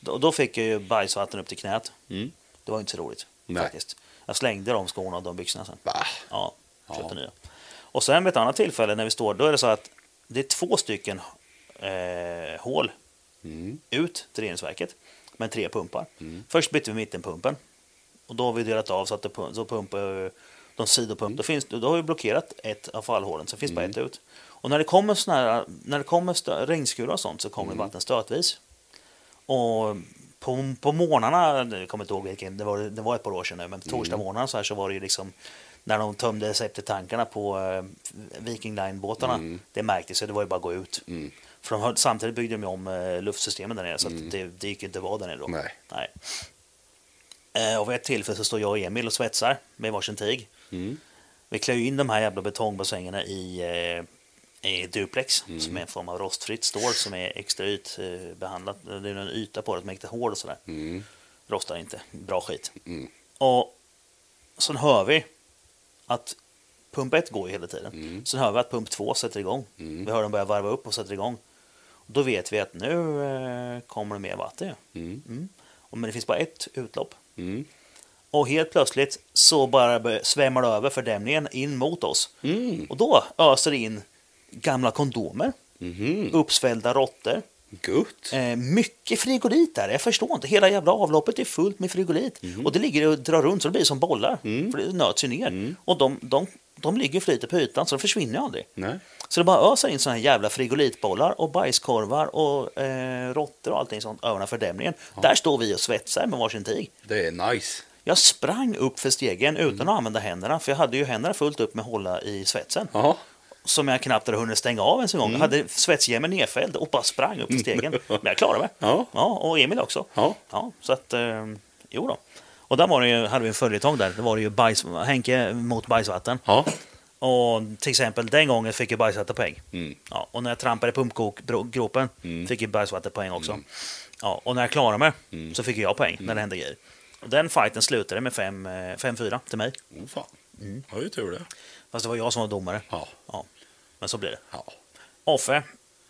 S1: Då, då fick jag ju bajsvatten upp till knät.
S3: Mm.
S1: Det var inte så roligt
S3: Nej.
S1: faktiskt. Jag slängde de skorna och de byxorna sen.
S3: Va?
S1: Ja, köpte
S3: Ja.
S1: nya. Och sen vid ett annat tillfälle när vi står, då är det så att det är två stycken eh, hål
S3: Mm.
S1: ut till reningsverket med tre pumpar. Först bytte vi mittenpumpen och då har vi delat av så att det pum- så pumpar de sidopump. Då, finns, då har vi blockerat ett av fallhålen, så finns bara ett ut. Och när det kommer, såna här, när det kommer stö- regnskurar och sånt så kommer det vatten stötvis. Och på, på morgnarna, jag kommer inte ihåg vilken, det var, det var ett par år sedan nu, men på torsdagsmorgnarna så, här så var det ju liksom när de tömde septetankarna på eh, Viking Line-båtarna, det märktes ju, det var ju bara att gå ut. För de, hade- samtidigt byggde de ju om eh, luftsystemen där nere så att det, det gick ju inte att vara där nere då.
S3: Nej.
S1: Nej. Eh, och vid ett tillfälle så står jag och Emil och svetsar med varsin tyg.
S3: Mm.
S1: Vi klär ju in de här jävla betongbassängerna i, eh, i duplex
S3: Mm.
S1: som är en form av rostfritt stål som är extra ytbehandlat. Eh, behandlat. det är en yta på det som är extra hård och sådär.
S3: Mm.
S1: Rostar inte. Bra skit.
S3: Mm.
S1: Och sen hör vi att pump 1 går ju hela tiden.
S3: Mm.
S1: Sen hör vi att pump 2 sätter igång. Vi hör den börja varva upp och sätter igång. Då vet vi att nu eh, kommer det mer vatten. ju.
S3: Mm.
S1: Mm. Och- Men det finns bara ett utlopp.
S3: Mm.
S1: Och helt plötsligt så bara bör- svämmar det över fördämningen in mot oss.
S3: Mm.
S1: Och då öser det in gamla kondomer,
S3: Mhm.
S1: uppsvällda råttor,
S3: Gott.
S1: eh, mycket frigolit där. Jag förstår inte, hela jävla avloppet är fullt med frigolit. Och det ligger och drar runt så det blir som bollar, för det nöts ju ner. Och de, de, de ligger och flyter på ytan så de försvinner ju aldrig.
S3: Nej.
S1: Så det bara öser in såna här jävla frigolitbollar och bajskorvar och eh, råttor och allting sånt över den här fördämningen. Där står vi och svetsar med varsin tyg.
S3: Det är nice.
S1: Jag sprang upp för stegen utan
S3: Mm.
S1: att använda händerna, för jag hade ju händerna fullt upp med att hålla i svetsen.
S3: Ja. Mm.
S1: Som jag knappt hade hunnit stänga av ens en gång. Jag hade svetsjämmen nedfälld och bara sprang upp
S3: <laughs>
S1: för stegen. Men jag klarade mig.
S3: Ja.
S1: och Emil också.
S3: Ja.
S1: så att, eh, jo då. Och där var det ju, hade vi en följetong där. Det var det ju bajs, Henke mot bajsvatten.
S3: Ja.
S1: Och till exempel den gången fick jag bajsvattenpoäng.
S2: Mm.
S1: Ja, och när jag trampade i pumpgropen
S2: Mm.
S1: fick jag bajsvattenpoäng också. Ja, och när jag klarade mig så fick jag poäng
S2: Mm.
S1: när det hände grejer. Och den fighten slutade med fem, eh, 5-4 till mig.
S2: Oh, fan. Mm. Har ju tur det.
S1: Fast det var jag som var domare.
S2: Ja.
S1: Men så blir det.
S2: ja.
S1: Offe,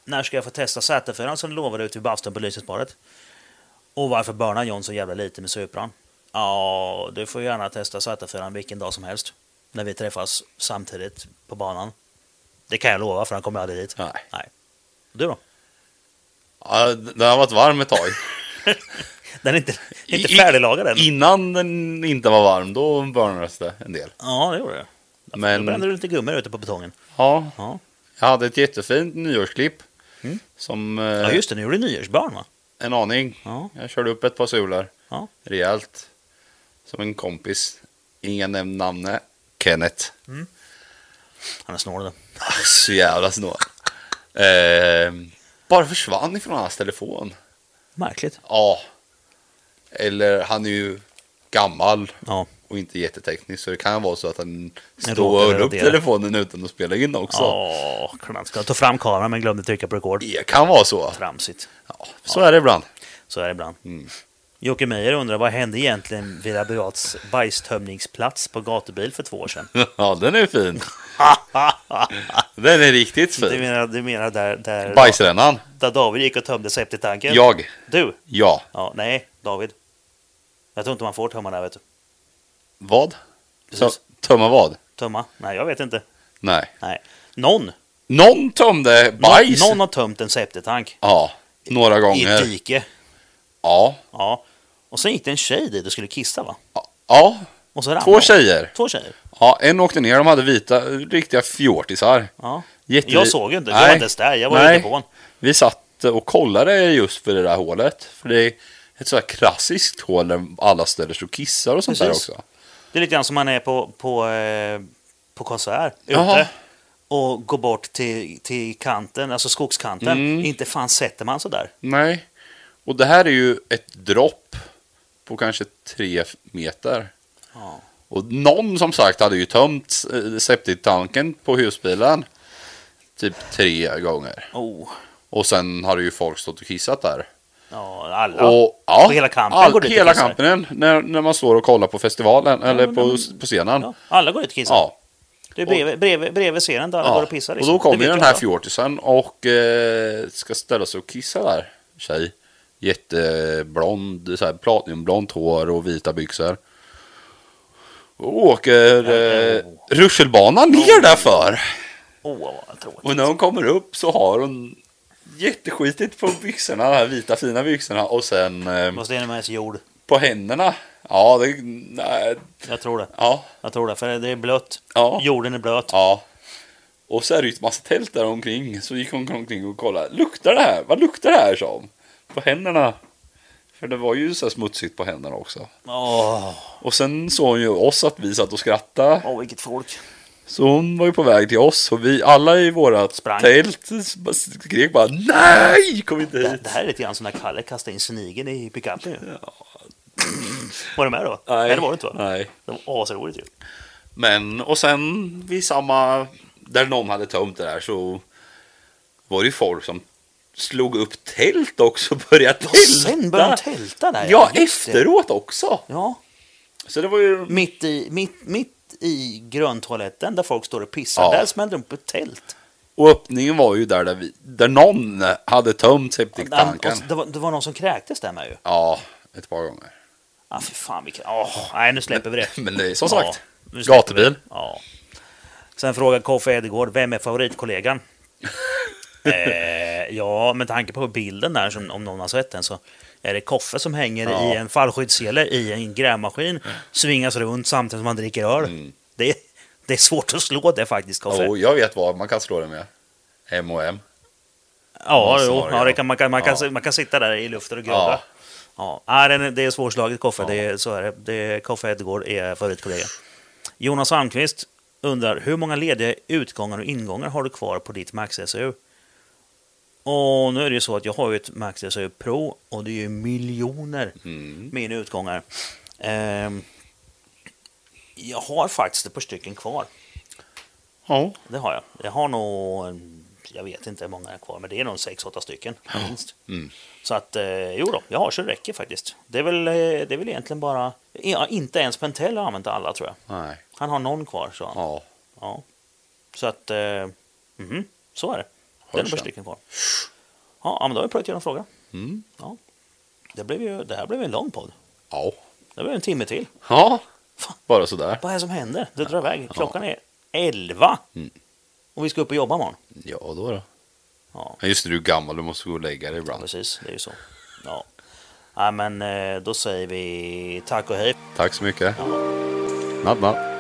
S1: när ska jag få testa Z4 som du lovade ut vid bastun på Lysetsparet? Och varför burnar John så jävla lite med Supran? Ja, du får gärna testa Z4 vilken dag som helst. När vi träffas samtidigt på banan. Det kan jag lova för han kommer aldrig dit.
S2: Nej.
S1: Du då?
S2: Ja, den har varit varm ett
S1: <laughs>
S2: tag.
S1: Den är inte, inte
S2: I- i-
S1: färdiglagad än.
S2: Innan den inte var varm, då burnades det en del.
S1: Ja, det gjorde det. Då brände
S2: Men
S1: du lite gummor ute på betongen.
S2: ja,
S1: Ja,
S2: jag hade ett jättefint nyårsklipp.
S1: Mm.
S2: Som
S1: ja
S2: eh,
S1: just det. Nu gjorde du nyårsbarn va?
S2: en aning.
S1: Ja.
S2: Jag körde upp ett par solar.
S1: Ja.
S2: Rejält. Som en kompis. Ingen nämnd namne. Kenneth.
S1: Han är snål du.
S2: Ah, Så jävla snål. Eh, bara försvann ifrån hans telefon.
S1: Märkligt.
S2: Ja. Eller han är ju gammal
S1: Ja.
S2: och inte jätteteknisk så det kan vara så att han
S1: råkade
S2: står upp
S1: radera.
S2: telefonen utan att spela in också.
S1: Åh, knappt. Ska jag ta fram kameran men glömde trycka på rekord.
S2: Det kan vara så.
S1: Tramsigt.
S2: Ja, så är det ibland. <laughs>
S1: Så är det ibland.
S2: Mm.
S1: Jocke Meijer undrar vad hände egentligen vid Rabiats bajstömningsplats på gatubil för två år sedan?
S2: Ja, den är
S1: <laughs>
S2: fin. den är riktigt
S1: Du
S2: fin.
S1: menar, du menar där, där,
S2: Bajsrännan?
S1: där David gick och tömde septitanken?
S2: Jag.
S1: Du?
S2: Ja.
S1: Ja, nej, David. Jag tror inte man får tömma där, vet du.
S2: Vad? Så,
S1: Precis.
S2: tömma vad?
S1: Tömma? Nej, jag vet inte.
S2: Nej.
S1: Nej. Någon!
S2: Någon tömde bajs.
S1: Någon, någon har tömt en septitank.
S2: Ja, några
S1: I ett
S2: gånger.
S1: dike.
S2: Ja.
S1: Ja. Och sen gick det en tjej dit och skulle kissa, va?
S2: Ja,
S1: Och så ramlade
S2: två
S1: hon.
S2: tjejer.
S1: Två tjejer.
S2: Ja, en åkte ner, de hade vita, riktiga fjortisar.
S1: Ja.
S2: Jätte...
S1: Jag såg ju inte, jag
S2: Nej.
S1: var inte ens där, jag var i
S2: Nej.
S1: depån.
S2: Vi satt och kollade just för det där hålet. För det är ett sådär klassiskt hål där alla ställer sig och kissar och sånt
S1: Precis.
S2: där också.
S1: Det är lite grann som man är på, på, eh, på konsert ute
S2: Jaha.
S1: och går bort till, till kanten, alltså skogskanten.
S2: Mm.
S1: Inte fan sätter man sig där.
S2: Nej. Och det här är ju ett dropp på kanske tre meter.
S1: Ja.
S2: Och någon som sagt hade ju tömt eh, septiktanken på husbilen typ tre gånger.
S1: Oh.
S2: Och sen har ju folk stått och kissat där.
S1: Ja, alla.
S2: Och, ja,
S1: På hela kampen
S2: all,
S1: går dit och
S2: Hela
S1: kissar.
S2: kampen, när, när man står och kollar på festivalen eller
S1: men
S2: på,
S1: de-
S2: på scenen.
S1: Ja, alla går ut och kissar.
S2: ja.
S1: Det är bredvid, bredvid, bredvid scenen där alla går och pissar. liksom.
S2: Och då kommer
S1: Det
S2: ju
S1: vet
S2: den här
S1: jag.
S2: fjortisen och eh, ska ställa sig och kissa där. Tjej. Jätteblond, så här platinblont hår och vita byxor. Och åker eh, rutschelbanan ner därför.
S1: Åh, vad tråkigt.
S2: Och när hon kommer upp så har hon jätteskitigt på byxorna, de här vita fina byxorna. Och sen eh,
S1: Vad stenar med ens jord.
S2: på händerna. Ja, det... Nej,
S1: Jag tror det.
S2: ja,
S1: Jag tror det, för det är blött.
S2: ja.
S1: Jorden är blöt.
S2: Ja. Och så är det ju ett massa tält där omkring. Så gick hon omkring och kollade. Luktar det här? Vad luktar det här som? På händerna. För det var ju så här smutsigt på händerna också.
S1: Åh,
S2: Och sen såg hon ju oss att vi satt och skrattade.
S1: åh, vilket folk.
S2: Så hon var ju på väg till oss. Och vi alla i vårat
S1: Sprang.
S2: tält skrek bara NEJ! Kom inte
S1: Det,
S2: hit!
S1: det här är lite grann som när Kalle kastade in snigeln i pickupen ju. <clears throat> Var du med då? Nej, det var du inte va?
S2: Nej.
S1: Det var asroligt ju.
S2: Men och sen vid samma, där någon hade tömt det där så var det ju folk som slog upp tält också och började tälta.
S1: Sen började de tälta där.
S2: Ja,
S1: just det.
S2: efteråt också.
S1: Ja,
S2: Så det var ju...
S1: mitt i, mitt, mitt i gröntoaletten där folk står och pissar,
S2: Ja.
S1: där smällde de upp ett tält.
S2: Och öppningen var ju där, där, vi, där någon hade tömt
S1: Och
S2: septiktanken.
S1: så- Det var, det var någon som kräktes där med ju.
S2: Ja, ett par gånger.
S1: Ah, fy fan vilken... Åh, nej, nu släpper vi det.
S2: <laughs> Men det är som
S1: Ja,
S2: sagt,
S1: nu släpper
S2: gatubil.
S1: Ja. Sen frågar Koffe Edegård, vem är favoritkollegan? eh, ja, med tanke på bilden där, som, om någon har sett den, så är det Koffe som hänger
S2: Ja.
S1: i en fallskyddssele i en grävmaskin, svingas runt samtidigt som han dricker öl. Det, det är svårt att slå det faktiskt, Koffe.
S2: Och jag vet vad man kan slå det med. M&M.
S1: ja,
S2: så
S1: jo,
S2: var det,
S1: ja, det
S2: ja.
S1: kan, man, kan, man, kan,
S2: Ja.
S1: man kan sitta där i luften och grubbla.
S2: Ja.
S1: Ja. nej, den är- det är svårslaget Koffe, det är, så är det. det är, Koffe Edegård är favoritkollega. Jonas Almqvist undrar, hur många lediga utgångar och ingångar har du kvar på ditt Max SU? Och nu är det ju så att jag har ju ett Max SU Pro och det är ju miljoner
S2: Mm.
S1: mina utgångar. Ehm, jag har faktiskt ett par stycken kvar.
S2: Ja.
S1: Det har jag. Jag har nog, en- jag vet inte hur många jag har kvar, men det är nog 6-8 stycken minst.
S2: Mm.
S1: Så att, eh, jo då, jag har så det räcker faktiskt. Det är väl, eh, det är väl egentligen bara, ja, inte ens Pentell har använt alla tror jag.
S2: Nej.
S1: Han har någon kvar så han. Ja.
S2: Ja.
S1: Så att, eh, mhm, så är det. Det
S2: Hörs
S1: är några
S2: sen.
S1: stycken kvar. Ja, ja, men då har vi plöjt igenom frågan.
S2: Mm.
S1: Det, blev ju, det här blev en lång podd.
S2: Ja.
S1: Det blev en timme till.
S2: Ja. Bara sådär.
S1: Vad är det som händer? Det drar iväg. Klockan är 11.
S2: Mm.
S1: Och vi ska upp och jobba imorgon.
S2: Ja, då då.
S1: Ja.
S2: Men just det, du är gammal. Du måste gå och lägga dig ibland.
S1: Precis, det är ju så. Ja. Nej, men eh, då säger vi tack och hej.
S2: Tack så mycket. Natt, natt.